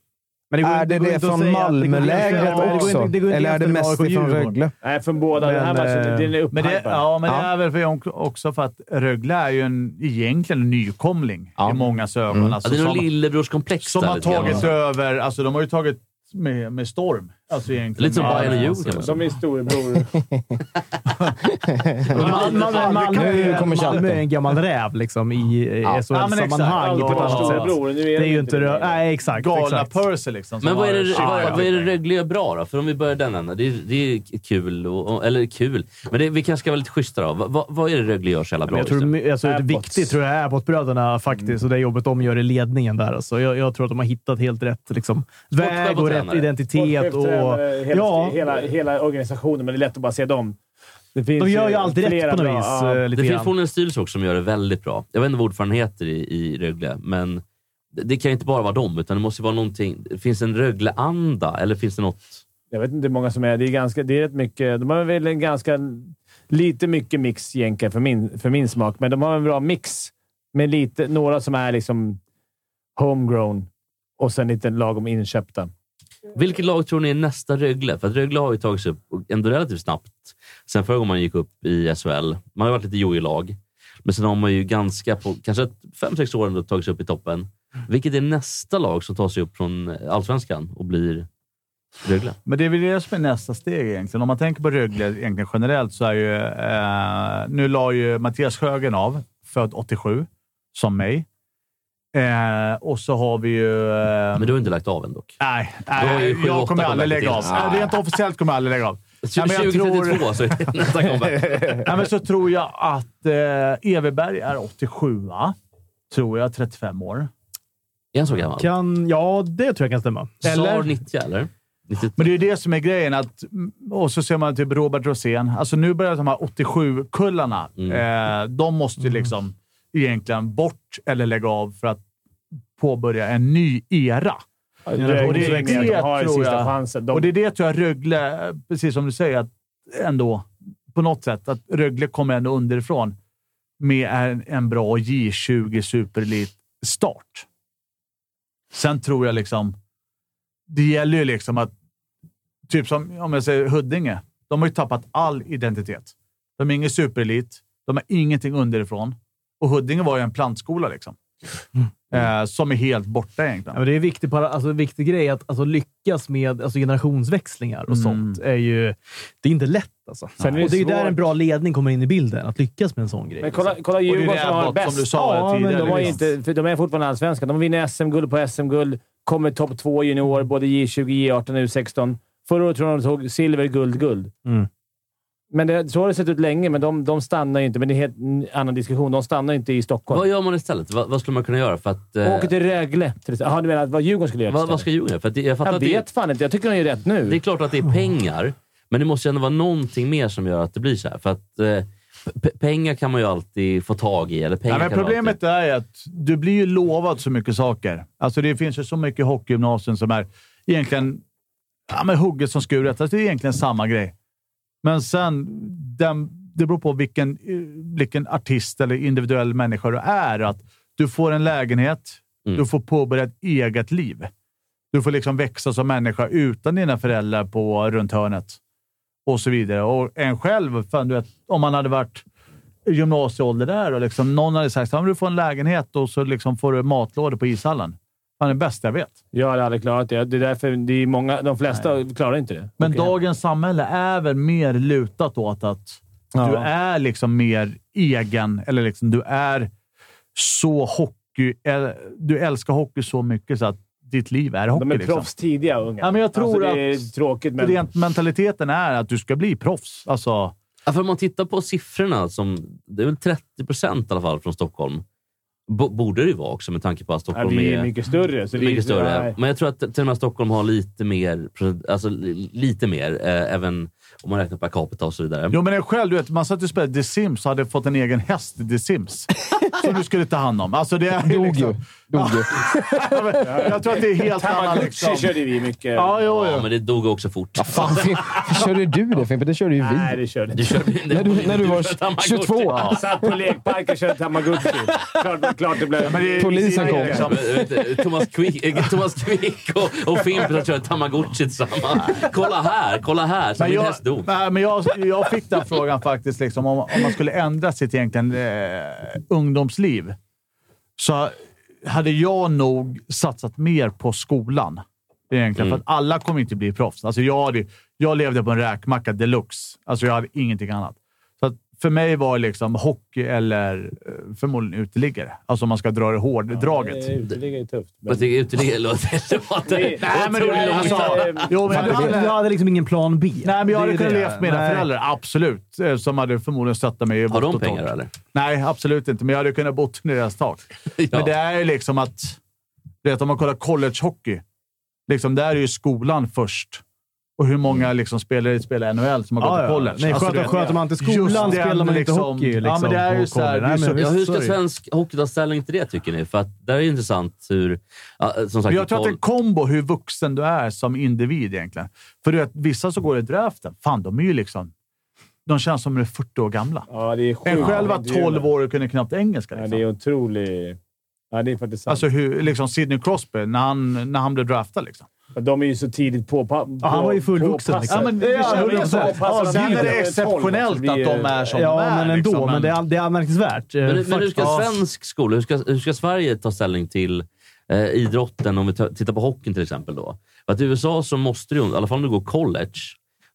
Speaker 1: Men går
Speaker 5: är
Speaker 1: inte-
Speaker 5: det
Speaker 1: går
Speaker 5: det
Speaker 1: inte att
Speaker 5: från
Speaker 1: säga att det går inte-
Speaker 5: Malmölägret
Speaker 1: det går inte-
Speaker 5: också?
Speaker 1: det går inte
Speaker 5: Eller är det
Speaker 1: jämföra med
Speaker 5: mest
Speaker 1: AIK
Speaker 5: ifrån
Speaker 1: Djurgården.
Speaker 5: Rögle?
Speaker 4: Nej, från båda. den här
Speaker 1: Men,
Speaker 4: matchen,
Speaker 1: eh,
Speaker 4: den är
Speaker 2: Men det,
Speaker 4: upphypad.
Speaker 2: ja, men det
Speaker 5: Ja.
Speaker 2: är väl för, också för att Rögle är ju en, egentligen en nykomling
Speaker 5: Ja.
Speaker 2: i många ögon.
Speaker 5: Mm.
Speaker 2: Alltså,
Speaker 3: Ja, det är någon
Speaker 2: som-
Speaker 3: lillebrorskomplex
Speaker 2: Som
Speaker 3: där
Speaker 2: har
Speaker 3: lite grann.
Speaker 2: tagit över. Alltså, de har ju tagit med, med storm Alltså egentligen.
Speaker 3: Lite som
Speaker 2: Ja,
Speaker 3: Bayern och
Speaker 2: men-
Speaker 3: Djurgården.
Speaker 4: De är storebror.
Speaker 1: Malmö, Malmö,
Speaker 4: Nu kommer Chalpen.
Speaker 1: Malmö är en gammal räv liksom, i ja. SHL-sammanhang
Speaker 4: Alltid
Speaker 1: på ett annat sätt.
Speaker 4: storebror. Nu
Speaker 1: Det
Speaker 4: är
Speaker 1: är ju inte... rö- Nej, exakt.
Speaker 2: Galna
Speaker 1: exakt.
Speaker 2: Percy liksom. som
Speaker 3: Men vad är, det,
Speaker 2: har-
Speaker 3: vad, vad är det Rögle gör bra då? För om vi börjar den änden. Det, är- det är kul. Och, och- eller kul. Men det, vi kanske ska vara lite schyssta då. Vad, vad, vad är det Rögle gör så jävla bra liksom?
Speaker 1: Men jag tror
Speaker 3: just nu?
Speaker 1: my- alltså, det viktigt tror jag är Abbott-bröderna faktiskt och det jobbet de gör i ledningen där. Alltså, jag, jag tror att de har hittat helt rätt liksom, väg och rätt
Speaker 3: tränare.
Speaker 1: identitet. Och,
Speaker 4: Sportcheftränare, hela,
Speaker 1: ja,
Speaker 4: hela, hela organisationen, men det är lätt att bara se dem. Det finns
Speaker 1: de gör ju
Speaker 4: eh,
Speaker 1: allt rätt
Speaker 4: flera
Speaker 1: på något
Speaker 4: bra-
Speaker 1: vis.
Speaker 4: ja.
Speaker 1: eh,
Speaker 3: Det
Speaker 1: Lite
Speaker 3: finns
Speaker 1: grann.
Speaker 3: fortfarande en styrelse också som gör det väldigt bra. Jag vet inte vad ordföranden heter i, i Rögle, men det, det kan ju inte bara vara dem, utan det måste ju vara någonting. Finns det en Rögle-anda eller finns det något...
Speaker 4: Jag vet inte hur många som är. Det är, ganska, det är rätt mycket. De har väl en ganska... Lite mycket mix egentligen för min, för min smak, men de har en bra mix med lite, några som är liksom homegrown och sen lite lagom inköpta.
Speaker 3: Vilket lag tror ni är nästa Rögle? För att Rögle har ju tagit sig upp ändå relativt snabbt sen förra gången man gick upp i SHL. Man har ju varit lite jojo-lag, men sen har man ju ganska på kanske ett- fem sex år ändå tagit sig upp i toppen. Vilket är nästa lag som tar sig upp från allsvenskan och blir Rögle?
Speaker 2: Men det är väl det som är nästa steg egentligen. Om man tänker på Rögle egentligen generellt så är ju... Eh, nu la ju Mattias Sjögren av, född 87, som mig. Eh, och så har vi ju... Eh,
Speaker 3: Men du har inte lagt av än dock.
Speaker 2: Nej,
Speaker 3: Du har ju
Speaker 2: nej
Speaker 3: sju,
Speaker 2: jag
Speaker 3: åtta
Speaker 2: kommer aldrig
Speaker 3: comebacker
Speaker 2: lägga av.
Speaker 3: till. Ah.
Speaker 2: Nej, Rent officiellt kommer jag aldrig lägga av. Nej, men jag
Speaker 3: 2032
Speaker 2: tror-
Speaker 3: så är det nästa comeback.
Speaker 2: Nej, men så tror jag att eh, Everberg är 87, va? Tror jag. 35 år.
Speaker 3: Är han så gammal?
Speaker 1: Kan, ja, det tror jag kan stämma.
Speaker 3: Sar 90, eller? 90.
Speaker 2: Men det är ju det som är grejen. Att, mm, och så ser man typ Robert Rosén. Alltså nu börjar de här 87-kullarna. Eh, de måste ju liksom egentligen bort eller lägga av för att påbörja en ny era.
Speaker 4: Och
Speaker 2: Och det är det,
Speaker 4: de har ju
Speaker 2: tror
Speaker 4: sista
Speaker 2: jag.
Speaker 4: chansen. De,
Speaker 2: Och det är det tror jag Rögle, precis som du säger, att ändå på något sätt att Rögle kommer ändå underifrån med en, en bra J20 superelit-start. Sen tror jag liksom... Det gäller ju liksom att... Typ som om jag säger Huddinge. De har ju tappat all identitet. De är ingen superelit. De har ingenting underifrån. Och Huddinge var ju en plantskola liksom.
Speaker 4: Mm.
Speaker 2: Eh, som är helt borta
Speaker 1: Ja,
Speaker 2: egentligen.
Speaker 1: men det är en viktig, para- alltså, en viktig grej att alltså, lyckas med alltså, generationsväxlingar och
Speaker 2: Mm.
Speaker 1: sånt. Är ju, det är inte lätt alltså.
Speaker 4: Sen är det
Speaker 1: och det är ju där
Speaker 4: svårt.
Speaker 1: en bra ledning kommer in i bilden. Att lyckas med en sån grej. liksom.
Speaker 4: men kolla, kolla Djurgården som har
Speaker 2: Abbott,
Speaker 4: bäst.
Speaker 2: som du sa
Speaker 1: Ja, men
Speaker 2: tidigare.
Speaker 4: De, har ju
Speaker 2: liksom.
Speaker 4: inte, för de är fortfarande allsvenska. De vinner SM-guld på SM-guld, kommer topp två junior, både J20, J18 och U16. Förra året tror jag de tog silver, guld, guld.
Speaker 1: Mm.
Speaker 4: Men det, så har det sett ut länge, men de, de stannar ju inte. Men det är en helt n- annan diskussion. De stannar ju inte i
Speaker 3: Vad
Speaker 4: Stockholm.
Speaker 3: gör man istället? Vad, vad skulle man kunna göra för att... eh,
Speaker 4: Åker till Rögle. till exempel. Jaha, du menar vad Djurgården skulle göra
Speaker 3: vad, vad
Speaker 4: istället?
Speaker 3: ska Djurgården göra? För att det, jag fattar
Speaker 4: Jag
Speaker 3: att det,
Speaker 4: vet fan inte. Jag tycker de är rätt nu.
Speaker 3: Det är klart att det är pengar, men det måste ju ändå vara någonting mer som gör att det blir så här. För att eh, p- pengar kan man ju alltid få tag i. Eller pengar
Speaker 2: Nej, men
Speaker 3: kan man
Speaker 2: problemet
Speaker 3: alltid...
Speaker 2: är att du blir ju lovad så mycket saker. Alltså det finns ju så mycket hockeygymnasium som är egentligen ja, men hugget som skuret. Alltså det är egentligen samma grej. Men sen, den, det beror på vilken, eh, vilken artist eller individuell människa du är. Att du får en lägenhet,
Speaker 3: Mm.
Speaker 2: du får påbörja ett eget liv. Du får liksom växa som människa utan dina föräldrar på runt hörnet och så vidare. Och en själv, fan, du vet, om man hade varit i gymnasieålder där och liksom, någon hade sagt att du får en lägenhet och så liksom får du matlådor på ishallen. Fan, det bästa jag vet.
Speaker 4: Jag har aldrig klarat det. Det är därför det är många, de flesta klarar inte det.
Speaker 2: Men
Speaker 4: Åker hem.
Speaker 2: dagens samhälle är väl mer lutat åt att du är liksom mer egen, eller liksom du är så hockey... äl- Du älskar hockey så mycket så att ditt liv är hockey.
Speaker 4: de är
Speaker 2: liksom.
Speaker 4: proffs tidiga, unga.
Speaker 2: Ja, men jag tror
Speaker 4: alltså, det är
Speaker 2: att-
Speaker 4: tråkigt, men...
Speaker 2: Rent mentaliteten är att du ska bli proffs. Alltså,
Speaker 3: Ja, för om man tittar på siffrorna, som, det är väl 30 procent i alla fall från Stockholm. B- borde det ju vara också med tanke på att
Speaker 4: Ja,
Speaker 3: Stockholm
Speaker 4: vi
Speaker 3: är...
Speaker 4: är mycket större. Så det är- liksom-
Speaker 3: Mycket större.
Speaker 4: nej.
Speaker 3: Men jag tror att till och med Stockholm har lite mer, procent- alltså li- lite mer, eh, även om man räknar per capita och så vidare.
Speaker 2: Jo, men jag själv, du vet, man satt och spelade The Sims och hade fått en egen häst i The Sims. som du skulle ta hand om. Alltså, det är ju
Speaker 5: Dog ju.
Speaker 2: liksom,
Speaker 5: Dog ju.
Speaker 2: Jag tror att det är helt annan
Speaker 4: Tamagotchi
Speaker 2: liksom.
Speaker 4: körde vi mycket.
Speaker 2: Ja, jo,
Speaker 3: Ja,
Speaker 2: jo.
Speaker 3: men det dog också fort.
Speaker 5: Fan, Fimp, körde du det Fimpen? Det körde ju
Speaker 4: Nej,
Speaker 5: vi.
Speaker 4: det körde
Speaker 3: Du
Speaker 4: inte.
Speaker 3: körde,
Speaker 5: När du, när du var
Speaker 3: körde Tamagotchi.
Speaker 5: 22.
Speaker 4: Jag satt på lekparken och körde Tamagotchi. klart, klart det blev...
Speaker 2: Men det är-
Speaker 5: Polisen
Speaker 2: det är
Speaker 5: kom.
Speaker 2: liksom-
Speaker 3: Vet du, Thomas Quick, eh, Thomas Quick och, och Fimpen som kör Tamagotchi tillsammans. Kolla här, kolla här! Så
Speaker 2: Men,
Speaker 3: min
Speaker 2: jag,
Speaker 3: häst dog.
Speaker 2: nej, men jag, jag fick den frågan faktiskt, liksom, om, om man skulle ändra sitt egentligen eh, ungdomsliv. Så hade jag nog satsat mer på skolan egentligen.
Speaker 3: Mm.
Speaker 2: För att alla kommer inte bli proffs. Alltså jag, hade, jag levde på en räkmacka deluxe. Alltså jag hade ingenting annat. Så att för mig var det liksom hockey eller eh, förmodligen uteliggare. Alltså om man ska dra det hårddraget.
Speaker 4: Uteliggare är tufft. men-
Speaker 3: Jag tycker uteliggare låter...
Speaker 4: Nej,
Speaker 2: Nej, men det är alltså, jo, men
Speaker 1: Du hade, du hade liksom ingen plan B.
Speaker 2: Nej, men jag
Speaker 1: Det är
Speaker 2: hade
Speaker 1: ju
Speaker 2: kunnat
Speaker 1: det.
Speaker 2: leva med mina
Speaker 1: Nej.
Speaker 2: föräldrar. Absolut. Eh, Som hade förmodligen stöttat mig i
Speaker 3: Har
Speaker 2: vått
Speaker 3: de
Speaker 2: och torrt.
Speaker 3: pengar eller?
Speaker 2: Nej, absolut inte. Men jag hade kunnat bo under deras tak.
Speaker 3: Ja.
Speaker 2: Men det är ju liksom att... Du vet, om man kollar collegehockey. Liksom, där är ju skolan först. Och hur många liksom, spelare spelar NHL som har gått
Speaker 1: Mm. Ja,
Speaker 2: på
Speaker 1: ja.
Speaker 2: college.
Speaker 1: Nej,
Speaker 2: Alltså,
Speaker 1: sköter,
Speaker 2: du vet,
Speaker 1: sköter man inte skolan
Speaker 2: just den,
Speaker 1: spelar man inte
Speaker 2: liksom-
Speaker 1: hockey.
Speaker 2: Ja,
Speaker 1: Liksom,
Speaker 2: men det är
Speaker 1: på
Speaker 2: ju så här,
Speaker 1: college.
Speaker 2: det är
Speaker 1: Nej,
Speaker 2: så-
Speaker 1: men
Speaker 3: Ja, hur
Speaker 1: visst,
Speaker 3: ska
Speaker 1: så är det ju.
Speaker 3: svensk hockey ta ställning till det, tycker ni? För att där är det intressant hur... ja, Som sagt,
Speaker 2: Men jag tror att det är en kombo hur vuxen du är som individ egentligen. För du vet, vissa som går i draften, fan de är ju liksom... De känns som de är 40 år gamla.
Speaker 4: Ja, det är sjukt.
Speaker 2: En själv var
Speaker 4: Det är ju-
Speaker 2: 12 år och kunde knappt engelska.
Speaker 4: Ja,
Speaker 2: Liksom.
Speaker 4: det är otroligt... Ja, det är faktiskt sant.
Speaker 2: Alltså hur, liksom Sidney Crosby, när han, när han blev draftad. Liksom.
Speaker 4: de är ju så tidigt på... på
Speaker 1: Ja, han var ju fullvuxen,
Speaker 4: påpassade.
Speaker 1: liksom. Ja, men det
Speaker 4: Ja,
Speaker 1: känner
Speaker 4: de
Speaker 1: vi
Speaker 4: är
Speaker 1: också.
Speaker 4: så påpassade.
Speaker 1: Ja,
Speaker 2: sen
Speaker 1: gud,
Speaker 2: är
Speaker 1: ja.
Speaker 2: det
Speaker 4: tolv,
Speaker 2: exceptionellt
Speaker 4: alltså, vi
Speaker 2: att de är som de
Speaker 1: Ja,
Speaker 2: är.
Speaker 1: men ändå.
Speaker 2: liksom.
Speaker 1: men det är, det är anmärkningsvärt. eh,
Speaker 3: Men, men hur ska svensk skola, hur ska, hur ska Sverige ta ställning till eh, idrotten om vi ta, tittar på hockeyn till exempel då? För att i USA så måste du, i alla fall om du går college,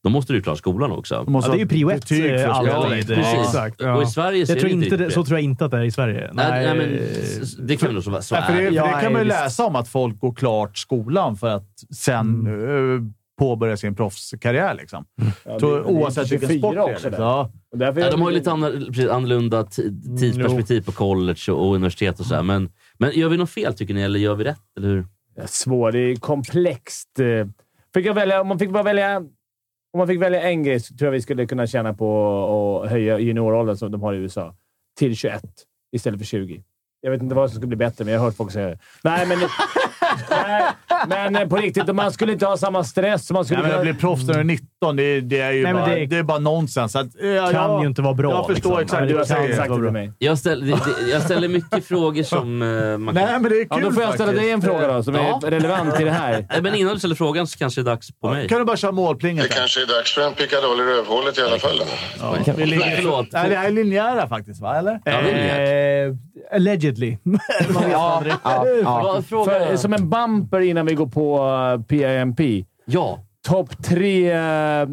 Speaker 3: då måste du klara skolan också.
Speaker 2: De måste
Speaker 1: Ja, det är ju
Speaker 2: ha
Speaker 1: prio ett,
Speaker 2: betyg för
Speaker 1: eh,
Speaker 2: att spela.
Speaker 1: alltid.
Speaker 2: Ja,
Speaker 1: Ja,
Speaker 3: Precis.
Speaker 1: exakt, ja.
Speaker 3: Och i Sverige så
Speaker 1: jag
Speaker 3: är
Speaker 1: tror
Speaker 3: det
Speaker 1: inte det,
Speaker 3: riktigt
Speaker 1: så
Speaker 3: det.
Speaker 1: tror jag inte att det är i Sverige.
Speaker 3: Nej, nej, men,
Speaker 1: eh,
Speaker 3: s- det kan väl så, så
Speaker 2: Nej, för det,
Speaker 3: är det.
Speaker 2: för det
Speaker 1: Ja,
Speaker 2: kan man ju
Speaker 1: visst.
Speaker 2: läsa om att folk går klart skolan för att sen eh, påbörja sin proffskarriär. Liksom.
Speaker 4: Mm. Ja, det-
Speaker 2: Så,
Speaker 4: det är
Speaker 2: oavsett vilken
Speaker 4: 24
Speaker 2: sport det är.
Speaker 4: också
Speaker 2: Liksom.
Speaker 4: där.
Speaker 2: Ja.
Speaker 4: Och därför
Speaker 3: Ja,
Speaker 4: är
Speaker 3: de har ju
Speaker 4: det-
Speaker 3: lite annorl- precis, annorlunda ti- tidsperspektiv på college och, och universitet och sådär. Men, men gör vi något fel tycker ni, eller gör vi rätt? Eller hur?
Speaker 4: Det är svårt. Eh, Det är komplext. Eh, Fick jag välja, om man fick bara välja... Om man fick välja en grej så tror jag vi skulle kunna tjäna på att höja junioråldern som de har i USA till 21 istället för 20. Jag vet inte vad som skulle bli bättre, men jag har hört folk säga det. Nej, men... nej, men eh, på riktigt, man skulle inte ha samma stress. som Man skulle
Speaker 2: Nej, men att bli
Speaker 4: kunna,
Speaker 2: proffs när du är 19, det, är- det är ju
Speaker 1: Nej, men
Speaker 2: bara,
Speaker 1: det-
Speaker 2: det, är bara nonsens. Att, eh,
Speaker 1: kan
Speaker 2: jag,
Speaker 1: ju inte vara bra.
Speaker 2: Jag förstår
Speaker 1: liksom.
Speaker 2: exakt
Speaker 1: Nej,
Speaker 2: hur
Speaker 4: du har
Speaker 2: jag
Speaker 4: sagt
Speaker 2: säger.
Speaker 4: exakt det till mig.
Speaker 3: Jag, ställer, det- det- jag ställer mycket frågor som eh, man kan...
Speaker 2: Nej, men det är kul
Speaker 4: Ja, då får jag ställa
Speaker 2: faktiskt.
Speaker 4: dig en fråga då, som
Speaker 3: Ja.
Speaker 4: är relevant till det här.
Speaker 3: Nej, Men innan du ställer frågan så kanske det är dags på mig.
Speaker 2: Kan du bara köra
Speaker 6: Det
Speaker 2: målplinget? där?
Speaker 6: kanske är dags för en pickadoll i rövhålet i alla fall.
Speaker 2: Vi ligger-
Speaker 3: Nej, förlåt.
Speaker 2: Nej, det här är linjära faktiskt, va? Eller?
Speaker 3: Ja, det är det.
Speaker 1: Eh, allegedly. Man vet aldrig.
Speaker 3: Vad- Fråga.
Speaker 4: För, eh, som en bumper innan vi går på eh, PIMP.
Speaker 3: Ja.
Speaker 4: topp tre eh,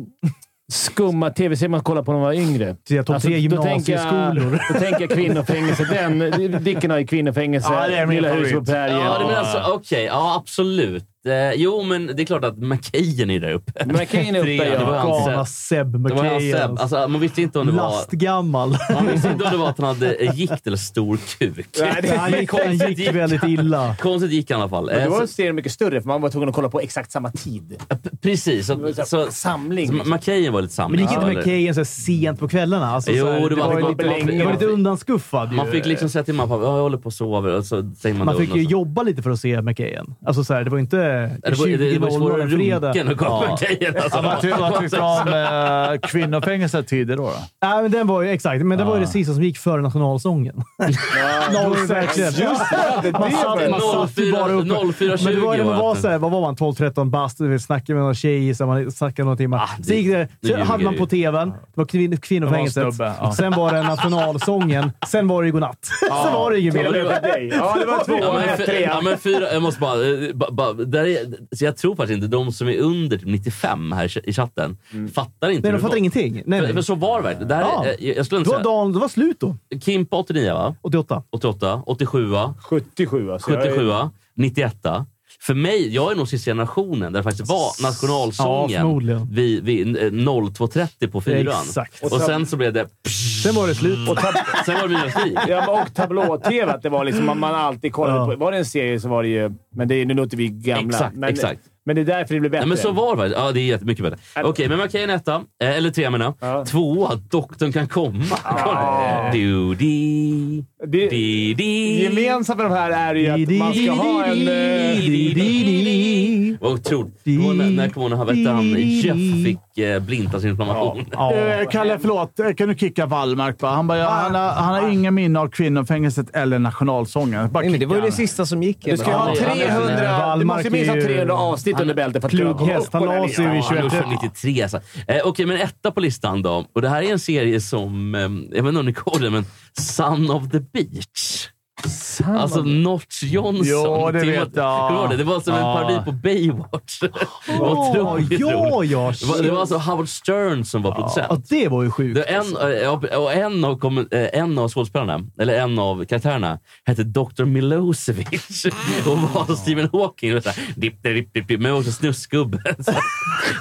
Speaker 4: skumma tv-serier man kollar på när man var yngre. Alltså,
Speaker 1: Ja, topp tre
Speaker 4: då tänker jag-
Speaker 1: gymnasieskolor.
Speaker 4: Då tänker jag kvinnofängelse. Den, Dicken har ju kvinnofängelse.
Speaker 2: Ja, det är min
Speaker 4: Lilla
Speaker 2: favorit.
Speaker 4: huset på prärien.
Speaker 3: Ja, det men alltså, okej. Ja, absolut. Eh, jo, men det är klart att McKayen är där uppe.
Speaker 4: McCain är uppe.
Speaker 3: Det var
Speaker 4: Ja.
Speaker 3: hans-
Speaker 1: Galna Seb
Speaker 3: Det var ju hans
Speaker 1: McKay.
Speaker 3: Seb. Alltså, man visste inte om det var...
Speaker 1: Lastgammal.
Speaker 3: Man visste inte om det var att han hade eh, gikt eller stor kuk.
Speaker 1: Han gick, han gick väldigt illa.
Speaker 3: Konstigt gick han i alla fall.
Speaker 4: Det
Speaker 3: Eh,
Speaker 4: var en
Speaker 3: så,
Speaker 4: serie mycket större, för man var tvungen att kolla på exakt samma tid.
Speaker 3: p- precis.
Speaker 4: Det var
Speaker 3: Så,
Speaker 4: så här,
Speaker 3: så, så
Speaker 4: samling. liksom.
Speaker 3: McKayen var lite samma.
Speaker 1: Men det gick
Speaker 3: Ja,
Speaker 1: inte
Speaker 3: eller-
Speaker 1: med Kayen så här sent på kvällarna. Alltså,
Speaker 3: Jo,
Speaker 1: så här,
Speaker 3: det var-
Speaker 1: ju
Speaker 3: man-
Speaker 1: lite,
Speaker 3: man-
Speaker 1: det var lite undanskuffad. ju.
Speaker 3: Man fick liksom säga till mamma och pappa, "Ja, jag håller på och sover. Och så säger man,
Speaker 1: Man
Speaker 3: det
Speaker 1: fick ju
Speaker 3: undan.
Speaker 1: jobba lite för att se McKayen. Alltså så här, det var inte
Speaker 3: alltså? det var, det, det var ju
Speaker 1: 20.00
Speaker 3: svårare
Speaker 1: en
Speaker 3: att
Speaker 1: fredag.
Speaker 3: runken och kolla
Speaker 1: Ja.
Speaker 3: McKayen. Alltså,
Speaker 2: Ja, vad ty- vad tyckte du om eh, kvinnofängelse tidigare då? då?
Speaker 1: Nej, men den var ju exakt. Men det var ju det
Speaker 2: Ja.
Speaker 1: sista som gick före nationalsången. Ja, 06. Just det! Man satt, man satt ju bara uppe.
Speaker 3: 04.20
Speaker 1: Men det var ju när man
Speaker 3: var
Speaker 1: var
Speaker 3: det.
Speaker 1: såhär, vad var man? 12-13 bast. du vet, Snackade med någon tjej, så man snackade några timmar.
Speaker 3: Ah, det-
Speaker 1: så gick det,
Speaker 3: nu
Speaker 1: så
Speaker 3: ljuger
Speaker 1: hade man
Speaker 3: du.
Speaker 1: på tvn. Det var kvin,
Speaker 2: Det var
Speaker 1: kvinnofängelset.
Speaker 2: en snubbe, ja.
Speaker 1: Sen var det nationalsången. Sen var det ju godnatt. Sen var det inget mer.
Speaker 4: Ja, det var
Speaker 3: Ja,
Speaker 4: två.
Speaker 3: men, fy- ja, men fyra, jag måste bara... eh, ba, ba, där är, så jag tror faktiskt inte de som är under typ 95 här i ch- i chatten fattar inte.
Speaker 1: Mm.
Speaker 3: hur
Speaker 1: Nej, de
Speaker 3: det
Speaker 1: fattar
Speaker 3: var.
Speaker 1: ingenting. Nej,
Speaker 3: För, för
Speaker 1: nej.
Speaker 3: så var det verkligen. Det här,
Speaker 1: Ja.
Speaker 3: är- eh, jag skulle
Speaker 1: Det
Speaker 3: inte
Speaker 1: var
Speaker 3: säga...
Speaker 1: dagen, det var slut då.
Speaker 3: Kimpa 89, va?
Speaker 1: 88.
Speaker 3: 88, 87,
Speaker 4: 77 alltså. Jag är-
Speaker 3: 77, 91. För mig, jag är nog sista generationen där det faktiskt var
Speaker 1: Ja,
Speaker 3: nationalsången
Speaker 1: förmodligen.
Speaker 3: vid, vid eh, 02.30 på fyran.
Speaker 1: Exakt.
Speaker 3: Och sen så blev det...
Speaker 1: Sen var det slut.
Speaker 4: Och tab-
Speaker 3: Sen var det minus
Speaker 4: Ja, men och tablå-tv. Att det var liksom, man, man alltid kollade
Speaker 1: Ja.
Speaker 4: på... Var det en serie så var det ju... Men det, är- nu låter vi gamla.
Speaker 3: Exakt,
Speaker 4: men,
Speaker 3: exakt.
Speaker 4: Men det är därför det blir bättre.
Speaker 3: Nej, men så var det faktiskt. Ja, det är jättemycket bättre. Okej, men McCain etta. Eh, Eller tre menar
Speaker 4: Äh. Ja. Ah.
Speaker 3: jag. Tvåa, doktorn kan komma.
Speaker 4: Ja.
Speaker 3: Du, di,
Speaker 4: Det-
Speaker 3: di, di.
Speaker 4: Gemensamt med de här är ju att man ska ha en... eh,
Speaker 3: Vad otroligt. Det var när- När kommer hon ihåg att han Jeff fick eh, blindtarmsinflammation?
Speaker 1: Ja.
Speaker 2: Eh, Kalle, förlåt. Eh, Kan du kicka Wallmark? Bara? Han, bara, ja, han, har, han har inga minne av kvinnofängelset eller nationalsången. Bara
Speaker 5: Nej, men det
Speaker 2: kicka
Speaker 5: var ju det
Speaker 2: han.
Speaker 5: sista som gick.
Speaker 4: Du ska
Speaker 5: ändå.
Speaker 4: ha
Speaker 3: Ja, han är-
Speaker 4: 300... Du
Speaker 1: Wallmark
Speaker 4: måste minst ha
Speaker 1: är ju-
Speaker 4: 300 avsnitt
Speaker 3: han-
Speaker 4: under bältet för att
Speaker 1: Plugghäst. Han la sig vid
Speaker 3: Ja, han
Speaker 1: 21.
Speaker 3: är från 93 alltså. Eh, Okej, men etta på listan då. Och det här är en serie som, eh, jag vet inte om ni kommer ihåg det, men Son of the Beach. Alltså Notch Johnson.
Speaker 2: Ja, det
Speaker 3: Timothy-
Speaker 2: vet jag.
Speaker 3: Kommer du ihåg det? Det var som en
Speaker 2: Ja.
Speaker 3: parodi på Baywatch. Det var
Speaker 1: Ja,
Speaker 3: otroligt
Speaker 1: ja,
Speaker 3: roligt.
Speaker 1: ja.
Speaker 3: Det var, det var alltså Howard Stern som var producent.
Speaker 1: Ja, det var ju sjukt.
Speaker 3: Det var en, eh, ja, och en av, kommen- eh, en av skådespelarna, eller en av karaktärerna, hette Dr. Milosevic. Och var Stephen Hawking. Och så här, dip, dip, dip, dip, men också snusgubbe. Så,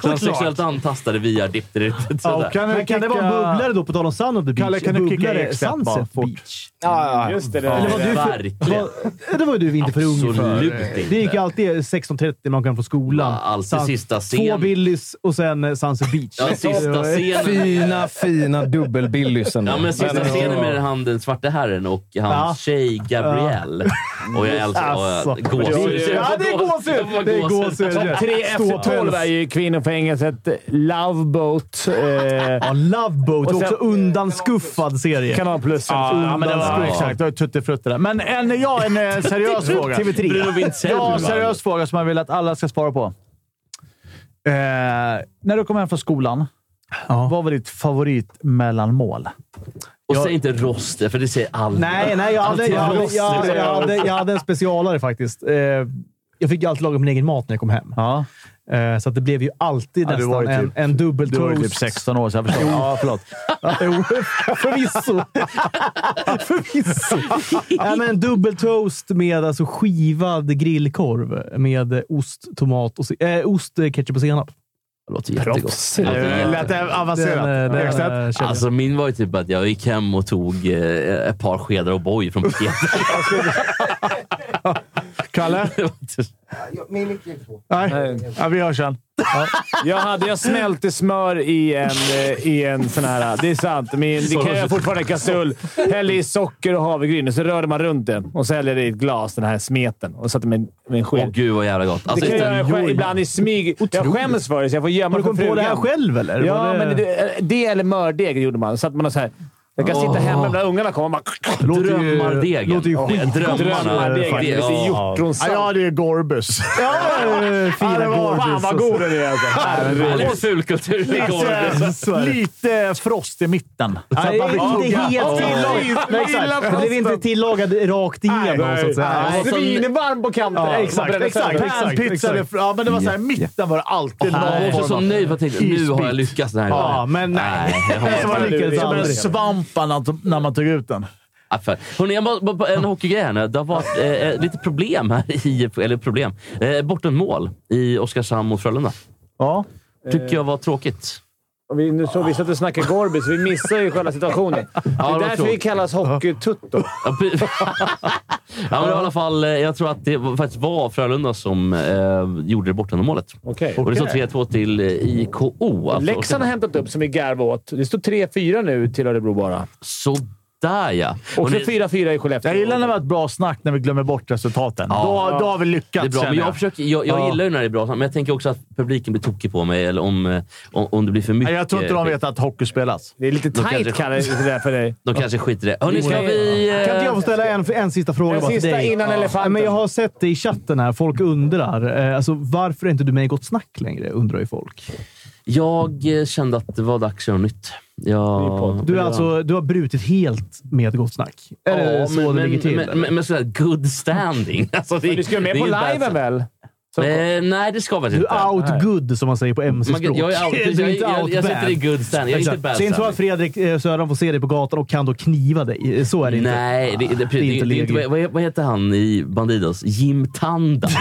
Speaker 3: så han sexuellt antastade via dip, dip, dip,
Speaker 2: Ja,
Speaker 3: sådär.
Speaker 2: och kan,
Speaker 1: Men kan det vara en bubblare då, på tal om Sun of the Beach?
Speaker 2: Kalle, kan du kicka
Speaker 1: bubblare,
Speaker 2: exakt bara
Speaker 1: Sunset
Speaker 2: fort?
Speaker 1: Beach.
Speaker 5: Ja, ja.
Speaker 4: Just det. det
Speaker 1: Eller var du för,
Speaker 3: Verkligen.
Speaker 1: var, det var ju du inte för ung
Speaker 3: Absolut
Speaker 1: för.
Speaker 3: inte.
Speaker 1: Det gick alltid 16.30 när man kom från skolan.
Speaker 3: Ja, alltid
Speaker 1: Sun-
Speaker 3: sista
Speaker 1: Två
Speaker 3: scen.
Speaker 1: Billys och sen eh, Sunset Beach.
Speaker 3: Ja, sista scenen.
Speaker 5: Fina, fina dubbelbillysen.
Speaker 3: Ja, men sista
Speaker 5: Den är-
Speaker 3: scenen med han den svarte herren och hans
Speaker 1: Ja.
Speaker 3: tjej Gabrielle. Och jag älskar...
Speaker 1: Alltså.
Speaker 3: och jag- Gåshud.
Speaker 1: Ja, det är
Speaker 3: Jag får
Speaker 1: gåshud! Det är gåshud.
Speaker 4: Tre efter tolv är ju kvinnofängelset, Loveboat, eh,
Speaker 1: Ja, Love Boat.
Speaker 4: Och sen-
Speaker 1: också undanskuffad serie.
Speaker 4: Kanal Plus.
Speaker 2: Ja, men det var,
Speaker 1: Undanskuffad.
Speaker 2: exakt. Det var tuttifrutti där. Men en, ja, en eh, seriös fråga.
Speaker 3: TV3. Bruno Wintzell.
Speaker 2: Ja, en seriös fråga som jag vill att alla ska svara på. Eh, när du kom hem från skolan, vad var ditt favoritmellanmål?
Speaker 3: Och säg inte rost, för det säger alla.
Speaker 1: Nej, nej jag, hade, jag, hade, jag, hade, jag, hade, jag hade en specialare faktiskt. Eh, Jag fick ju alltid laga min egen mat när jag kom hem.
Speaker 2: Ja.
Speaker 1: Eh, Så att det blev ju alltid
Speaker 2: Ja, du var
Speaker 1: nästan
Speaker 2: ju
Speaker 1: en,
Speaker 2: typ-
Speaker 1: en dubbel
Speaker 2: Du var ju
Speaker 1: toast.
Speaker 2: typ 16 år, så jag förstår. Ja, förlåt.
Speaker 1: Jo, förvisso. förvisso. Ja, men en dubbel toast med alltså skivad grillkorv med ost, tomat och se- eh, ost, eh, ketchup och senap.
Speaker 3: Det låter jättegott. Det låter
Speaker 2: Eh, Lät
Speaker 3: jättegott.
Speaker 2: det
Speaker 1: Den,
Speaker 2: avancerat?
Speaker 1: eh, den,
Speaker 2: Exakt.
Speaker 1: eh, kände
Speaker 3: Alltså min var ju typ att jag gick hem och tog eh, ett par skedar och boj från paketet.
Speaker 2: Kalle? Nej. Ja, vi hörs sen.
Speaker 4: Jag, hade, jag smälte smör i en, eh, i en sån här... Det är sant. Min, det kan jag fortfarande i kastrull. Hällde i socker och havregryn och så rörde man runt den och så hällde jag i ett glas, den här smeten, och satte med, med en
Speaker 3: Åh
Speaker 4: sked.
Speaker 3: gud vad jävla gott.
Speaker 4: det
Speaker 3: Alltså,
Speaker 4: kan jag
Speaker 3: utan,
Speaker 4: göra själv, ibland i smig. Jag skäms för det, så jag får gömma
Speaker 1: jag. Har du
Speaker 4: för
Speaker 1: kommit på det här
Speaker 4: frugan.
Speaker 1: själv eller?
Speaker 4: Ja,
Speaker 1: Var det...
Speaker 4: men det, det eller mördeg gjorde man. Så att man har så här, jag kan sitta
Speaker 3: Åh.
Speaker 4: hemma när ungarna kommer och bara...
Speaker 3: drömmardegen.
Speaker 1: låter ju
Speaker 3: Ja,
Speaker 1: skitgott.
Speaker 4: Drömmardeg.
Speaker 3: Drömmarna.
Speaker 4: Det är
Speaker 3: Ja.
Speaker 2: Ja, jag
Speaker 4: hjortronsalt.
Speaker 2: hade ju Gorbus.
Speaker 1: Eh,
Speaker 2: Ja, det
Speaker 1: Fina
Speaker 2: var-
Speaker 1: Gorbis.
Speaker 2: Fan vad god den är alltså.
Speaker 3: Ja,
Speaker 2: Herregud.
Speaker 3: Lite fulkultur. Det
Speaker 2: Alltså,
Speaker 3: går.
Speaker 2: Lite,
Speaker 1: Så är det.
Speaker 2: lite frost i mitten. Så
Speaker 1: Nej,
Speaker 2: att man fick
Speaker 1: inte
Speaker 2: tugga.
Speaker 1: helt tillagad. Nej, exakt. Den blev inte tillagad rakt igenom, så att säga.
Speaker 3: Nej.
Speaker 4: Svinvarm på kanten.
Speaker 1: Ja,
Speaker 4: Man
Speaker 1: exakt,
Speaker 4: bränner
Speaker 1: exakt,
Speaker 4: sönder.
Speaker 1: exakt,
Speaker 2: Pizza,
Speaker 1: exakt.
Speaker 2: det- ja, men det var såhär, mitten var det alltid någon
Speaker 3: Jag var också
Speaker 2: form
Speaker 3: så
Speaker 2: av-
Speaker 3: nöjd för jag tänkte nu har jag lyckats den här
Speaker 1: Ja,
Speaker 3: gången.
Speaker 1: men nej.
Speaker 3: jag har-
Speaker 1: Så var det lyckades
Speaker 2: Som en
Speaker 1: aldrig.
Speaker 2: svamp när- när man tog ut den.
Speaker 3: Ja, för- Hörrni, jag må- må- en hockeygrej här nu. Det har varit eh, eh, lite problem här i... Eller problem. Eh, bortenmål i Oskarshamn mot Frölunda.
Speaker 2: Ja.
Speaker 3: Tycker jag var tråkigt.
Speaker 4: Och vi, nu såg vi så att du snackar Gorby, så vi missar ju själva situationen. Det
Speaker 3: det var
Speaker 4: är därför vi
Speaker 3: tråkigt.
Speaker 4: kallas Hockeytutto.
Speaker 3: Ja, pre- ja, men i alla fall, eh, jag tror att det var- faktiskt var Frölunda som eh, gjorde det bortenmålet.
Speaker 4: Okej.
Speaker 3: Och det står 3-2 till eh, IKO. Alltså.
Speaker 4: Leksand har hämtat upp, som vi garvade åt. Det står 3-4 nu till Örebro bara.
Speaker 3: Sådär ja.
Speaker 4: Och så
Speaker 3: ni-
Speaker 4: 4-4 i Skellefteå.
Speaker 2: Jag gillar när det var ett bra snack när vi glömmer bort resultaten.
Speaker 3: Ja.
Speaker 2: Då, då har vi
Speaker 3: det
Speaker 2: lyckats,
Speaker 3: är bra, men
Speaker 2: känner
Speaker 3: jag, försöker, jag, jag
Speaker 2: Ja.
Speaker 3: gillar ju när det är bra, men jag tänker också att publiken blir tokig på mig eller om, eh, om, om det blir för mycket.
Speaker 2: Nej, jag tror inte de vet att hockey spelas.
Speaker 4: Det är lite
Speaker 3: Då kanske-
Speaker 4: tight, Kalle, det där för dig.
Speaker 3: De kanske skiter i det. Hörni, ska
Speaker 4: Nej.
Speaker 3: vi... eh,
Speaker 1: Kan inte jag få ställa en, en sista fråga
Speaker 4: En
Speaker 1: bara till
Speaker 4: sista
Speaker 1: dig?
Speaker 4: innan elefanten.
Speaker 1: Nej, Men jag har sett det i chatten här. Folk undrar. Eh, alltså, varför är inte du med i Gott Snack längre? Undrar ju folk.
Speaker 3: Jag eh, kände att det var dags att göra nytt. Jag...
Speaker 1: Du, är alltså, du har brutit helt med Gott Snack. Är det så det ligger till?
Speaker 3: Men, men, men sådär good standing. Alltså, det,
Speaker 4: Men du ska ju med
Speaker 3: det är
Speaker 4: på
Speaker 3: inte ens-
Speaker 4: liven väl? Så-
Speaker 3: Eh, nej, det ska faktiskt
Speaker 1: du
Speaker 3: inte.
Speaker 1: är out good, som man säger på
Speaker 3: Man,
Speaker 1: mc-språk.
Speaker 3: jag, är out,
Speaker 1: Du är
Speaker 3: jag, jag,
Speaker 1: inte
Speaker 3: jag,
Speaker 1: out
Speaker 3: jag
Speaker 1: bad.
Speaker 3: sitter i good standing. Jag är inte
Speaker 1: Exakt.
Speaker 3: bad
Speaker 1: Säg inte så
Speaker 3: standing.
Speaker 1: att Fredrik eh, Söran får se dig på gatan och kan då kniva dig. Eh, Så är det inte.
Speaker 3: Nej, det, det, det, det,
Speaker 1: är
Speaker 3: det,
Speaker 1: inte
Speaker 3: är inte,
Speaker 1: legio.
Speaker 3: vad, vad heter han i Bandidos? Jim Tandan.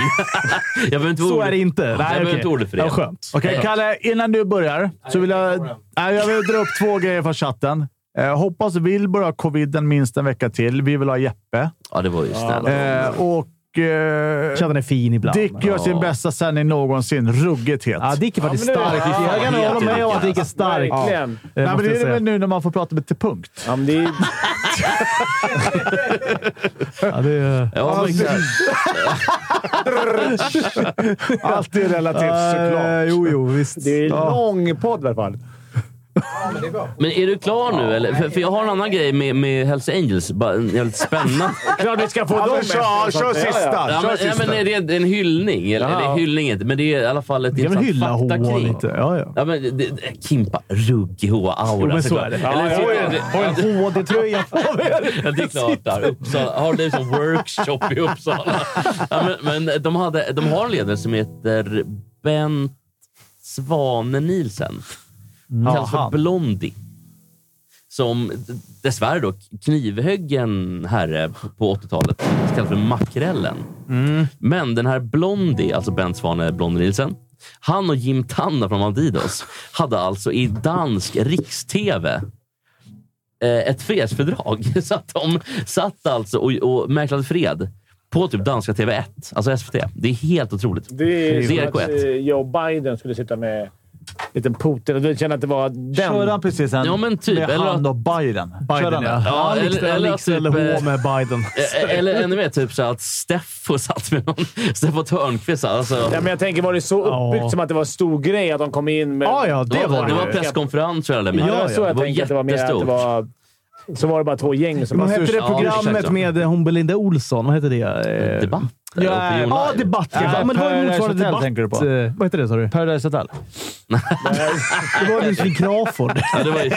Speaker 3: jag behöver inte vara
Speaker 1: Så
Speaker 3: orolig.
Speaker 1: är det inte.
Speaker 3: jag behöver
Speaker 1: okej.
Speaker 3: inte ordet för det.
Speaker 1: Ja, skönt.
Speaker 2: Okej,
Speaker 3: Ja.
Speaker 2: Kalle. Innan du börjar så vill jag, nej, jag vill dra upp två grejer från chatten. Eh, hoppas Wilbur har coviden minst en vecka till. Vi vill ha Jeppe.
Speaker 3: Ja, det var ju snällt.
Speaker 2: Eh, och eh,
Speaker 1: Chatten är fin ibland.
Speaker 2: Dick gör sin
Speaker 3: Ja.
Speaker 2: bästa sändning någonsin. Ruggigt het.
Speaker 1: Ja, Dick är faktiskt
Speaker 4: men det-
Speaker 1: stark.
Speaker 4: Ja,
Speaker 1: jag kan
Speaker 3: helt
Speaker 1: hålla med om att Dick är stark.
Speaker 4: Verkligen.
Speaker 1: Eh,
Speaker 2: Nej, men
Speaker 1: måste jag
Speaker 2: det är det
Speaker 1: säga.
Speaker 2: väl nu när man får prata med till punkt.
Speaker 4: Ja, men det är...
Speaker 1: Ja, det är...
Speaker 3: ja, men, exakt.
Speaker 2: Allt är relativt såklart.
Speaker 1: Eh, jo, jo, visst.
Speaker 4: Det är en lång podd i alla fall.
Speaker 3: Men är du klar nu eller? För, för jag har en annan grej med, med Hells Angels. Bara en jävligt spännande.
Speaker 4: Klart vi ska få
Speaker 2: Ja,
Speaker 4: dem
Speaker 2: men kör,
Speaker 4: efter.
Speaker 2: kör sista!
Speaker 3: Ja,
Speaker 2: Kör
Speaker 3: men, ja,
Speaker 2: sista.
Speaker 3: men det, är, det är en hyllning. Eller,
Speaker 4: Jaha.
Speaker 3: eller hyllning inte, men det är i alla fall ett
Speaker 2: Vi kan väl hylla
Speaker 3: intressant
Speaker 2: Hoa
Speaker 3: faktakrig.
Speaker 2: lite. Ja, ja.
Speaker 3: Ja, men det, det, Kimpa, ruggig Hoa-aura.
Speaker 1: Jo, men så
Speaker 3: såklart.
Speaker 1: är det.
Speaker 3: Eller,
Speaker 4: Ja,
Speaker 3: så-
Speaker 4: ja,
Speaker 3: det-
Speaker 4: ja.
Speaker 1: Har en HD-tröja på mig.
Speaker 3: Ja, det är klart. Där. Uppsala, har du som workshop i Uppsala? Ja, men men de, hade, de har en ledare som heter Bent Svane Nielsen. Kallas för
Speaker 2: han.
Speaker 3: Blondie. Som dessvärre då knivhöggen herre på 80-talet kallas för Makrellen. Men den här Blondie, alltså Bent Svane Blondie Nielsen, han och Jim Tanner från Bandidos hade alltså i dansk riks-tv eh, ett fredsfördrag. Så att de satt alltså och, och mäklade fred på typ danska TV1, alltså SVT. Det är helt otroligt.
Speaker 4: Det är som
Speaker 3: DRK1.
Speaker 4: att eh, Joe Biden skulle sitta med liten Putin och du känner att det var den.
Speaker 2: Kör han precis en
Speaker 3: Ja, men typ,
Speaker 2: med
Speaker 3: eller-
Speaker 2: han och Biden? Kör han
Speaker 1: Biden,
Speaker 2: det?
Speaker 1: ja.
Speaker 3: Ja,
Speaker 1: Han
Speaker 3: eller- eller
Speaker 1: likställer
Speaker 3: typ, eh,
Speaker 1: H med Biden.
Speaker 3: Eh, Eller ännu mer typ så att Steffo satt med någon. Steffo Törnqvist. Alltså.
Speaker 4: Ja, men jag tänker, var det så uppbyggt
Speaker 1: Ja.
Speaker 4: som att det var en stor grej att de kom in med...
Speaker 2: Ja, ja, det var
Speaker 3: det
Speaker 2: det.
Speaker 3: var presskonferens tror jag. eller?
Speaker 4: Ja, det var så jag
Speaker 3: var
Speaker 4: tänkte att det var mer att det
Speaker 3: jättestort.
Speaker 4: var... Så var det bara två gäng som...
Speaker 1: Vad
Speaker 4: bara-
Speaker 1: hette det
Speaker 3: Ja, exakt
Speaker 1: programmet
Speaker 3: så.
Speaker 1: med eh, hon Belinda Olsson? Vad hette det? Eh,
Speaker 3: Debatt? eller
Speaker 1: Ja,
Speaker 3: opinion
Speaker 1: ja
Speaker 3: live?
Speaker 1: debatt. Ja.
Speaker 2: Ja,
Speaker 1: men det var ju
Speaker 2: Paradise
Speaker 1: motsvarande
Speaker 2: Hotel
Speaker 1: debatt.
Speaker 2: tänker du på.
Speaker 1: eh, Vad heter det, sa du?
Speaker 2: Paradise Hotel.
Speaker 1: Det var Josefin Crawford.
Speaker 3: Ja, det var ju...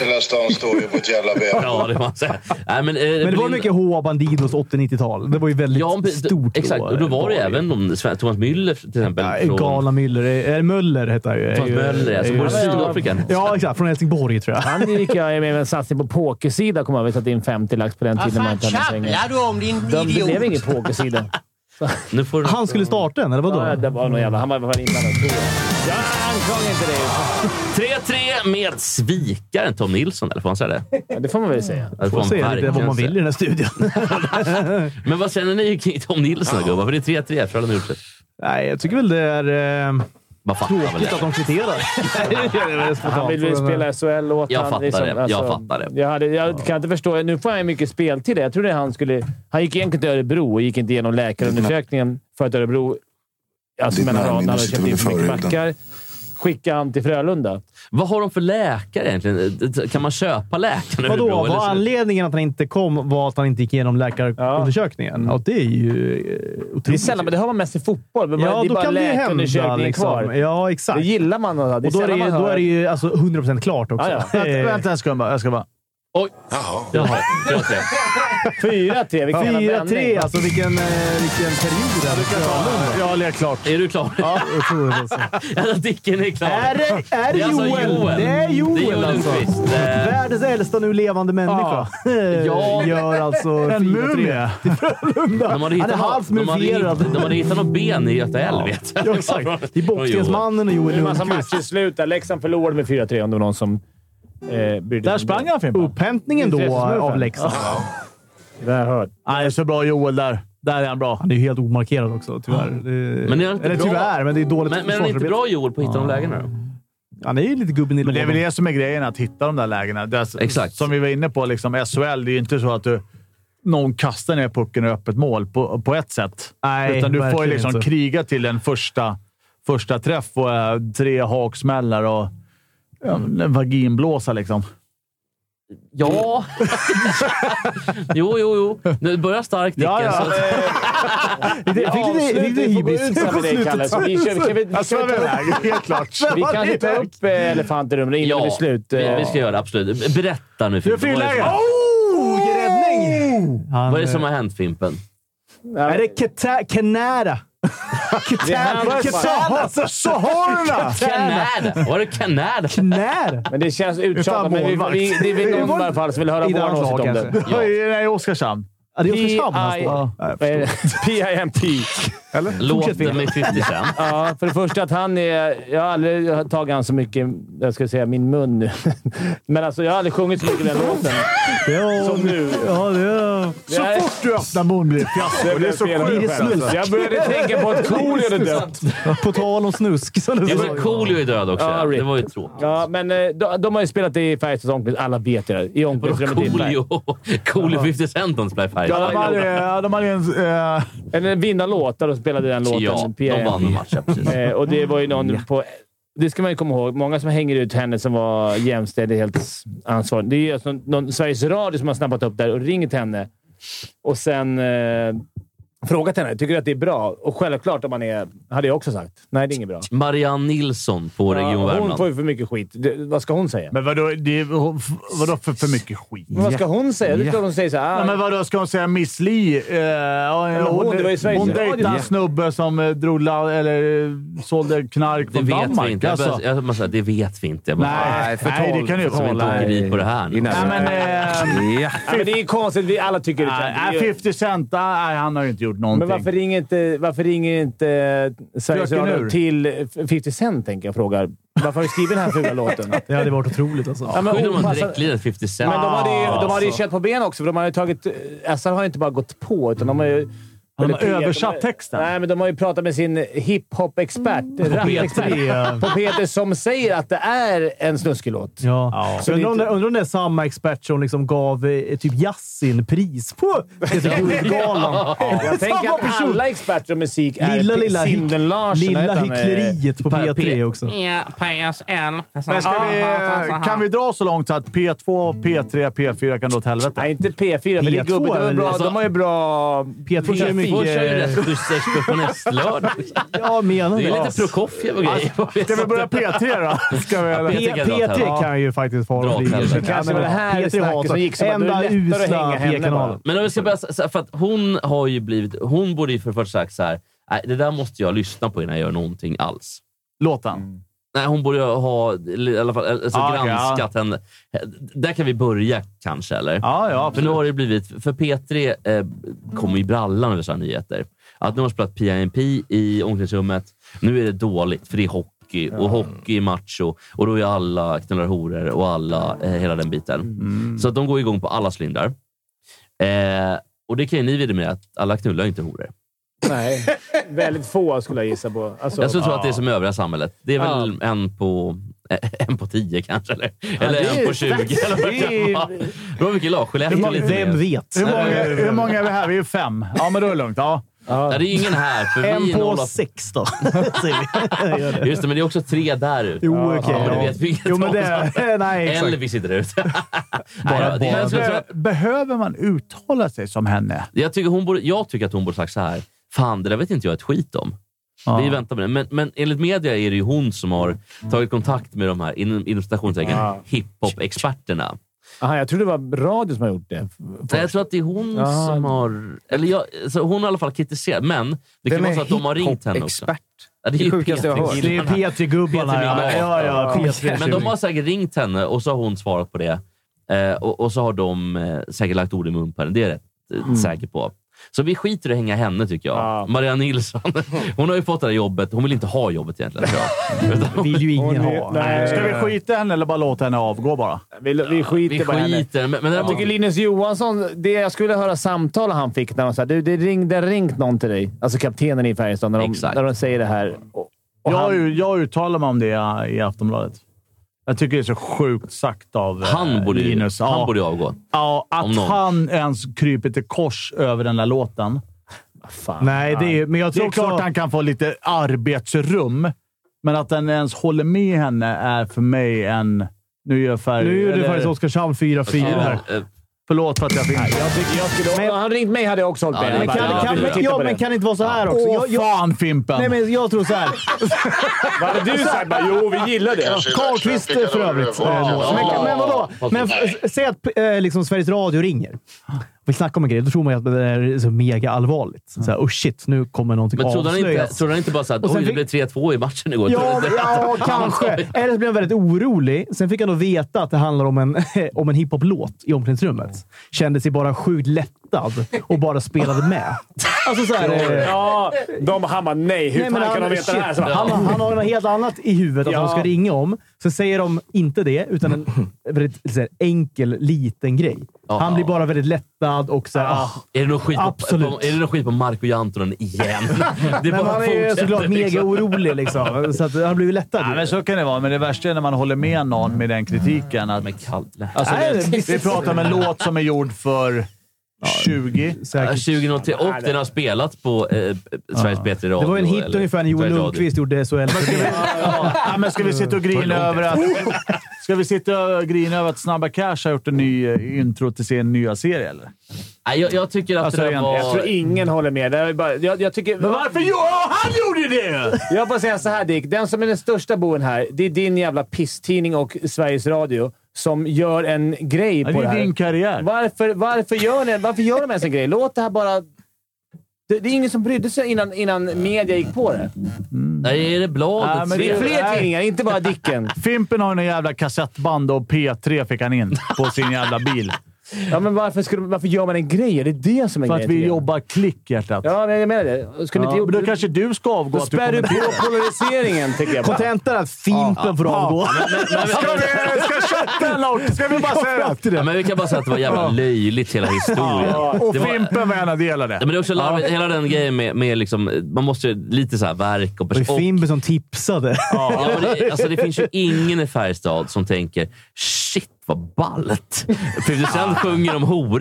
Speaker 6: Hela stan står ju på ett jävla ben.
Speaker 3: Ja, det får man säga. Nej, men, eh,
Speaker 1: Men det var
Speaker 3: Belinda-
Speaker 1: mycket H, Bandidos 80-90-tal. Det var ju väldigt
Speaker 3: Ja, men-
Speaker 1: stort.
Speaker 3: Exakt, och då var det ju även de, Sven- Thomas Müller till exempel.
Speaker 1: Ja,
Speaker 3: från-
Speaker 1: Gala Müller. Eller Möller hette han ju. Är
Speaker 3: Thomas
Speaker 1: ju-
Speaker 3: Möller, alltså,
Speaker 1: är ju-
Speaker 3: bor i Sydafrika.
Speaker 1: Ja, exakt. Från Helsingborg tror jag.
Speaker 4: Han gick jag med en satsning på pokersida, kommer jag ihåg. Vi satte in 50 lax på den tiden. man inte hade pengar.
Speaker 7: du om din
Speaker 4: De, det blev ingen pokersida.
Speaker 3: Nu får du...
Speaker 1: Han skulle starta den, eller
Speaker 4: Ja,
Speaker 1: vadå?
Speaker 4: det var någon jävla... Han var fan inblandad, tror jag. Jag anklagar inte dig.
Speaker 3: 3-3 med svikaren Tom Nilsson, eller får man säga det?
Speaker 4: Ja, Det får man väl säga.
Speaker 3: Eller får
Speaker 1: Får
Speaker 3: man
Speaker 1: se lite vad
Speaker 3: verkligen
Speaker 1: man
Speaker 3: säga?
Speaker 1: vill i den här studion.
Speaker 3: Men vad känner ni kring Tom Nilsson då, gubbar? För det är 3-3 Frölunda Djurgården.
Speaker 1: Nej, jag tycker väl det är eh,
Speaker 3: Man fattar väl
Speaker 1: tråkigt
Speaker 3: det?
Speaker 1: att de kvitterar.
Speaker 4: Han vill väl spela SHL åt
Speaker 3: Jag
Speaker 4: han,
Speaker 3: fattar
Speaker 4: liksom. Alltså,
Speaker 3: det. Jag fattar det.
Speaker 4: Jag, hade, jag kan inte förstå. Nu får han ju mycket speltid. Jag trodde han skulle... Han gick egentligen till Örebro och gick inte igenom läkarundersökningen för att Örebro... Alltså
Speaker 5: Ditt
Speaker 4: mellan
Speaker 5: närminne
Speaker 4: raderna hade
Speaker 5: sitter
Speaker 4: köpt in
Speaker 5: väl
Speaker 4: för
Speaker 5: i
Speaker 4: mycket
Speaker 5: förhuden.
Speaker 4: backar. Skickade han till Frölunda.
Speaker 3: Vad har de för läkare egentligen? Kan man köpa läkaren i
Speaker 1: Vadå?
Speaker 3: Örebro, eller
Speaker 1: Var
Speaker 3: så-
Speaker 1: anledningen att han inte kom var att han inte gick igenom läkarundersökningen? Ja. det är ju eh, otroligt.
Speaker 4: Det är sällan, men det hör man mest i fotboll. Men
Speaker 1: Ja,
Speaker 4: det är
Speaker 1: då
Speaker 4: bara
Speaker 1: kan det ju hända.
Speaker 4: läkarundersökningen
Speaker 1: Liksom.
Speaker 4: kvar.
Speaker 1: Ja,
Speaker 4: Det
Speaker 1: exakt.
Speaker 4: gillar man. Det
Speaker 1: Och då är det, ju-
Speaker 4: sällan man
Speaker 1: då är
Speaker 4: hör-
Speaker 1: det ju alltså 100% klart också. Eh,
Speaker 4: Ja,
Speaker 2: Vänta, vänta en sekund bara. Jag ska bara...
Speaker 3: Jaha, 3-3.
Speaker 4: 4-3. Vilken jävla
Speaker 1: 4-3.
Speaker 4: vändning.
Speaker 1: Alltså vilken, eh, vilken period det är.
Speaker 2: Jag har lekt klart.
Speaker 3: Är du klar?
Speaker 1: Ja, otroligt alltså.
Speaker 3: Alltså, Dicken är klar.
Speaker 1: Är det, är det,
Speaker 3: alltså
Speaker 1: Joel? Det är Joel,
Speaker 3: Det är Joel
Speaker 1: alltså.
Speaker 3: Lundqvist. Eh,
Speaker 1: Världens äldsta nu levande människa.
Speaker 3: Ja.
Speaker 1: Gör alltså
Speaker 2: En
Speaker 1: 4-3.
Speaker 2: mumie.
Speaker 3: De hade
Speaker 1: Han är
Speaker 3: hittat,
Speaker 1: halvt
Speaker 3: de hade
Speaker 1: mumifierad.
Speaker 3: hittat, de hade hittat något ben i Göta älv. vet jag.
Speaker 1: Ja, exakt. Det är Bockstensmannen och
Speaker 4: Det är
Speaker 1: Joel
Speaker 4: en massa
Speaker 1: Lundqvist.
Speaker 4: matcher i slutet. Leksand förlorade med 4-3 om det var någon som eh, brydde
Speaker 2: Där
Speaker 4: sig om
Speaker 2: sprang han Fimpen.
Speaker 1: Upphämtningen
Speaker 4: Det är
Speaker 1: då
Speaker 4: Jesus Murphy.
Speaker 1: av Leksand.
Speaker 4: det. Det har jag hört.
Speaker 2: Nej, så bra Joel där. Där är han bra.
Speaker 1: Han är ju helt omarkerad också, tyvärr. Det-
Speaker 3: Men är han inte
Speaker 1: Eller
Speaker 3: bra?
Speaker 1: tyvärr, men det är dåligt
Speaker 3: Men, men är det inte
Speaker 1: försvarsarbete.
Speaker 3: bra Joel på att hitta de lägena då?
Speaker 1: Han är ju lite gubben i
Speaker 2: Men det är
Speaker 1: lådan.
Speaker 2: väl det som är grejen, att hitta de där lägena. Det är,
Speaker 3: Exakt.
Speaker 2: Som vi var inne på, liksom, SHL, det är ju inte så att du, någon kastar ner pucken i öppet mål på, på ett sätt.
Speaker 1: Nej,
Speaker 2: Utan du får ju
Speaker 1: verkligen
Speaker 2: liksom
Speaker 1: inte.
Speaker 2: kriga till en första, första träff och eh, tre haksmällar och ja, en vaginblåsa liksom.
Speaker 3: Ja. jo, jo, jo. Nu börjar starkt Dicken.
Speaker 2: Ja, ja.
Speaker 3: Så att,
Speaker 1: Jag fick lite- jag fick lite
Speaker 4: Vi får gå
Speaker 1: hybris.
Speaker 4: ut sen med dig, Kalle. Så vi, kör, vi, kan vi, vi,
Speaker 2: Jag
Speaker 1: alltså,
Speaker 4: kan
Speaker 2: svävar
Speaker 4: vi, ta-
Speaker 2: iväg, helt klart.
Speaker 4: vi kanske tar upp eh, elefanten i rummet innan
Speaker 3: ja.
Speaker 4: det blir slut.
Speaker 3: Vi,
Speaker 4: eh.
Speaker 3: vi ska göra det, absolut. Berätta nu
Speaker 2: Du är
Speaker 3: Fimpen. Vad är, det
Speaker 2: friläge!
Speaker 3: som,
Speaker 1: Oh, vilken räddning! Han,
Speaker 3: vad är det som har hänt Fimpen?
Speaker 1: Är det Keta- Kenära? Ketana? Ketana?
Speaker 2: Sahorna!
Speaker 3: Kanada! Var det Kanada?
Speaker 1: Kenära?
Speaker 4: Men det känns uttjatat.
Speaker 2: Utan
Speaker 4: Men vi,
Speaker 2: målvakt.
Speaker 4: vi, det är väl någon i alla fall som vill höra
Speaker 1: I
Speaker 4: vår
Speaker 1: deras
Speaker 4: åsikt
Speaker 1: lag
Speaker 4: om
Speaker 1: kanske.
Speaker 4: det.
Speaker 2: Ja. Nej, Oskarshamn.
Speaker 1: Ja, det är
Speaker 4: P.I.
Speaker 1: Oskarshamn han står.
Speaker 4: Vad är det? PIMP.
Speaker 3: Låt mig 50 sen.
Speaker 4: Ja, för det första att han är... Jag har aldrig tagit han så mycket... Jag ska säga min mun nu. Men alltså, jag har aldrig sjungit så mycket i den låten.
Speaker 1: Ja,
Speaker 4: Som nu.
Speaker 1: Ja, det är...
Speaker 4: Så fort
Speaker 2: Du öppnar mun blir det fiasko. Det är så sjukt. alltså.
Speaker 4: Jag började tänka på att Coolio hade dött.
Speaker 1: På tal om snusk, som du
Speaker 3: Ja,
Speaker 1: sa.
Speaker 3: men Coolio är död också.
Speaker 4: Ja,
Speaker 3: Ja,
Speaker 4: rip.
Speaker 3: det var ju tråkigt.
Speaker 4: Ja, men eh, de, de har ju spelat i Färjestads omklädningsrum. Alla vet ju det. I omklädningsrummet i Färjestad.
Speaker 3: Coolio. Coolio 50 Cent de spelar i
Speaker 2: Ja, de
Speaker 3: Färjestad.
Speaker 2: hade, ja, de hade en... Eh,
Speaker 4: En vinnarlåt där de spelade den låten.
Speaker 3: Ja, de
Speaker 4: PIMP.
Speaker 3: vann matchen. precis.
Speaker 4: Eh, och det var ju någon på det ska man ju komma ihåg. Många som hänger ut henne som var jämställdhetsansvarig. Det är ju alltså någon, någon Sveriges Radio som har snappat upp där och ringt henne och sen eh, frågat henne. Tycker du att det är bra? Och självklart, om man är, hade jag också sagt. Nej, det är inget bra.
Speaker 3: Marianne Nilsson på Region
Speaker 4: Ja, hon
Speaker 3: Värmland.
Speaker 4: får ju för mycket skit. Det, vad ska hon säga?
Speaker 2: Men vadå, det, vadå för, för mycket skit?
Speaker 4: Men vad ska hon säga? Det är klart hon säger så här, "Ah,
Speaker 2: Ja, men vadå, ska hon säga Miss Li? Eh, ja,
Speaker 4: men hon, det var ju Sveriges
Speaker 2: hon
Speaker 4: Radio.
Speaker 2: dejtade en snubbe som eh, drog la, eller eh, sålde knark
Speaker 3: Det
Speaker 2: från
Speaker 3: vet
Speaker 2: Danmark.
Speaker 3: vi inte. Jag,
Speaker 2: Alltså.
Speaker 3: bara, jag bara, säga, det vet vi inte. Jag bara,
Speaker 2: Nej,
Speaker 5: förtal-
Speaker 2: nej, det kan du ju
Speaker 5: förtal
Speaker 3: som inte
Speaker 2: hålla.
Speaker 3: åker
Speaker 5: nej.
Speaker 3: dit på det här.
Speaker 5: I
Speaker 3: nu.
Speaker 2: Nej,
Speaker 5: nästa-
Speaker 2: men, eh,
Speaker 5: Ja.
Speaker 4: Ja, ah, men det är ju konstigt. Vi alla tycker det.
Speaker 2: nej,
Speaker 4: det är ju-
Speaker 2: 50 Cent, eh, nej, han har ju inte gjort någonting.
Speaker 4: Men varför ringer inte, varför ringer inte eh, Sveriges
Speaker 2: Fröken
Speaker 4: Radio
Speaker 2: Ur.
Speaker 4: till 50 Cent, tänker jag frågar. Varför har du skrivit den här fula låten?
Speaker 1: Det hade varit otroligt alltså.
Speaker 4: Ja, men
Speaker 3: Skyller man
Speaker 4: opassande-
Speaker 3: direktlinet 50 Cent?
Speaker 4: Men de hade ju, de hade ju
Speaker 1: Ah.
Speaker 3: Alltså.
Speaker 4: kött på ben också, för de hade tagit... eh, SR har ju inte bara gått på, utan de har ju...
Speaker 2: har
Speaker 4: eller P1,
Speaker 2: översatt texten.
Speaker 4: Nej, men de har ju pratat med sin hiphop-expert,
Speaker 1: Mm.
Speaker 4: rappexpert,
Speaker 1: P3.
Speaker 4: på Peter, som säger att det är en snuskig-låt.
Speaker 1: Ja.
Speaker 4: Så
Speaker 1: Så
Speaker 4: det är
Speaker 1: undrar, om
Speaker 4: inte-
Speaker 1: det, undrar om det är samma expert som liksom gav eh, typ Yasin pris på Göteborgsgalan.
Speaker 4: Jag tänker
Speaker 1: Samma
Speaker 4: att
Speaker 1: person.
Speaker 4: alla experter och musik är
Speaker 1: Lilla, lilla, hyck-
Speaker 4: Sinden Larsen.
Speaker 1: lilla
Speaker 4: heter han, eh,
Speaker 1: hyckleriet på P3 också.
Speaker 9: Ja, PSL.
Speaker 2: Men ska vi, kan vi dra så lågt så att P2, P3, P4 kan då åt helvete?
Speaker 4: Nej, inte P4, men det är
Speaker 1: P2
Speaker 4: gubbigt. De, är
Speaker 1: väl,
Speaker 4: bra,
Speaker 3: alltså-
Speaker 4: de har ju bra...
Speaker 1: P2 kör
Speaker 4: P4.
Speaker 3: Får
Speaker 1: mycket-
Speaker 3: köra Restaurangs- på nästlördag.
Speaker 1: Jag menar
Speaker 3: Det är
Speaker 1: det.
Speaker 3: lite Prokofjev och grejer.
Speaker 2: Alltså, Ska vi börja P3 då? Ska vi, eller?
Speaker 1: P-
Speaker 3: P3 kan dra åt
Speaker 1: P3
Speaker 3: helvete.
Speaker 1: kan ju faktiskt vara
Speaker 3: Dra åt
Speaker 1: bli-
Speaker 3: helvete.
Speaker 1: Ja, men
Speaker 4: Kanske var det här
Speaker 1: P3
Speaker 4: snacket
Speaker 1: hatar-
Speaker 4: som gick som att då är det
Speaker 1: Enda
Speaker 4: lättare att
Speaker 1: usla
Speaker 4: hänga henne bara.
Speaker 1: P-kanalen.
Speaker 3: Men om vi ska börja, så- så- för att hon har ju blivit... Hon borde ju för det första sagt så här. Nej, det där måste jag lyssna på innan jag gör någonting alls.
Speaker 2: Låten.
Speaker 3: Nej, hon borde ju ha eller i alla fall, alltså,
Speaker 2: Ah, okej,
Speaker 3: granskat henne. Där kan vi börja kanske, eller?
Speaker 2: Ja, ja.
Speaker 3: För nu har det blivit, för P3 eh, kommer i brallan över sådana nyheter. Att nu har de spelat PIMP i omklädningsrummet. Nu är det dåligt, för det är hockey och hockey är macho. Och då är alla knullar horor och alla, eh, hela den biten.
Speaker 2: Mm.
Speaker 3: Så att de går igång på alla cylindrar. Eh, och det kan ju ni vidimera, att alla knullar ju inte horor.
Speaker 4: Nej. Väldigt få skulle jag gissa på. Alltså,
Speaker 3: Jag skulle tro att det är som övriga samhället. Det är väl en på... eh, En på tio kanske, eller, eller
Speaker 4: det är
Speaker 3: en på
Speaker 4: ju-
Speaker 3: 20. Eller vad det kan vara. Det var mycket lag. Skellefteå lite
Speaker 1: Vem
Speaker 3: mer.
Speaker 1: vet?
Speaker 2: Hur många, hur många är vi här? Vi är fem. Ja, men då är det lugnt. Ja.
Speaker 3: Nej, det är ingen här, för vi
Speaker 1: En
Speaker 3: är
Speaker 1: på
Speaker 3: noll av
Speaker 1: sex då, säger vi.
Speaker 3: Just det, men det är också tre där ute.
Speaker 1: Jo, okej.
Speaker 3: men det
Speaker 1: ja.
Speaker 3: vet vi inget
Speaker 1: Jo, men
Speaker 3: om.
Speaker 1: det... Nej, exakt.
Speaker 3: Elvis sitter där ute. Nej,
Speaker 1: Bara
Speaker 3: ja, det-
Speaker 1: barn.
Speaker 3: jag, tror-
Speaker 2: Be- behöver man uttala sig som henne?
Speaker 3: jag, tycker hon borde, jag tycker att hon borde sagt så här. Fan, det där vet inte jag ett skit om.
Speaker 2: Ja.
Speaker 3: Vi väntar med det. Men, men enligt media är det ju hon som har tagit kontakt med de här, inom, inom citationstecken, hiphop-experterna.
Speaker 4: Aha, jag trodde det var radio som har gjort det.
Speaker 3: Nej, Jag tror att det är hon
Speaker 4: Ja.
Speaker 3: som har... Eller jag, så hon har i alla fall kritiserat, men det kan
Speaker 5: Vem
Speaker 3: vara
Speaker 5: är
Speaker 3: så att de har ringt henne också.
Speaker 5: hiphop-expert?
Speaker 3: Ja,
Speaker 5: Det
Speaker 3: ju
Speaker 5: sjukaste jag har hört.
Speaker 1: Det är
Speaker 3: Peter-killarna.
Speaker 1: P3-gubbarna. Ja,
Speaker 3: Peter
Speaker 1: ja, ja, P3
Speaker 3: Men de har säkert ringt henne och så har hon svarat på det. Eh, och, och så har de eh, säkert lagt ord i mun på henne. Det är jag rätt
Speaker 1: Mm.
Speaker 3: eh, säker på. Så vi skiter i att hänga henne, tycker jag.
Speaker 4: Ja.
Speaker 3: Maria Nilsson. Hon har ju fått det här jobbet. Hon vill inte ha jobbet egentligen, tror jag. Utan hon-
Speaker 1: vill ju ingen ha.
Speaker 4: Nej,
Speaker 2: Ska vi skita i henne eller bara låta henne avgå bara?
Speaker 4: vi, vi skiter
Speaker 3: vi
Speaker 4: bara i henne.
Speaker 3: skiter men, men
Speaker 4: Jag
Speaker 3: däremot,
Speaker 4: tycker Linus Johansson, det jag skulle vilja höra samtal han fick när de sa du, det ring, det har ringt någon till dig. Alltså kaptenen i Färjestad, när de,
Speaker 3: Exakt.
Speaker 4: när de säger det här. Och, och
Speaker 2: Jag,
Speaker 4: han,
Speaker 2: ju- jag uttalar mig om det i Aftonbladet. Jag tycker det är så sjukt sagt av eh,
Speaker 3: han borde ju
Speaker 2: Linus. Ja.
Speaker 3: han borde ju avgå.
Speaker 2: ja,
Speaker 3: om
Speaker 2: att
Speaker 3: någon.
Speaker 2: han ens kryper till kors över den där låten.
Speaker 4: fan.
Speaker 1: Nej, det är, men jag
Speaker 2: Det
Speaker 1: tror
Speaker 2: är klart
Speaker 1: också...
Speaker 2: han kan få lite arbetsrum, men att den ens håller med henne är för mig en... Nu gör färg...
Speaker 1: Nu är det
Speaker 2: eller-
Speaker 1: faktiskt Oskarshamn 4-4 här.
Speaker 3: Ja, eh,
Speaker 2: Förlåt för att jag fick...
Speaker 4: Jag tycker jag skulle... Men, han ringt mig hade jag också hållit
Speaker 3: Ja, det
Speaker 4: med.
Speaker 3: kan-
Speaker 4: Jag bara,
Speaker 1: Kan,
Speaker 4: jag
Speaker 1: kan,
Speaker 4: tittar
Speaker 1: ja,
Speaker 4: på
Speaker 1: men
Speaker 4: det.
Speaker 1: kan det inte vara så här också?
Speaker 2: Åh,
Speaker 1: Jag, jag,
Speaker 2: fan Fimpen!
Speaker 1: nej, men jag tror så här.
Speaker 4: Vad hade du sagt? Bara, Jo, vi gillar det.
Speaker 1: Karlqvist för övrigt. eh, Men, men vadå? Men, f- säg att eh, liksom, Sveriges Radio ringer. Vi snackar om en grej. Då tror man ju att det är så mega allvarligt. Så här, oh shit, nu kommer någonting
Speaker 3: Men trodde han, inte,
Speaker 1: avslöjas.
Speaker 3: trodde han inte bara såhär,
Speaker 1: Och sen
Speaker 3: oj, det blev
Speaker 1: fick-
Speaker 3: 3-2 i matchen igår.
Speaker 1: Ja,
Speaker 3: Det-
Speaker 1: ja, kanske. Eller så blev han väldigt orolig. Sen fick han då veta att det handlar om en, om en hiphop-låt i omklädningsrummet. Kände sig bara sjukt lättad och bara spelade med. Alltså så här, eh,
Speaker 4: Ja, de, han bara nej. Hur
Speaker 1: Nej, men
Speaker 4: fan kan de
Speaker 1: han-
Speaker 4: veta det här? Så
Speaker 1: shit,
Speaker 4: bara,
Speaker 1: Han, han har något helt annat i huvudet att
Speaker 4: Ja.
Speaker 1: de ska ringa om. Så säger de inte det, utan en väldigt så här, enkel, liten grej.
Speaker 3: Ja.
Speaker 1: Han blir bara väldigt lättad och så här, ah.
Speaker 3: Är det någon skit, på,
Speaker 1: Absolut.
Speaker 3: på, är det någon skit på Marco Jantonen igen? Det
Speaker 1: Men han är
Speaker 3: fortsätter,
Speaker 1: ju
Speaker 3: liksom.
Speaker 1: såklart mega orolig liksom. Så att han blir ju lättad.
Speaker 2: Ja, men så kan det vara, men det värsta är när man håller med någon med den kritiken. Att,
Speaker 3: Men Kalle.
Speaker 2: alltså,
Speaker 1: Nej,
Speaker 2: det,
Speaker 1: det-
Speaker 2: vi pratar om en låt som är gjord för 20.
Speaker 1: Säkert.
Speaker 3: 2003 och den har spelats på eh, Sveriges bättre radio.
Speaker 1: Det var en hit
Speaker 3: eller
Speaker 1: ungefär när Joel
Speaker 3: Sveriges Radio.
Speaker 1: Lundqvist gjorde SHL.
Speaker 2: Ja, men ska vi sitta och grina över att... Ska vi sitta och grina över att Snabba Cash har gjort en ny eh, intro till sin nya serie, eller?
Speaker 3: Nej, jag, jag tycker att
Speaker 2: Alltså,
Speaker 3: det där
Speaker 2: egentligen,
Speaker 3: var...
Speaker 4: Jag tror ingen håller med. Det här är bara, jag, jag tycker... Men varför jag? Han gjorde det! Jag bara säga så här Dick. Den som är den största boen här, det är din jävla pisstidning och Sveriges Radio som gör en grej
Speaker 2: Ja,
Speaker 4: på
Speaker 2: Det
Speaker 4: det
Speaker 2: är
Speaker 4: här.
Speaker 2: din karriär.
Speaker 4: Varför, varför, gör ni, varför gör de ens en grej? Låt det här bara... Det, det är ingen som brydde sig innan, innan media gick på det.
Speaker 3: Nej, är det bladet?
Speaker 2: Nej, men
Speaker 4: Det är fler
Speaker 2: Nej.
Speaker 4: tidningar, inte bara Dicken.
Speaker 2: Fimpen har ju någon jävla kassettband och P3 fick han in på sin jävla bil.
Speaker 4: Ja, men varför, skulle, varför gör man en grej? Är det det som är
Speaker 2: För att
Speaker 4: grejen?
Speaker 2: vi
Speaker 4: tycker jag?
Speaker 2: jobbar klick, hjärtat.
Speaker 4: Ja, men jag menar det. Skulle
Speaker 2: Ja,
Speaker 4: inte
Speaker 2: men då
Speaker 4: gjort...
Speaker 2: kanske typ du ska avgå.
Speaker 4: Då
Speaker 2: att du
Speaker 4: spär du på
Speaker 2: kommenterar.
Speaker 4: polariseringen, tycker jag. bara.
Speaker 1: Kontentan är att Fimpen får avgå.
Speaker 2: Ska vi, ska köttet lort? Ska vi bara säga det?
Speaker 3: Ja, men vi kan bara säga att det var jävla löjligt, hela historien.
Speaker 2: Och
Speaker 3: Det var-
Speaker 2: Fimpen var en av delarna.
Speaker 3: Ja, men det är också larvigt. Hela den grejen med, med liksom, man måste ju lite så här verk och
Speaker 1: Det var
Speaker 3: person. Och,
Speaker 1: Fimpen som tipsade.
Speaker 3: ja, men det, alltså, det finns ju ingen i Färjestad som tänker shit vad ballt. Producent sjunger om horor.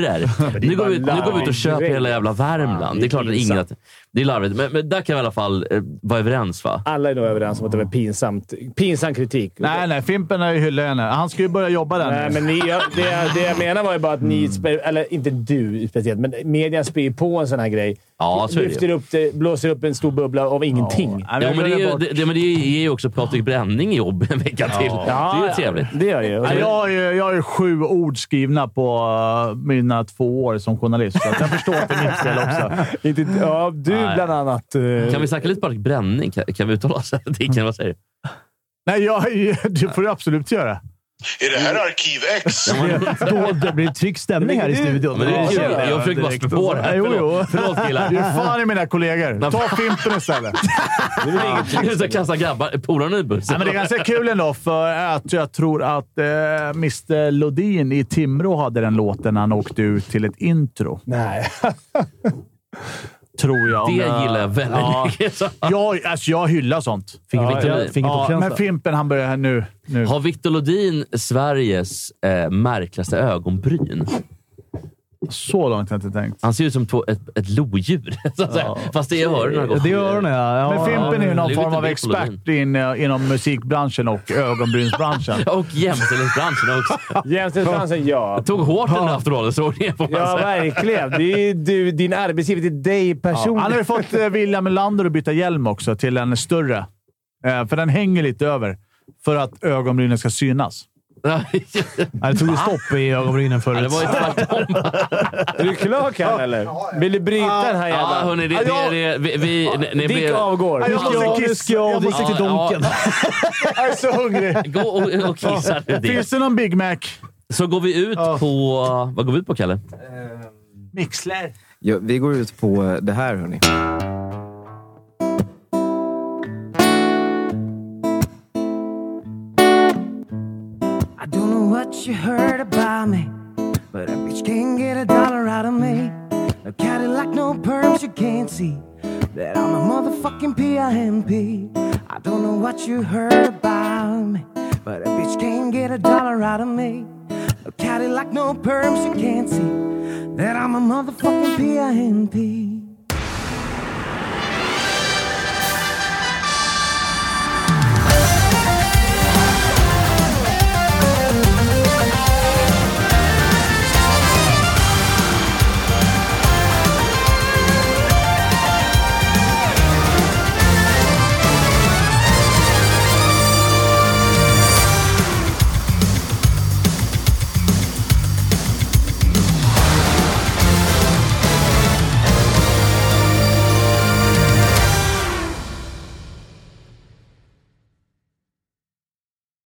Speaker 3: Nu går, vi, nu går vi ut och köper hela jävla Värmland. Det är klart att ingen... Att, det är larvigt, men, men där kan vi i alla fall eh, vara överens va?
Speaker 4: Alla är nog överens om att det var pinsamt. pinsam kritik.
Speaker 2: Nej, nej. Fimpen har ju hyllat henne. Han ska ju börja jobba där
Speaker 4: Nej,
Speaker 2: nu.
Speaker 4: men ni, jag, det, jag, det jag menar var ju bara att
Speaker 3: Mm.
Speaker 4: ni, spe- eller inte du speciellt, men media spyr på en sån här grej.
Speaker 3: Ja, så är det ju.
Speaker 4: Lyfter upp det, blåser upp en stor bubbla av ingenting.
Speaker 2: Nej,
Speaker 3: Ja,
Speaker 2: vi
Speaker 3: men det, är
Speaker 2: glömmer
Speaker 3: ju,
Speaker 2: bort.
Speaker 3: det, det, men det ger ju också Patrik Bränning jobb en vecka till. Det är ju trevligt.
Speaker 4: Det gör det ju. Och
Speaker 2: Nej,
Speaker 4: det-
Speaker 2: jag, har ju, jag har ju sju ord skrivna på eh, mina två år som journalist, så att jag förstår att det är mitt fel också.
Speaker 4: Inte, ja, du
Speaker 3: Nej.
Speaker 4: bland annat. eh,
Speaker 3: Kan vi snacka lite Patrik Bränning? Kan, kan vi uttala oss? Dicken, vad säger du?
Speaker 2: Nej, jag, det får du absolut göra.
Speaker 6: Är det här Arkiv X?
Speaker 1: Då det blir tryck stämning här i studion.
Speaker 3: Men det är ju,
Speaker 2: Ja,
Speaker 3: jag försöker bara spä på det här.
Speaker 2: Jo, jo.
Speaker 3: Förlåt, förlåt
Speaker 2: Du
Speaker 3: killar.
Speaker 2: är fan i mina kollegor. Ta Fimpen istället.
Speaker 3: Sluta kasta grabbar. Polarna i bussen.
Speaker 2: Nej, men det är ganska kul ändå, för att jag tror att eh, Mr Lodin i Timrå hade den låten när han åkte ut till ett intro.
Speaker 4: Nej.
Speaker 2: Tror jag.
Speaker 3: Det
Speaker 2: Om jag-
Speaker 3: gillar jag väldigt
Speaker 2: Ja.
Speaker 3: mycket. Så-
Speaker 2: Jag, alltså, jag hyllar sånt.
Speaker 3: Victor-
Speaker 2: Ja, men
Speaker 1: Fingertoppskänsla.
Speaker 2: Fimpen, han börjar här nu. nu.
Speaker 3: Har Victor Lodin Sveriges eh, märkligaste ögonbryn?
Speaker 2: Så långt har jag inte tänkt.
Speaker 3: Han ser ut som två, ett, ett lodjur. Så att säga. Fast det är öronen.
Speaker 1: Ja,
Speaker 3: gått.
Speaker 1: Det är öronen, ja. ja.
Speaker 2: Men Fimpen är ju någon
Speaker 3: det är
Speaker 2: form
Speaker 3: lite
Speaker 2: av
Speaker 3: Victor
Speaker 2: expert in, eh, inom musikbranschen och ögonbrynsbranschen.
Speaker 3: Och jämställdhetsbranschen också.
Speaker 4: Jämställdhetsbranschen, ja.
Speaker 3: Tog hårt den där afterall-sågningen, får man
Speaker 4: Ja,
Speaker 3: säga.
Speaker 4: verkligen. Det är ju du, din arbetsgivare. Det är dig
Speaker 2: Ja, han har
Speaker 4: personligen.
Speaker 2: ju fått eh, William Melander att byta hjälm också till en större. Eh, för den hänger lite över för att ögonbrynen ska synas.
Speaker 1: Ja, det tog ju stopp i ögonbrynen
Speaker 3: Ja, Det
Speaker 1: förut.
Speaker 3: var ju tvärtom.
Speaker 4: Är du klar, Kalle, eller? Vill du bryta den här
Speaker 3: Ja,
Speaker 4: jävla...
Speaker 3: hörni. Det, det, det, vi, vi, ni, ni
Speaker 4: Dick
Speaker 3: blir...
Speaker 4: avgår.
Speaker 2: jag måste
Speaker 1: Ja, nu
Speaker 2: kissa.
Speaker 1: ska jag och drick till
Speaker 3: Ja,
Speaker 1: Donken.
Speaker 2: Jag är så hungrig!
Speaker 3: Gå och, och kissa nu, Dick.
Speaker 2: Finns det någon Big Mac?
Speaker 3: Så går vi ut på... Vad går vi ut på, Kalle?
Speaker 2: Mixler.
Speaker 5: Ja, vi går ut på eh, det här, hörni.
Speaker 9: I don't know what you heard about me, but a bitch can't get a dollar out of me. No Cadillac, no perms, you can't see that I'm a motherfucking PIMP. I don't know what you heard about me, but a bitch can't get a dollar out of me. No Cadillac, no perms, you can't see that I'm a motherfucking PIMP.